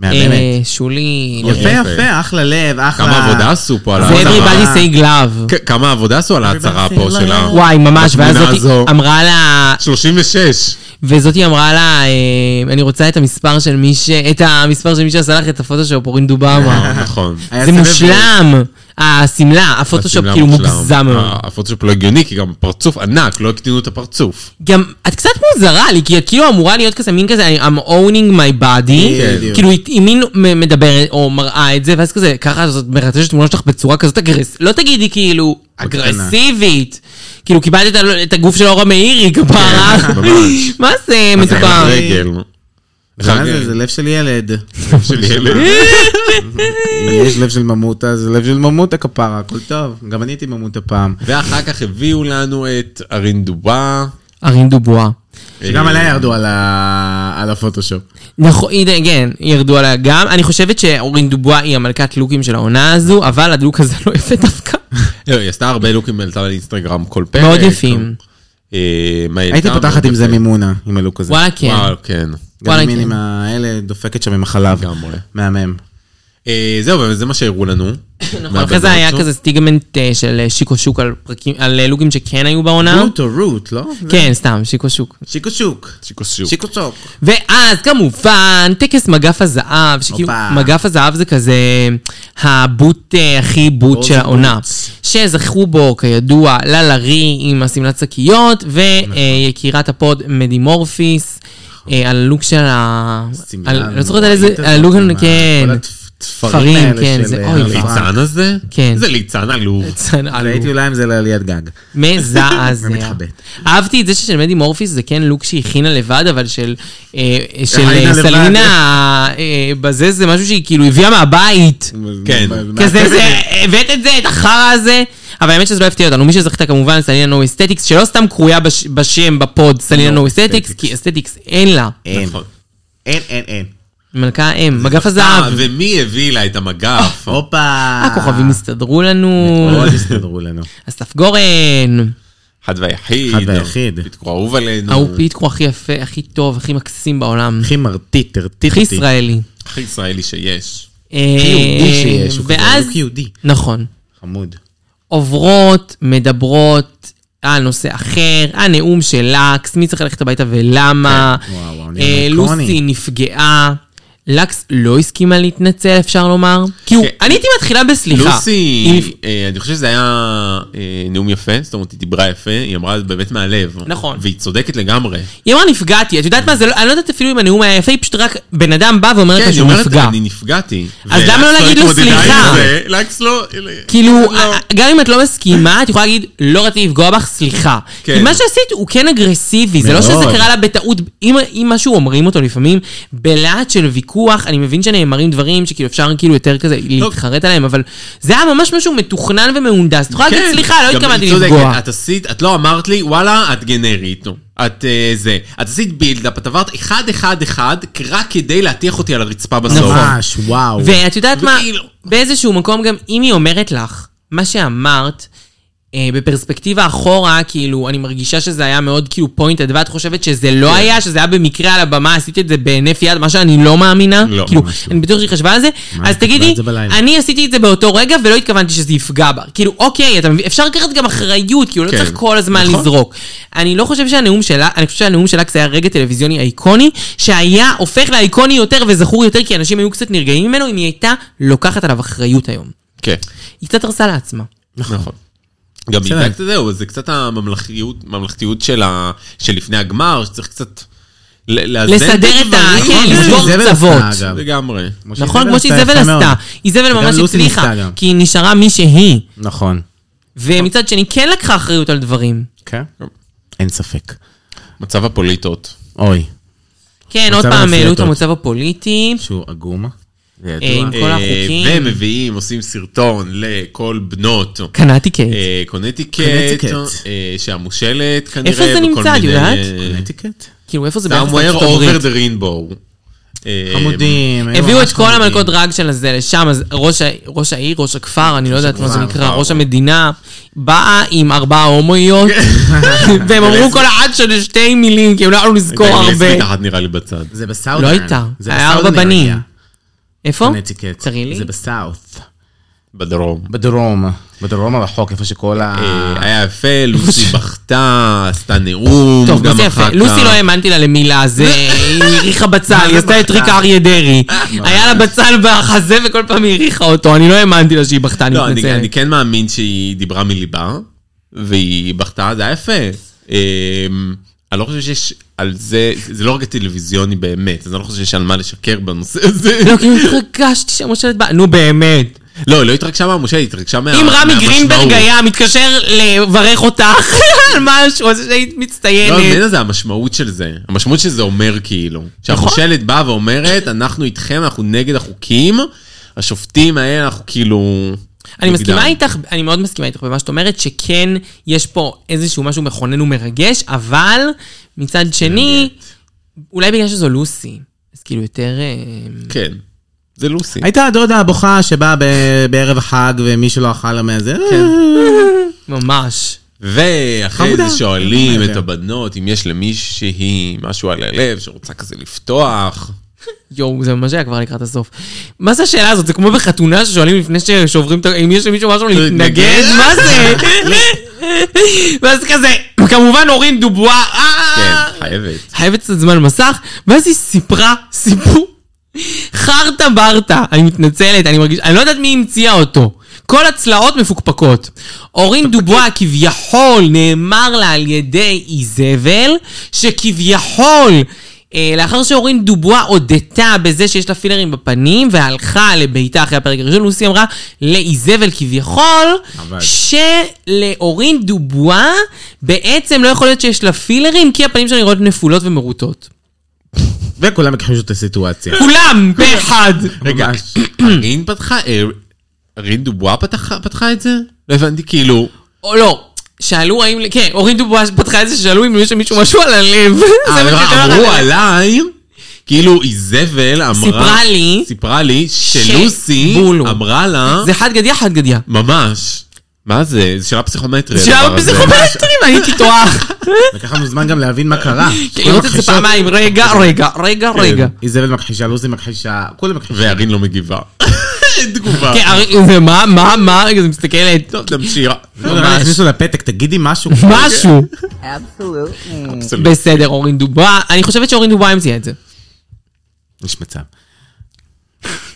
Speaker 4: מהממת.
Speaker 2: אה, שולי...
Speaker 3: יפה.
Speaker 4: יפה יפה, אחלה לב, אחלה...
Speaker 3: כמה עבודה עשו פה על
Speaker 2: זה
Speaker 3: ההצהרה.
Speaker 2: everybody say glove.
Speaker 3: כ- כמה עבודה עשו על ההצהרה פה
Speaker 4: Everybody say
Speaker 3: שלה.
Speaker 4: love.
Speaker 2: לא, וואי, ממש, ואז אה, אמ-
Speaker 3: בתמונה הזו.
Speaker 2: זאתי אמרה לה,
Speaker 3: 36.
Speaker 2: וזאתי אמרה לה, אה, אני רוצה את המספר של מי ש... את המספר של מי שעשה לך את הפוטושופ, אורין דובאמה.
Speaker 3: נכון.
Speaker 4: היה
Speaker 2: זה
Speaker 4: סבב-
Speaker 2: מושלם! השמלה, הפוטושופ
Speaker 3: השמלה
Speaker 2: כאילו
Speaker 3: מושלם.
Speaker 2: מוגזם מאוד.
Speaker 3: ה- הפוטושופ לא הגיוני, כי גם פרצוף ענק, לא הקטינו את הפרצוף.
Speaker 2: גם, את קצת מוזרה לי, כי את כאילו אמורה להיות כזה מין כזה, I'm owning my body.
Speaker 4: בדיוק.
Speaker 2: כאילו, היא- היא מין מ- מדברת או מראה את זה, ואז כזה, ככה זאת מרטשת תמונה שלך בצורה כזאת אגרסיבית. לא תגידי כאילו,
Speaker 4: בקטנה.
Speaker 2: אגרסיבית. כאילו, קיבלת את ה- את הגוף של אורה מאירי, כפרה.
Speaker 3: ממש.
Speaker 2: מה זה,
Speaker 3: זה
Speaker 2: מתוקה?
Speaker 3: רגל.
Speaker 4: מה זה? זה לב של ילד.
Speaker 3: של ילד.
Speaker 4: אם יש לב של ממותה, זה לב של ממותה כפרה, הכל טוב. גם אני הייתי ממותה פעם.
Speaker 3: ואחר כך הביאו לנו את אה, ארינדובה.
Speaker 2: ארין דובואה.
Speaker 4: שגם עליה ירדו על ה- על הפוטושופ.
Speaker 3: אה,
Speaker 2: נכון, הנה, כן, ירדו עליה גם. אני חושבת שאורין דובואה היא המלכת לוקים של העונה הזו, אבל הלוק הזה לא יפה דווקא.
Speaker 3: לא, היא עשתה הרבה לוקים, העלתה לאינסטגרם כל פרק.
Speaker 2: מאוד יפים.
Speaker 3: אה, מה היא
Speaker 4: הייתי
Speaker 3: העלתה?
Speaker 4: פותחת
Speaker 3: מאוד
Speaker 4: עם זה
Speaker 3: יפה.
Speaker 4: מימונה, עם הלוק הזה.
Speaker 2: וואלה, כן.
Speaker 3: וואו, כן.
Speaker 4: גם
Speaker 2: וואלה,
Speaker 4: עם
Speaker 2: כן.
Speaker 4: מינים האלה דופקת שם עם החלב.
Speaker 3: לגמרי.
Speaker 4: מהמם.
Speaker 3: אה, זהו, אבל זה מה שהראו לנו.
Speaker 2: נכון, אחרי זה היה
Speaker 3: מהוועדות.
Speaker 2: כזה סטיגמנט אה, של אה, שיקו שוק על פרקים, על אה, לוקים שכן היו בעונה.
Speaker 4: רוט או רוט, לא?
Speaker 2: כן, סתם, שיקו שוק.
Speaker 4: שיקו שוק.
Speaker 3: שיקו שוק.
Speaker 4: שיקו שוק.
Speaker 2: ואז כמובן, טקס מגף הזהב, שכאילו,
Speaker 4: הופה.
Speaker 2: מגף הזהב זה כזה הבוט אה, הכי בוט
Speaker 4: בוט
Speaker 2: של העונה.
Speaker 4: לא, בוט.
Speaker 2: שזכו בו, כידוע, ללרי עם השמלת שקיות,
Speaker 4: נכון.
Speaker 2: ויקירת הפוד מדי מורפיס, אה, על הלוק של ה... על- לא זוכרת על איזה, על הלוק, כן. תפרים, כן, זה-
Speaker 4: אה,
Speaker 2: אוי,
Speaker 3: הליצן הזה?
Speaker 2: כן.
Speaker 3: זה ליצן עלוב.
Speaker 2: צנ- עלוב.
Speaker 4: הייתי אולי עם זה לעליית גג.
Speaker 2: מזעזע.
Speaker 4: ומתחבאת.
Speaker 2: אהבתי את זה ששל מדי מורפיס זה כן לוק שהיא הכינה לבד, אבל של אה, אה, של
Speaker 4: הכינה
Speaker 2: אה,
Speaker 4: לבד.
Speaker 2: סלינה אה, בזה זה משהו שהיא כאילו הביאה מהבית.
Speaker 3: כן.
Speaker 2: כזה זה, הבאת את זה, את החרא הזה. אבל האמת שזה לא הפתיע אותנו, מי שזכתה כמובן סלינה נו אסתטיקס, שלא סתם קרויה בש- בשם בפוד
Speaker 4: לא,
Speaker 2: סלינה נו אסתטיקס, כי אסתטיקס אין לה.
Speaker 4: אין,
Speaker 3: נכון.
Speaker 4: אין, אין, אין.
Speaker 2: מלכה אם, מגף
Speaker 3: אה,
Speaker 2: הזהב.
Speaker 3: ומי הביא לה את המגף?
Speaker 4: הופה.
Speaker 2: הכוכבים הסתדרו לנו,
Speaker 4: מאוד הסתדרו לנו.
Speaker 2: אסף
Speaker 4: נכון.
Speaker 2: גורן,
Speaker 3: אחד ויחיד.
Speaker 4: אחד והיחיד.
Speaker 3: פיתקו אהוב עלינו.
Speaker 2: ההוא פיתקו הכי יפה, הכי טוב, הכי מקסים בעולם,
Speaker 4: הכי מרטיט, הרטיט
Speaker 2: הכי
Speaker 4: אותי.
Speaker 2: ישראלי.
Speaker 3: הכי ישראלי שיש.
Speaker 4: הכי יהודי שיש. הוא כזה,
Speaker 2: אה, ואז,
Speaker 4: הוא יהודי.
Speaker 2: נכון,
Speaker 4: חמוד.
Speaker 2: עוברות, מדברות על נושא אחר, הנאום של לקס, מי צריך ללכת הביתה ולמה,
Speaker 4: כן, וואו, וואו, נאום
Speaker 2: אה,
Speaker 4: איקוני.
Speaker 2: לוסי נפגעה. לקס לא הסכימה להתנצל, אפשר לומר. כאילו,
Speaker 3: כן.
Speaker 2: אני הייתי מתחילה בסליחה.
Speaker 3: לוסי,
Speaker 2: היא-
Speaker 3: אה, אני חושב שזה היה אה, נאום יפה, זאת אומרת, היא דיברה יפה, היא אמרה באמת מהלב.
Speaker 2: נכון.
Speaker 3: והיא צודקת לגמרי.
Speaker 2: היא אמרה נפגעתי, את יודעת מה זה, לא- אני לא יודעת אפילו אם הנאום היה יפה, היא פשוט רק בן אדם בא ואומר
Speaker 3: כן,
Speaker 2: לך
Speaker 3: היא
Speaker 2: שהוא
Speaker 3: אומרת,
Speaker 2: נפגע.
Speaker 3: אני נפגעתי.
Speaker 2: אז למה לא
Speaker 3: ולקס
Speaker 2: להגיד לו
Speaker 3: התמודדה עם
Speaker 2: סליחה?
Speaker 3: זה, לקס לא...
Speaker 2: כאילו,
Speaker 3: לא.
Speaker 2: גם אם את לא מסכימה, את יכולה להגיד, לא רציתי לפגוע בך, סליחה.
Speaker 3: כן.
Speaker 2: כי מה שעשית הוא כן אגרסיבי, זה לא
Speaker 4: מאוד.
Speaker 2: שזה קרה לה בטעות, אם אם משהו אומרים אותו לפעמים, בלהט של ויכוח, אני מבין שנאמרים דברים שכאילו אפשר כאילו יותר כזה
Speaker 3: לא.
Speaker 2: להתחרט עליהם, אבל זה היה ממש משהו מתוכנן ומהונדס. את יכולה להגיד,
Speaker 3: כן,
Speaker 2: סליחה, לא
Speaker 3: גם
Speaker 2: התכוונתי
Speaker 3: היא צודקת,
Speaker 2: לפגוע.
Speaker 3: את עשית, את לא אמרת לי, וואלה, את גנרית. נו. את אה, זה. את עשית בילדאפ, את עברת אחד, אחד, אחד, רק כדי להטיח אותי על הרצפה
Speaker 2: נכון.
Speaker 3: בסוף.
Speaker 4: ממש, וואו.
Speaker 2: ואת יודעת מה,
Speaker 4: כאילו-
Speaker 3: וכאילו-
Speaker 2: באיזשהו מקום גם, אם היא אומרת לך, מה שאמרת, אה, בפרספקטיבה אחורה, כאילו, אני מרגישה שזה היה מאוד כאילו פוינטד, ואת חושבת שזה
Speaker 4: כן.
Speaker 2: לא היה, שזה היה במקרה על הבמה, עשית את זה בהינף יד, מה שאני לא מאמינה.
Speaker 3: לא,
Speaker 2: כאילו,
Speaker 3: ממש
Speaker 2: אני בטוח שהיא חשבה על זה. אז
Speaker 4: היא קיבלה
Speaker 2: תגידי,
Speaker 4: את זה בלילה.
Speaker 2: אני עשיתי את זה באותו רגע ולא התכוונתי שזה יפגע בה. כאילו, אוקיי, אתה מבין, אפשר לקחת גם אחריות, כאילו, לא
Speaker 3: כן.
Speaker 2: צריך כל הזמן
Speaker 3: נכון.
Speaker 2: לזרוק. אני לא חושב שהנאום שלה, אני חושב שהנאום שלה כשהיה רגע טלוויזיוני איקוני, שהיה הופך לאיקוני יותר וזכור יותר, כי אנשים היו קצת נרגעים ממנו, אם היא הייתה לוקחת עליו אחריות היום.
Speaker 3: כן,
Speaker 2: היא קצת הרסה לעצמה.
Speaker 3: נכון. גם
Speaker 4: בסדר.
Speaker 3: בדיוק זהו, זה קצת הממלכתיות ממלכתיות של ה- של לפני הגמר, שצריך קצת ל- לאזן
Speaker 2: לסדר את ה-
Speaker 3: הדברים. נכון,
Speaker 2: כן,
Speaker 4: כמו
Speaker 2: לסגור
Speaker 4: שאיזבל עשתה,
Speaker 2: קצוות.
Speaker 4: אגב.
Speaker 3: לגמרי.
Speaker 2: נכון? כמו
Speaker 4: עשתה,
Speaker 2: שאיזבל
Speaker 4: יפה מאוד.
Speaker 2: עשתה. איזבל
Speaker 4: וגם
Speaker 2: ממש
Speaker 4: לוסי
Speaker 2: הצליחה,
Speaker 4: ניסתה גם.
Speaker 2: כי היא נשארה מי שהיא.
Speaker 4: נכון.
Speaker 2: ומצד שני, כן לקחה אחריות על דברים.
Speaker 4: כן? אין ספק.
Speaker 3: מצב הפוליטות.
Speaker 4: אוי,
Speaker 2: כן, עוד
Speaker 4: מצב
Speaker 2: פעם העלו את
Speaker 4: הנסיעות.
Speaker 2: המצב הפוליטי.
Speaker 4: שהוא עגום. זה
Speaker 2: אה, עם
Speaker 4: ידוע.
Speaker 2: כל
Speaker 3: אה,
Speaker 2: החוקים.
Speaker 3: ומביאים, עושים סרטון לכל בנות.
Speaker 2: קנאתי קייט.
Speaker 3: אה, קונטיקט,
Speaker 4: קונטיקט.
Speaker 3: אה, שהמושלת כנראה.
Speaker 2: איפה זה
Speaker 3: וכל
Speaker 2: נמצא, את
Speaker 3: מיני,
Speaker 2: יודעת?
Speaker 3: אה,
Speaker 4: קונטיקט?
Speaker 2: כאילו, איפה זה ביחס
Speaker 3: somewhere
Speaker 2: לארצות
Speaker 3: over
Speaker 2: הברית?
Speaker 3: the rainbow. אה,
Speaker 4: חמודים. היו
Speaker 2: הביאו את
Speaker 4: ממש
Speaker 2: כל
Speaker 4: חמודים.
Speaker 2: המלכות דרג של הזה לשם, אז ראש, ה- ראש העיר, ראש הכפר, אני לא יודעת מה זה
Speaker 3: הכפר,
Speaker 2: נקרא,
Speaker 3: וואו.
Speaker 2: ראש המדינה, באה עם ארבעה הומואיות, והם אמרו כל אחד של שתי מילים, כי הם לא יכולו לזכור
Speaker 3: הייתה
Speaker 2: הרבה.
Speaker 3: אנגלית אה, אחת נראה לי בצד.
Speaker 4: זה בסאוטרן.
Speaker 2: לא הייתה,
Speaker 4: זה
Speaker 2: היה ארבע
Speaker 4: בסאוטרן
Speaker 2: בנים.
Speaker 4: area,
Speaker 2: איפה?
Speaker 4: קונטיקט.
Speaker 2: תראי לי.
Speaker 4: זה בסאוט.
Speaker 3: בדרום.
Speaker 4: בדרום. בדרום הרחוק, איפה שכל ה...
Speaker 3: אה, היה יפה, לוסי בכתה, עשתה נאום,
Speaker 2: טוב,
Speaker 3: גם
Speaker 2: לוסי
Speaker 3: אחר
Speaker 2: יפה.
Speaker 3: כך.
Speaker 2: לוסי לא האמנתי לה למילה, זה היא הריחה בצל, היא עשתה את טריק אריה דרעי. היה לה בצל בחזה וכל פעם היא הריחה אותו, אני לא האמנתי לה שהיא בכתה, אני
Speaker 3: לא, אני, אני
Speaker 2: מתנצלת.
Speaker 3: כן מאמין שהיא דיברה מליבה, והיא בכתה, זה היה יפה. אמ, אני לא חושב שיש על זה, זה לא רק הטלוויזיוני באמת, אז אני לא חושב שיש על מה לשקר בנושא הזה.
Speaker 2: לא, כאילו התרגשתי שהמושלת באה, נו באמת.
Speaker 3: לא, היא לא התרגשה מהמושל, היא התרגשה מה...
Speaker 2: אם רמי
Speaker 3: מהמשמעות.
Speaker 2: גרינברג היה מתקשר לברך אותך על משהו, אז היית
Speaker 3: לא,
Speaker 2: מצטיינת.
Speaker 3: מעניין זה המשמעות של זה. המשמעות של זה אומר כאילו.
Speaker 2: נכון.
Speaker 3: שהמושלת באה ואומרת, אנחנו איתכם, אנחנו נגד החוקים, השופטים האלה, אנחנו כאילו...
Speaker 2: אני מסכימה
Speaker 3: נגדם."
Speaker 2: איתך, אני מאוד מסכימה איתך במה שאת אומרת, שכן יש פה איזשהו משהו מכונן ומרגש, אבל מצד שני, אולי בגלל שזו לוסי, אז כאילו יותר... אה,
Speaker 3: כן. זה לוסי.
Speaker 4: הייתה הדודה הבוכה שבאה ב- בערב החג ומישהו לא אכל לה מהזה.
Speaker 2: ממש.
Speaker 3: ואחרי
Speaker 4: חמודה.
Speaker 3: זה שואלים
Speaker 4: חמודה.
Speaker 3: את הבנות אם יש למישהי משהו על הלב שרוצה כזה לפתוח.
Speaker 2: יואו, זה ממש היה כבר לקראת הסוף. מה זה השאלה הזאת? זה כמו בחתונה ששואלים לפני ששוברים את ה... אם יש למישהו משהו להתנגד? מה זה? ואז כזה, כמובן אורין דובואה,
Speaker 3: כן,
Speaker 2: אה,
Speaker 3: חייבת.
Speaker 2: חייבת קצת זמן מסך, ואז היא סיפרה סיפור חרטה ברטה. אני מתנצלת, אני מרגיש, אני לא יודעת מי המציאה אותו. כל הצלעות מפוקפקות. אורין דובואה כביכול נאמר לה על ידי איזבל, שכביכול, אה, לאחר שאורין דובואה הודתה בזה שיש לה פילרים בפנים, והלכה לביתה אחרי הפרק הראשון, לוסי אמרה לאיזבל כביכול,
Speaker 3: אבל-
Speaker 2: שלאורין דובואה בעצם לא יכול להיות שיש לה פילרים, כי הפנים שלה נראות נפולות ומרוטות.
Speaker 4: וכולם הכחישו את הסיטואציה.
Speaker 2: כולם, באחד.
Speaker 3: רגע,
Speaker 4: ממש.
Speaker 3: רין פתחה, אה, רין דובואה פתחה פתחה את זה? לא הבנתי, כאילו,
Speaker 2: או לא. שאלו האם, כן, אורין דובואה פתחה את זה, ששאלו אם יש למישהו משהו על הלב. זה מה שקרה
Speaker 3: אה, אמרו
Speaker 2: לה.
Speaker 3: עליי, כאילו איזבל אמרה,
Speaker 2: סיפרה לי-
Speaker 3: סיפרה לי
Speaker 2: ש-
Speaker 3: שלוסי
Speaker 2: בולו.
Speaker 3: אמרה לה,
Speaker 2: זה חד גדיה, חד גדיה.
Speaker 3: ממש, מה זה? זה שאלה פסיכומטרית.
Speaker 2: שאלה פסיכומטרים, אני הייתי טועה.
Speaker 4: לקח לנו זמן גם להבין מה קרה.
Speaker 2: כן,
Speaker 4: כולם
Speaker 2: לראות את זה
Speaker 4: מכחישות.
Speaker 2: פעמיים, רגע, רגע, רגע, רגע.
Speaker 4: איזבל מכחישה, לוזי מכחישה, כולם מכחישים.
Speaker 3: והרין לא מגיבה. אין תגובה.
Speaker 2: כן, הרי- זה מה, מה, מה, רגע, זה מסתכלת.
Speaker 3: טוב, תמשיך.
Speaker 2: אה,
Speaker 4: לא נראה לי הכניסו לפתק, תגידי משהו.
Speaker 2: משהו.
Speaker 5: Absolutely.
Speaker 3: אבסולוט.
Speaker 2: בסדר, אורין דובואה. אני חושבת שאורין דובואה המציאה את זה.
Speaker 4: יש מצב.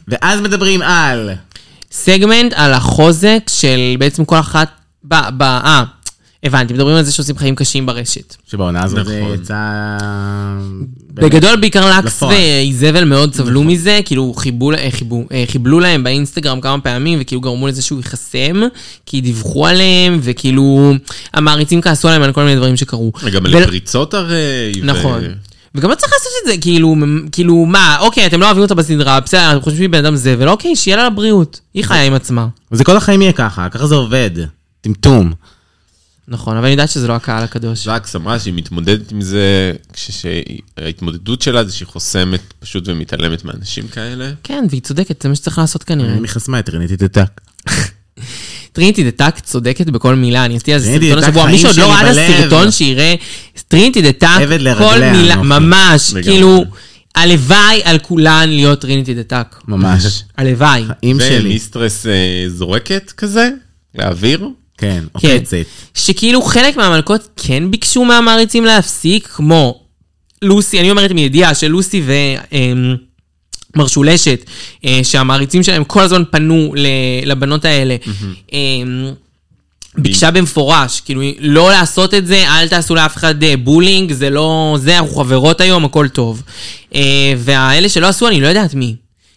Speaker 4: ואז מדברים על...
Speaker 2: סגמנט על החוזק של בעצם כל אחת... ב- ב- אה, הבנתי, מדברים על זה שעושים חיים קשים ברשת.
Speaker 4: שבעונה הזאת זה
Speaker 3: נכון.
Speaker 4: יצא...
Speaker 2: בגדול בעיקר לקס
Speaker 4: כן. לפועל.
Speaker 2: ואיזבל מאוד סבלו מזה, כאילו חיבו, אה, חיבו, אה, חיבלו להם באינסטגרם כמה פעמים וכאילו גרמו לזה שהוא ייחסם, כי דיווחו עליהם וכאילו המעריצים כעסו עליהם על כל מיני דברים שקרו.
Speaker 3: גם
Speaker 2: ול-
Speaker 3: על אה. פריצות הרי. ו-
Speaker 2: נכון. וגם לא צריך לעשות את זה, כאילו, מ- כאילו, מה, אוקיי, אתם לא אוהבים אותה בסדרה, בסדר, אתם חושבים שהיא בן אדם זבל, אוקיי, שיהיה לה לבריאות. היא חיה עם עצמה.
Speaker 4: זה כל החיים יהיה ככה, ככה זה עובד. טמטום.
Speaker 2: נכון, אבל אני יודעת שזה לא הקהל הקדוש.
Speaker 3: זקס אמרה שהיא מתמודדת עם זה, כשההתמודדות שלה זה שהיא חוסמת פשוט ומתעלמת מאנשים כאלה.
Speaker 2: כן, והיא צודקת, זה מה שצריך לעשות כנראה.
Speaker 4: מי חסמה את רנית תתק?
Speaker 2: טריניטי דה טאק צודקת בכל מילה, אני עשיתי על זה
Speaker 4: טריניטי
Speaker 2: סרטון
Speaker 4: דה טאק,
Speaker 2: השבוע,
Speaker 4: חיים
Speaker 2: מי שעוד לא
Speaker 4: שלי
Speaker 2: ראה את
Speaker 4: בלב.
Speaker 2: הסרטון שיראה, טריניטי דה טאק, כל
Speaker 4: עבד לרגליה,
Speaker 2: מילה,
Speaker 4: נופי.
Speaker 2: ממש,
Speaker 3: לגמרי.
Speaker 2: כאילו, הלוואי על כולן להיות טריניטי דה טאק.
Speaker 4: ממש.
Speaker 2: הלוואי.
Speaker 4: חיים שלי.
Speaker 3: ומיסטרס אה, זורקת כזה, לאוויר.
Speaker 4: כן,
Speaker 2: כן.
Speaker 4: עוקצת.
Speaker 2: שכאילו חלק מהמלכות כן ביקשו מהמעריצים להפסיק, כמו לוסי, אני אומרת מידיעה שלוסי ו... אמ, מרשולשת, אה, שהמעריצים שלהם כל הזמן פנו ל- לבנות האלה. אמ, ביקשה במפורש, כאילו, לא לעשות את זה, אל תעשו לאף אחד אה, בולינג, זה לא... זה, אנחנו חברות היום, הכל טוב. אה, והאלה שלא עשו, אני לא יודעת מי.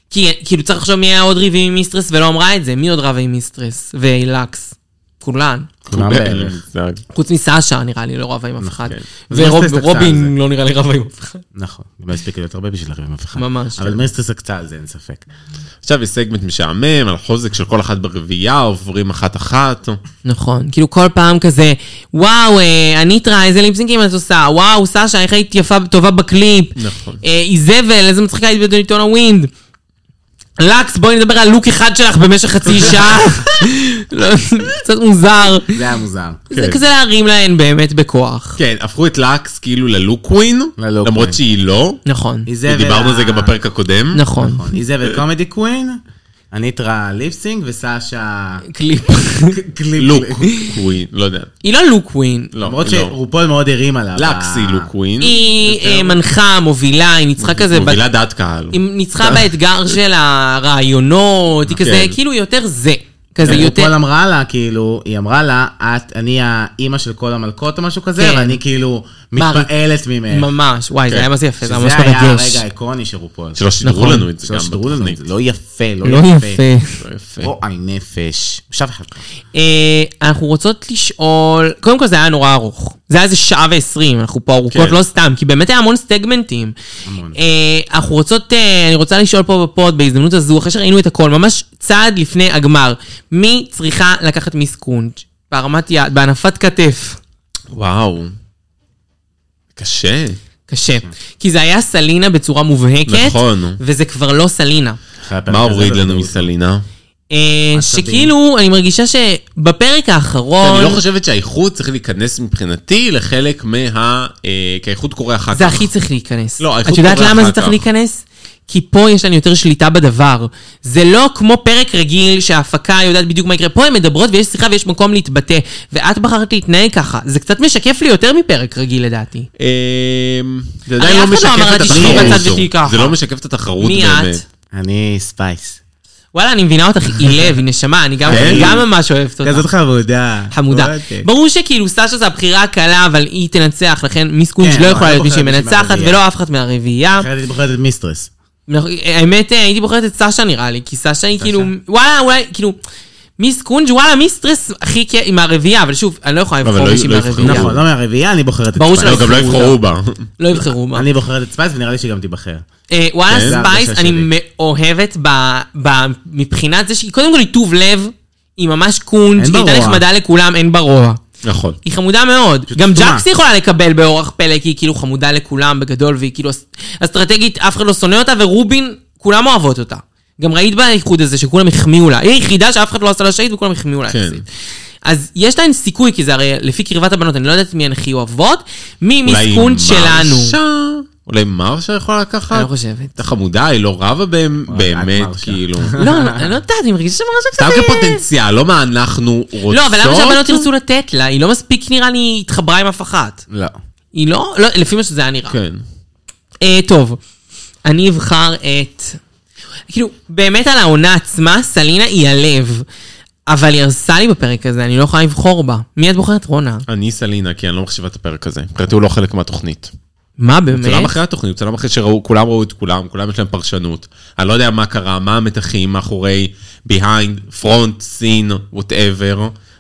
Speaker 2: כי, כאילו, צריך לחשוב מי היה עוד ריבים עם מיסטרס ולא אמרה את זה, מי עוד רב עם מיסטרס ולקס? כולן.
Speaker 4: כולם
Speaker 3: אין לי
Speaker 4: בערך.
Speaker 3: מושג.
Speaker 2: חוץ מסאשה, נראה לי, לא רבה עם אף אחד.
Speaker 3: כן.
Speaker 4: מירסס לקצה על
Speaker 2: ורובין לא נראה לי רבה עם אף אחד.
Speaker 4: נכון, לא הספיקה להיות הרבה בשביל לריב עם אף אחד.
Speaker 2: ממש,
Speaker 4: אבל
Speaker 2: כן.
Speaker 4: מירסטס עקצה על זה, אין ספק.
Speaker 3: עכשיו יש סגמנט משעמם על חוזק של כל אחת ברביעייה, עוברים אחת-אחת.
Speaker 2: נכון, כאילו כל פעם כזה, וואו, אה, אניטרה, איזה ליפסינקים את עושה, וואו, סשה, איך היית יפה, טובה בקליפ.
Speaker 3: נכון.
Speaker 2: אה, איזבל, איזה מצחיקה היית בעיתון הווינד. לקס, בואי נדבר על לוק אחד שלך במשך חצי שעה. לא, קצת מוזר.
Speaker 4: זה היה מוזר.
Speaker 2: זה
Speaker 3: כן.
Speaker 2: כזה להרים להן באמת בכוח.
Speaker 3: כן, הפכו את לקס כאילו ללוקווין,
Speaker 4: ללוקווין.
Speaker 3: למרות שהיא לא.
Speaker 2: נכון,
Speaker 4: איזבל
Speaker 3: דיברנו על זה
Speaker 4: ה-
Speaker 3: גם בפרק הקודם.
Speaker 2: נכון.
Speaker 4: נכון, איזבל קומדי קווין, אניטרה ליפסינג וסאשה
Speaker 2: קליפ.
Speaker 4: קליפ.
Speaker 3: לוקווין, לא יודע.
Speaker 2: היא לא לוקווין.
Speaker 3: לא,
Speaker 4: למרות
Speaker 3: לא.
Speaker 4: שרופול מאוד הרים עליו.
Speaker 3: לקס היא לוקווין.
Speaker 2: היא אה, מנחה, מובילה, היא ניצחה כזה... בת-
Speaker 3: מובילה דעת קהל.
Speaker 2: היא
Speaker 4: כן.
Speaker 2: ניצחה באתגר של הרעיונות, היא כזה,
Speaker 3: כן.
Speaker 2: כאילו יותר זה. כזה
Speaker 4: כן, רופול
Speaker 2: יותר...
Speaker 4: אמרה לה, כאילו, היא אמרה לה, את, אני האימא של כל המלכות או משהו כזה,
Speaker 2: כן.
Speaker 4: ואני כאילו
Speaker 2: מה,
Speaker 4: מתפעלת ממך.
Speaker 2: ממש, וואי, זה
Speaker 3: כן.
Speaker 2: היה מה זה יפה, זה היה ממש
Speaker 4: שזה היה
Speaker 2: מרגש.
Speaker 4: הרגע האיקוני של רופול.
Speaker 3: שלא שידרו
Speaker 2: נכון.
Speaker 3: לנו את זה
Speaker 4: שלא
Speaker 3: גם
Speaker 4: שידרו לנו את
Speaker 3: בתוכנית.
Speaker 4: זה. לא יפה, לא
Speaker 2: לא
Speaker 4: יפה.
Speaker 2: יפה.
Speaker 3: לא יפה.
Speaker 4: רוע נפש. עכשיו אחד.
Speaker 2: אה, אנחנו רוצות לשאול, קודם כל זה היה נורא ארוך. זה היה איזה שעה ועשרים, אנחנו פה ארוכות
Speaker 3: כן.
Speaker 2: לא סתם, כי באמת היה המון סטגמנטים.
Speaker 4: המון.
Speaker 2: אה, אנחנו רוצות, אה, אני רוצה לשאול פה בפוד בהזדמנות הזו, אחרי שראינו את הכל, ממש צעד לפני הגמר, מי צריכה לקחת מיס קונג' בהרמת יד, בהנפת כתף?
Speaker 3: וואו. קשה.
Speaker 2: קשה. כי זה היה סלינה בצורה מובהקת,
Speaker 3: נכון.
Speaker 2: וזה כבר לא סלינה.
Speaker 3: מה הוריד
Speaker 4: לא
Speaker 3: לנו מסלינה?
Speaker 2: אה, שכאילו, אני מרגישה שבפרק האחרון,
Speaker 3: אני לא חושבת שהאיחוד צריך להיכנס מבחינתי לחלק מה... אה, כי האיחוד קורה אחר כך.
Speaker 2: זה הכי צריך להיכנס.
Speaker 3: לא, האיכות
Speaker 2: את יודעת
Speaker 3: קורה
Speaker 2: למה
Speaker 3: אחר
Speaker 2: זה צריך
Speaker 3: כך.
Speaker 2: להיכנס? כי פה יש לנו יותר שליטה בדבר. זה לא כמו פרק רגיל שההפקה יודעת בדיוק מה יקרה. פה הן מדברות ויש שיחה ויש מקום להתבטא, ואת בחרת להתנהג ככה. זה קצת משקף לי יותר מפרק רגיל לדעתי.
Speaker 3: אה, זה
Speaker 2: הרי
Speaker 3: עדיין
Speaker 2: אף אחד לא
Speaker 3: לא
Speaker 2: אמר
Speaker 3: משקף
Speaker 2: לה,
Speaker 3: את
Speaker 2: "תשבי
Speaker 3: התחרות.
Speaker 2: בצד ותהיי ככה".
Speaker 3: זה לא משקף את התחרות
Speaker 2: מי
Speaker 3: באמת.
Speaker 2: את? לא
Speaker 4: אני ספייס.
Speaker 2: וואלה, אני מבינה אותך, היא לב, היא נשמה, אני גם-
Speaker 4: כן.
Speaker 2: גם ממש אוהבת אותך.
Speaker 4: כזאת חמודה.
Speaker 2: חמודה.
Speaker 4: אוקיי.
Speaker 2: ברור שכאילו סשה זה הבחירה הקלה, אבל היא תנצח, לכן מיס קונג'
Speaker 4: כן,
Speaker 2: לא
Speaker 4: לא,
Speaker 2: יכולה
Speaker 4: לא
Speaker 2: להיות מי
Speaker 4: בוחרת מישהי
Speaker 2: שמנצחת,
Speaker 4: מהרביעייה. כן.
Speaker 2: ולא אף אחת מהרביעייה.
Speaker 4: אחרת הייתי בוחרת את מיסטרס.
Speaker 2: נכון, האמת, אה, הייתי בוחרת את סשה נראה לי, כי סשה היא כאילו, וואלה, אולי, כאילו, מיס קונג' וואלה, מיסטרס הכי כיף עם הרביעייה, אבל שוב, אני לא יכולה
Speaker 3: אבל
Speaker 2: לבחור
Speaker 3: לא-
Speaker 2: מישהי
Speaker 3: לא יבחרו.
Speaker 2: מהרביעייה.
Speaker 4: נכון, לא מהרביעייה, אני בוחרת את
Speaker 2: ברור
Speaker 4: ספייס.
Speaker 2: שלא
Speaker 3: לא, גם לא יבחרו בה.
Speaker 2: לא יבחרו מה.
Speaker 4: אני בוחרת את ספייס ונראה לי שגם תיבחר.
Speaker 2: אה, וואלה,
Speaker 3: כן.
Speaker 4: זה
Speaker 2: ספייס,
Speaker 4: ההרגשה
Speaker 2: אני
Speaker 4: שלי.
Speaker 2: מאוהבת ב- ב- מבחינת זה שהיא קודם כל היא טוב לב, היא ממש קונג',
Speaker 4: אין
Speaker 2: היא
Speaker 4: בה
Speaker 2: הייתה
Speaker 4: רוע.
Speaker 2: נחמדה לכולם, אין בה רוע.
Speaker 3: נכון.
Speaker 2: היא חמודה מאוד. גם
Speaker 4: סתומה.
Speaker 2: ג'קס יכולה לקבל באורח פלא, כי היא כאילו חמודה לכולם בגדול, והיא כאילו אס- אסטרטגית, אף אחד לא שונא אותה, ורובין, כולם אוהבות אותה. גם ראית באיחוד הזה שכולם החמיאו לה. היא היחידה שאף אחד לא עשה לה שהיד וכולם החמיאו לה
Speaker 3: כן.
Speaker 2: יחסית. אז יש להן סיכוי, כי זה הרי לפי קרבת הבנות, אני לא יודעת מי הן הכי אוהבות, מי
Speaker 3: אולי
Speaker 2: מיסקונד שלנו.
Speaker 3: לא מרשה? אולי מרשה יכולה לקחת?
Speaker 2: אני לא חושבת.
Speaker 3: את החמודה, היא לא רבה בהם-
Speaker 4: וואי,
Speaker 3: באמת,
Speaker 4: את מרשה.
Speaker 3: כאילו.
Speaker 2: לא, אני אני לא יודעת, אני מרגישה שמרשה קצת...
Speaker 3: סתם
Speaker 2: אה,
Speaker 3: כפוטנציאל, לא מה אנחנו רוצות.
Speaker 2: לא, אבל למה שהבנות ירצו לתת לה? היא לא מספיק, נראה לי, התחברה עם אף אחת.
Speaker 4: לא.
Speaker 2: היא לא, לא, לפי מה שזה היה נראה.
Speaker 3: כן.
Speaker 2: אה, טוב, אני אבחר את... כאילו, באמת על העונה עצמה, סלינה היא הלב. אבל היא הרסה לי בפרק הזה, אני לא יכולה לבחור בה. מי את בוחרת, רונה?
Speaker 3: אני סלינה, כי אני לא מחשיבה את הפרק הזה. מבחינתי הוא לא חלק מהתוכנית.
Speaker 2: מה
Speaker 3: הוא צולם
Speaker 2: באמת?
Speaker 3: אחרי התוכנית, הוא צולם אחרי שראו, כולם ראו את כולם, כולם יש להם פרשנות. אני לא יודע מה קרה, מה המתחים מאחורי, behind, front, scene, whatever.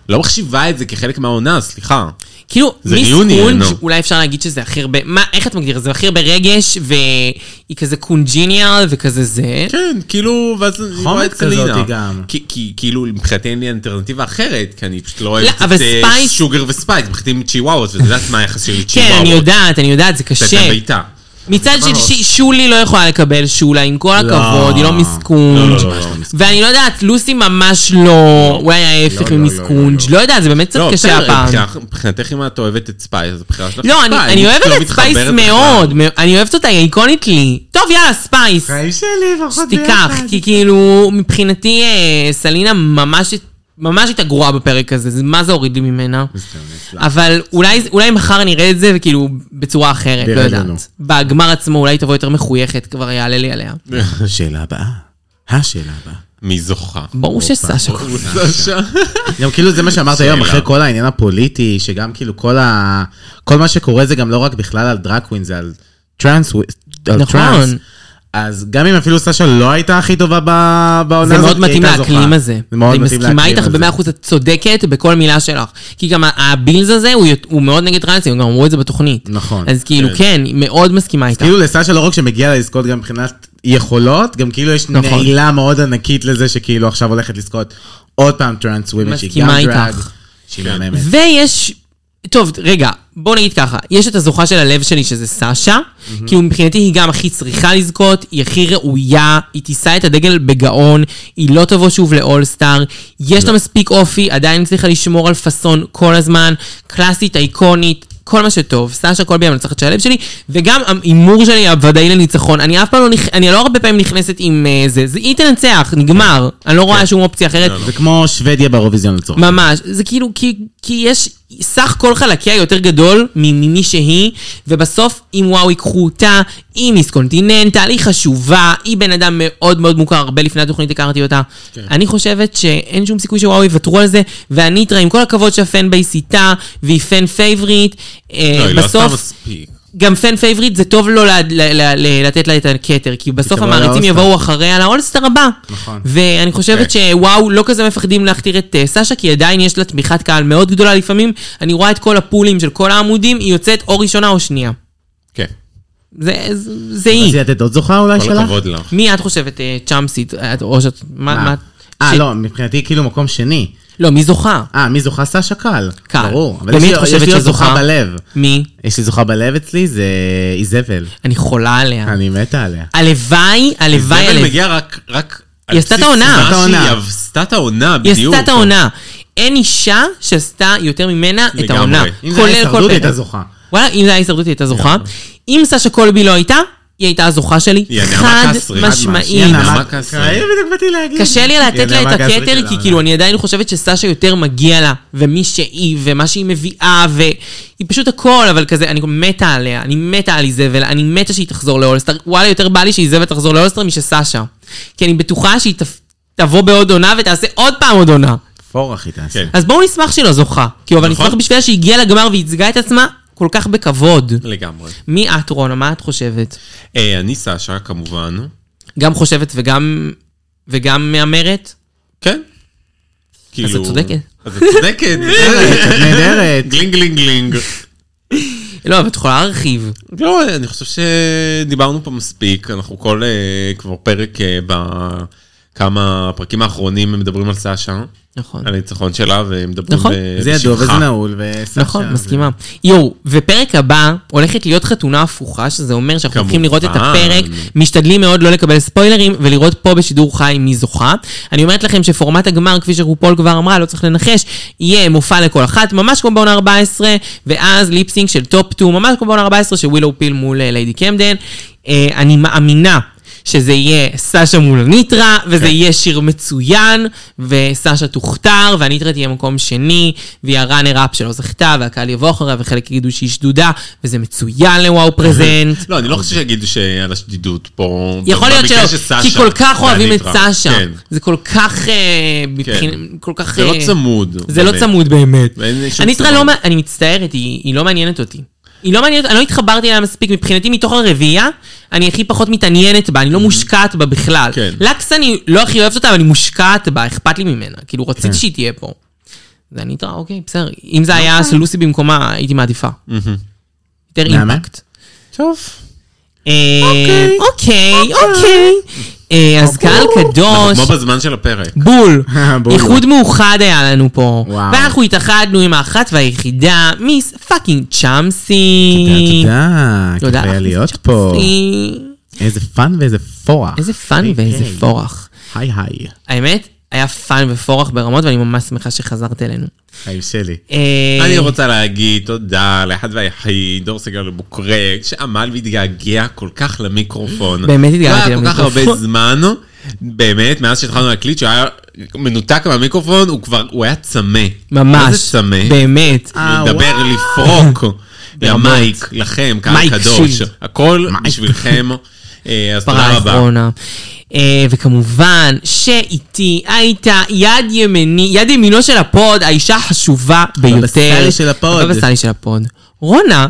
Speaker 3: לא מחשיבה את זה כחלק מהעונה, סליחה.
Speaker 2: כאילו,
Speaker 3: זה
Speaker 2: מיס
Speaker 3: ריוניון,
Speaker 2: קונג'
Speaker 3: נו.
Speaker 2: אולי אפשר להגיד שזה הכי הרבה... מה, איך את מגדירה? זה הכי הרבה רגש, והיא כזה קונג'יניאל וכזה זה.
Speaker 3: כן, כאילו, ואז אני רואה את
Speaker 4: כזאתי
Speaker 3: סלינה.
Speaker 4: גם.
Speaker 3: כי- כי כאילו, מבחינתי אין לי אלטרנטיבה אחרת, כי אני פשוט לא
Speaker 2: לא,
Speaker 3: אוהבת
Speaker 2: אבל
Speaker 3: את אה,
Speaker 2: ספייס-
Speaker 3: שוגר וספייס, מחתים צ'יוואוות, ואת יודעת מה היחס שלי
Speaker 2: כן,
Speaker 3: לצ'יוואוות.
Speaker 2: אני יודעת, אני יודעת, זה
Speaker 3: לתת
Speaker 2: קשה.
Speaker 3: להם בעיטה.
Speaker 2: מצד שלישי, שולי לא יכולה לקבל שולה, עם כל הכבוד, היא לא
Speaker 3: לא,
Speaker 2: מיסקונג'.
Speaker 3: לא, לא, לא.
Speaker 2: ואני לא יודעת, לוסי ממש לא, אולי ההפך
Speaker 4: לא,
Speaker 2: ממיס
Speaker 4: לא, לא,
Speaker 2: קונג', לא יודעת, זה באמת קצת
Speaker 3: לא,
Speaker 2: קשה
Speaker 3: בסדר,
Speaker 2: הפעם.
Speaker 3: מבחינת- מבחינתך אם את אוהבת את ספייס, אז הבחירה שלך
Speaker 2: לא, אני-
Speaker 3: ספייס.
Speaker 2: אני אוהבת
Speaker 3: לא
Speaker 2: את ספייס
Speaker 3: מתחברת
Speaker 2: מאוד, מא- אני אוהבת אותה, היא איקונית לי. טוב, יאללה, ספייס,
Speaker 4: חיים שלי, פחות
Speaker 2: תיקח, כי כאילו, מבחינתי אה, סלינה ממש... ממש הייתה גרועה בפרק הזה, זה- מה זה הוריד לי ממנה? אבל אולי, אולי מחר נראה את זה, וכאילו, בצורה אחרת, לא
Speaker 4: נראה לנו.
Speaker 2: יודעת. בגמר עצמו אולי תבוא יותר מחויכת, כבר יעלה לי עליה.
Speaker 4: השאלה הבאה. השאלה הבאה.
Speaker 3: מי זוכה? אה,
Speaker 2: ברור שסשה.
Speaker 3: סשה.
Speaker 4: גם כאילו זה מה שאמרת
Speaker 3: שאלה.
Speaker 4: היום, אחרי כל העניין הפוליטי, שגם כאילו כל ה... כל מה שקורה זה גם לא רק בכלל על דראקווין, זה על טרנס, על
Speaker 2: נכון.
Speaker 4: טרנס. אז גם אם אפילו סשה לא הייתה הכי טובה ב- בעונה
Speaker 2: זה
Speaker 4: הזאת,
Speaker 2: מאוד
Speaker 4: היא
Speaker 2: מתאים
Speaker 4: הייתה זוכה.
Speaker 2: לאקלים הזה.
Speaker 4: זה מאוד
Speaker 2: אני
Speaker 4: מתאים לאקלים הזה.
Speaker 2: מסכימה איתך במאה אחוז, את צודקת בכל מילה שלך. כי גם ה- הבילז הזה, הוא יות- הוא מאוד נגד טרנסים, הם גם אמרו את זה בתוכנית.
Speaker 4: נכון.
Speaker 2: אז כאילו, כן, מאוד מסכימה איתך.
Speaker 4: כאילו לסשה לא רק שמגיע לה לזכות גם מבחינת יכולות, גם כאילו יש
Speaker 2: נכון.
Speaker 4: נעילה מאוד ענקית לזה שכאילו עכשיו הולכת לזכות עוד פעם טרנס ווימן, שהיא גם
Speaker 2: מסכימה
Speaker 4: דרג,
Speaker 2: איתך. כן.
Speaker 4: שהיא מהממת.
Speaker 2: ויש... טוב, רגע, בוא נגיד ככה, יש את הזוכה של הלב שלי שזה סשה, כי הוא מבחינתי היא גם הכי צריכה לזכות, היא הכי ראויה, היא תישא את הדגל בגאון, היא לא תבוא שוב לאולסטאר, יש לה מספיק אופי, עדיין הצליחה לשמור על פאסון כל הזמן, קלאסית, אייקונית, כל מה שטוב, סשה כל ביום נצחת של הלב שלי, וגם ההימור שלי הוודאי לניצחון, אני אף פעם לא, נכ... אני לא הרבה פעמים נכנסת עם אה, זה, זה היא תנצח, נגמר, אני לא רואה שום אופציה אחרת,
Speaker 4: זה כמו שוודיה באירוויזיון לצורך.
Speaker 2: ממש, זה כאילו, כי, כי יש, סך כל חלקיה יותר גדול ממי שהיא, ובסוף, אם וואו ייקחו אותה, היא מיס קונטיננטל, היא חשובה, היא בן אדם מאוד מאוד מוכר, הרבה לפני התוכנית הכרתי אותה. כן. אני חושבת שאין שום סיכוי שוואו יוותרו על זה, והניטרה, עם כל הכבוד שהפן בייס איתה, והיא פן פייבריט,
Speaker 3: לא,
Speaker 2: אה,
Speaker 3: היא לא עשתה
Speaker 2: בסוף...
Speaker 3: מספיק.
Speaker 2: גם פן פייבריט זה טוב לא ל- ל- ל- ל- לתת לה את הכתר, כי בסוף
Speaker 4: תבוא
Speaker 2: המעריצים
Speaker 4: לאולסטאר.
Speaker 2: יבואו אחריה לאולסטאר הבא.
Speaker 4: נכון.
Speaker 2: ואני חושבת
Speaker 4: אוקיי.
Speaker 2: שוואו, לא כזה מפחדים להכתיר את אה, סשה, כי עדיין יש לה תמיכת קהל מאוד גדולה. לפעמים אני רואה את כל הפולים של כל העמודים, היא יוצאת או ראשונה או שנייה.
Speaker 3: כן.
Speaker 2: זה- זה זה
Speaker 4: אז
Speaker 2: היא.
Speaker 4: היא לתת עוד זוכה
Speaker 2: אה,
Speaker 4: אולי
Speaker 3: כל
Speaker 4: שלך?
Speaker 3: הכבוד לך.
Speaker 2: מי את חושבת אה, צ'אמסית? את- או שאת... מה?
Speaker 4: מה?
Speaker 2: מה-
Speaker 4: אה,
Speaker 2: ש-
Speaker 4: לא, מבחינתי כאילו מקום שני.
Speaker 2: לא, מי זוכה?
Speaker 4: אה, מי זוכה? סשה קל.
Speaker 2: קל.
Speaker 4: ברור. אבל
Speaker 2: ומי
Speaker 4: יש לי-
Speaker 2: את חושבת
Speaker 4: יש לי עוד
Speaker 2: שזוכה?
Speaker 4: זוכה בלב.
Speaker 2: מי?
Speaker 4: יש לי זוכה בלב אצלי, זה איזבל.
Speaker 2: אני חולה עליה.
Speaker 4: אני מתה עליה.
Speaker 2: הלוואי, הלוואי,
Speaker 3: זבל
Speaker 2: הלוואי.
Speaker 3: מגיע רק... רק על
Speaker 2: היא עשתה את
Speaker 3: בסיס
Speaker 2: העונה.
Speaker 3: מה
Speaker 4: עשתה את
Speaker 3: שהיא
Speaker 4: העונה.
Speaker 3: עשתה את העונה,
Speaker 2: היא
Speaker 3: בדיוק.
Speaker 2: עשתה את העונה. אין אישה שעשתה יותר ממנה את
Speaker 3: לגמרי.
Speaker 2: העונה.
Speaker 3: אם
Speaker 4: אם זה
Speaker 2: כולל
Speaker 4: היה
Speaker 2: כל
Speaker 4: הישרדות,
Speaker 2: פרק.
Speaker 4: היא הייתה זוכה.
Speaker 2: וואלה, אם זה היה הישרדות, היא הייתה זוכה. אם סשה קולבי לא הייתה, היא הייתה הזוכה שלי.
Speaker 3: היא הנעמה
Speaker 2: חד
Speaker 3: קסרי, חד
Speaker 4: היא
Speaker 2: משמעית.
Speaker 3: נעמה
Speaker 4: הנעמה-
Speaker 3: קסרי.
Speaker 4: אה, בדיוק באתי להגיד.
Speaker 2: קשה לי
Speaker 4: היא
Speaker 2: לתת לה
Speaker 4: הנעמה
Speaker 2: את
Speaker 4: גסרי
Speaker 2: הכתר, כי
Speaker 4: של העונה.
Speaker 2: כאילו אני עדיין חושבת שסשה יותר מגיע לה, ומי שהיא, ומה שהיא מביאה, והיא פשוט הכל, אבל כזה, אני מתה עליה, אני מתה על איזבל, אני מתה שהיא תחזור לאולסטר, וואלה, יותר בא לי שאיזבל תחזור לאולסטר משסשה. כי אני בטוחה שהיא תפ- תבוא בעוד עונה ותעשה עוד פעם עוד עונה.
Speaker 4: פורח היא תעשה.
Speaker 3: כן.
Speaker 2: אז בואו נשמח שהיא לא זוכה. כאילו, אבל
Speaker 3: נכון.
Speaker 2: נשמח בשבילה שהיא הגיעה לגמר וייצגה את עצמה כל כך בכבוד.
Speaker 3: לגמרי.
Speaker 2: מי את, רונה? מה את חושבת?
Speaker 3: אה, אני סשה, כמובן.
Speaker 2: גם חושבת וגם... וגם מהמרת?
Speaker 3: כן. כאילו...
Speaker 2: את צודקת.
Speaker 3: אז את צודקת. אה,
Speaker 4: את נהדרת.
Speaker 3: גלינג גלינג גלינג.
Speaker 2: לא, אבל את יכולה להרחיב.
Speaker 3: לא, אני חושב שדיברנו פה מספיק, אנחנו כל אה, כבר פרק אה, בכמה פרקים האחרונים הם מדברים על סשה,
Speaker 2: נכון.
Speaker 3: על הניצחון שלה, והם מדברים
Speaker 2: נכון.
Speaker 3: ב-
Speaker 4: זה ידוע וזה
Speaker 3: בשבחה.
Speaker 4: נעול. וסשה,
Speaker 2: נכון,
Speaker 4: זה-
Speaker 2: מסכימה. יואו, ופרק הבא הולכת להיות חתונה הפוכה, שזה אומר שאנחנו הולכים לראות את
Speaker 3: כמובן.
Speaker 2: הפרק, משתדלים מאוד לא לקבל ספוילרים ולראות פה בשידור חי מי זוכה. אני אומרת לכם שפורמט הגמר, כפי שרופול כבר אמרה, לא צריך לנחש, יהיה מופע לכל אחת, ממש כמו בעונה 14, ואז ליפסינג של טופ 2, ממש כמו בעונה 14 של ווילאו פיל מול אה, ליידי קמדן. אה, אני מאמינה. שזה יהיה סשה מול ניטרה, וזה
Speaker 3: כן.
Speaker 2: יהיה שיר מצוין, וסשה תוכתר, והניטרה תהיה מקום שני, והיא הראנר אפ שלא זכתה, והקהל יבוא אחריה, וחלק יגידו שהיא שדודה, וזה מצוין לוואו פרזנט.
Speaker 3: לא, אני לא חושב שיגידו שעל השדידות פה.
Speaker 2: יכול להיות
Speaker 3: במקרה
Speaker 2: שלא,
Speaker 3: של סשה
Speaker 2: כי כל כך אוהבים את
Speaker 3: והניטרה.
Speaker 2: סשה.
Speaker 3: כן.
Speaker 2: זה כל כך... אה, מבחינת- כל כך...
Speaker 3: זה לא
Speaker 2: אה,
Speaker 3: צמוד.
Speaker 2: זה לא
Speaker 3: באמת.
Speaker 2: צמוד באמת.
Speaker 3: ואין שום
Speaker 2: הניטרה
Speaker 3: צמוד.
Speaker 2: לא... מע- אני מצטערת, היא היא לא מעניינת אותי. היא לא מעניינת, אני לא התחברתי אליה מספיק, מבחינתי מתוך הרביעייה, אני הכי פחות מתעניינת בה, אני לא מושקעת בה בכלל.
Speaker 3: כן.
Speaker 2: לקס אני לא הכי אוהבת אותה, אבל אני מושקעת בה, אכפת לי ממנה. כאילו,
Speaker 3: כן.
Speaker 2: רציתי שהיא תהיה פה. זה הניטרה, אוקיי, בסדר. אם זה היה של לוסי במקומה, הייתי מעדיפה. יותר
Speaker 4: מהמם.
Speaker 2: אימפקט.
Speaker 4: טוב.
Speaker 2: אה, אוקיי, אוקיי. אה, אז קהל
Speaker 3: אוקיי. אנחנו
Speaker 2: קדוש.
Speaker 3: כמו בזמן של הפרק.
Speaker 2: בול.
Speaker 4: בול.
Speaker 2: איחוד מאוחד היה לנו פה.
Speaker 4: וואו.
Speaker 2: ואנחנו התאחדנו עם האחת והיחידה, מיס פאקינג צ'אמסי.
Speaker 4: תודה, תודה. כיף היה
Speaker 2: לך, מיס
Speaker 4: להיות פה.
Speaker 2: צ'אמסי.
Speaker 4: איזה פאן ואיזה פורח.
Speaker 2: איזה פאן ואיזה
Speaker 4: היי.
Speaker 2: פורח.
Speaker 4: היי היי.
Speaker 2: האמת, היה פאן ופורח ברמות, ואני ממש שמחה שחזרת אלינו.
Speaker 4: היי שלי.
Speaker 2: אה,
Speaker 3: אני רוצה להגיד תודה לאחד והיחיד, דור סגל בוקרק, שעמל והתגעגע כל כך למיקרופון.
Speaker 2: באמת התגעגעתי
Speaker 3: לא היה כל כך
Speaker 2: למיקרופון.
Speaker 3: הרבה זמן, באמת, מאז שהתחלנו להקליט, שהוא היה מנותק מהמיקרופון, הוא כבר, הוא היה צמא. מה זה
Speaker 2: ממש,
Speaker 3: צמא?
Speaker 2: באמת.
Speaker 4: אה,
Speaker 3: לדבר, לפרוק, למייק, לכם, קהל
Speaker 2: מייק
Speaker 3: קדוש,
Speaker 2: שילד.
Speaker 3: הכל בשבילכם. אה, אז
Speaker 2: פרה
Speaker 3: תודה רבה.
Speaker 2: אחרונה. אה, וכמובן שאיתי הייתה יד ימיני, יד ימינו של הפוד, האישה החשובה ביותר.
Speaker 4: הבבא סאלי של הפוד.
Speaker 2: הבבא סאלי של הפוד. רונה,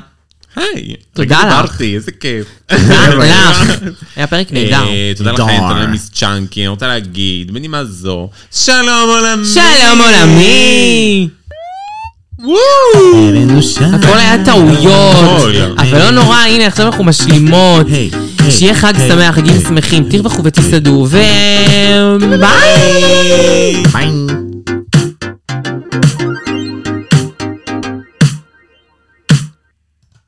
Speaker 3: היי.
Speaker 2: תודה לך.
Speaker 3: דיברתי, איזה כיף.
Speaker 2: לך. היה פרק נהדר.
Speaker 3: אה, תודה
Speaker 4: נהדר.
Speaker 3: לכם, תודה למיס צ'אנקי, אני רוצה להגיד, בנימה זו, שלום עולמי.
Speaker 2: שלום עולמי!
Speaker 4: העלינו שם.
Speaker 2: הכל היה טעויות,
Speaker 3: הכל.
Speaker 2: אבל לא נורא, הנה עכשיו אנחנו משלימות.
Speaker 4: היי, היי,
Speaker 2: שיהיה חג
Speaker 4: היי,
Speaker 2: שמח, חגים
Speaker 4: היי.
Speaker 2: אה. שמחים, תרווחו ותסעדו, וביי!
Speaker 4: ביי.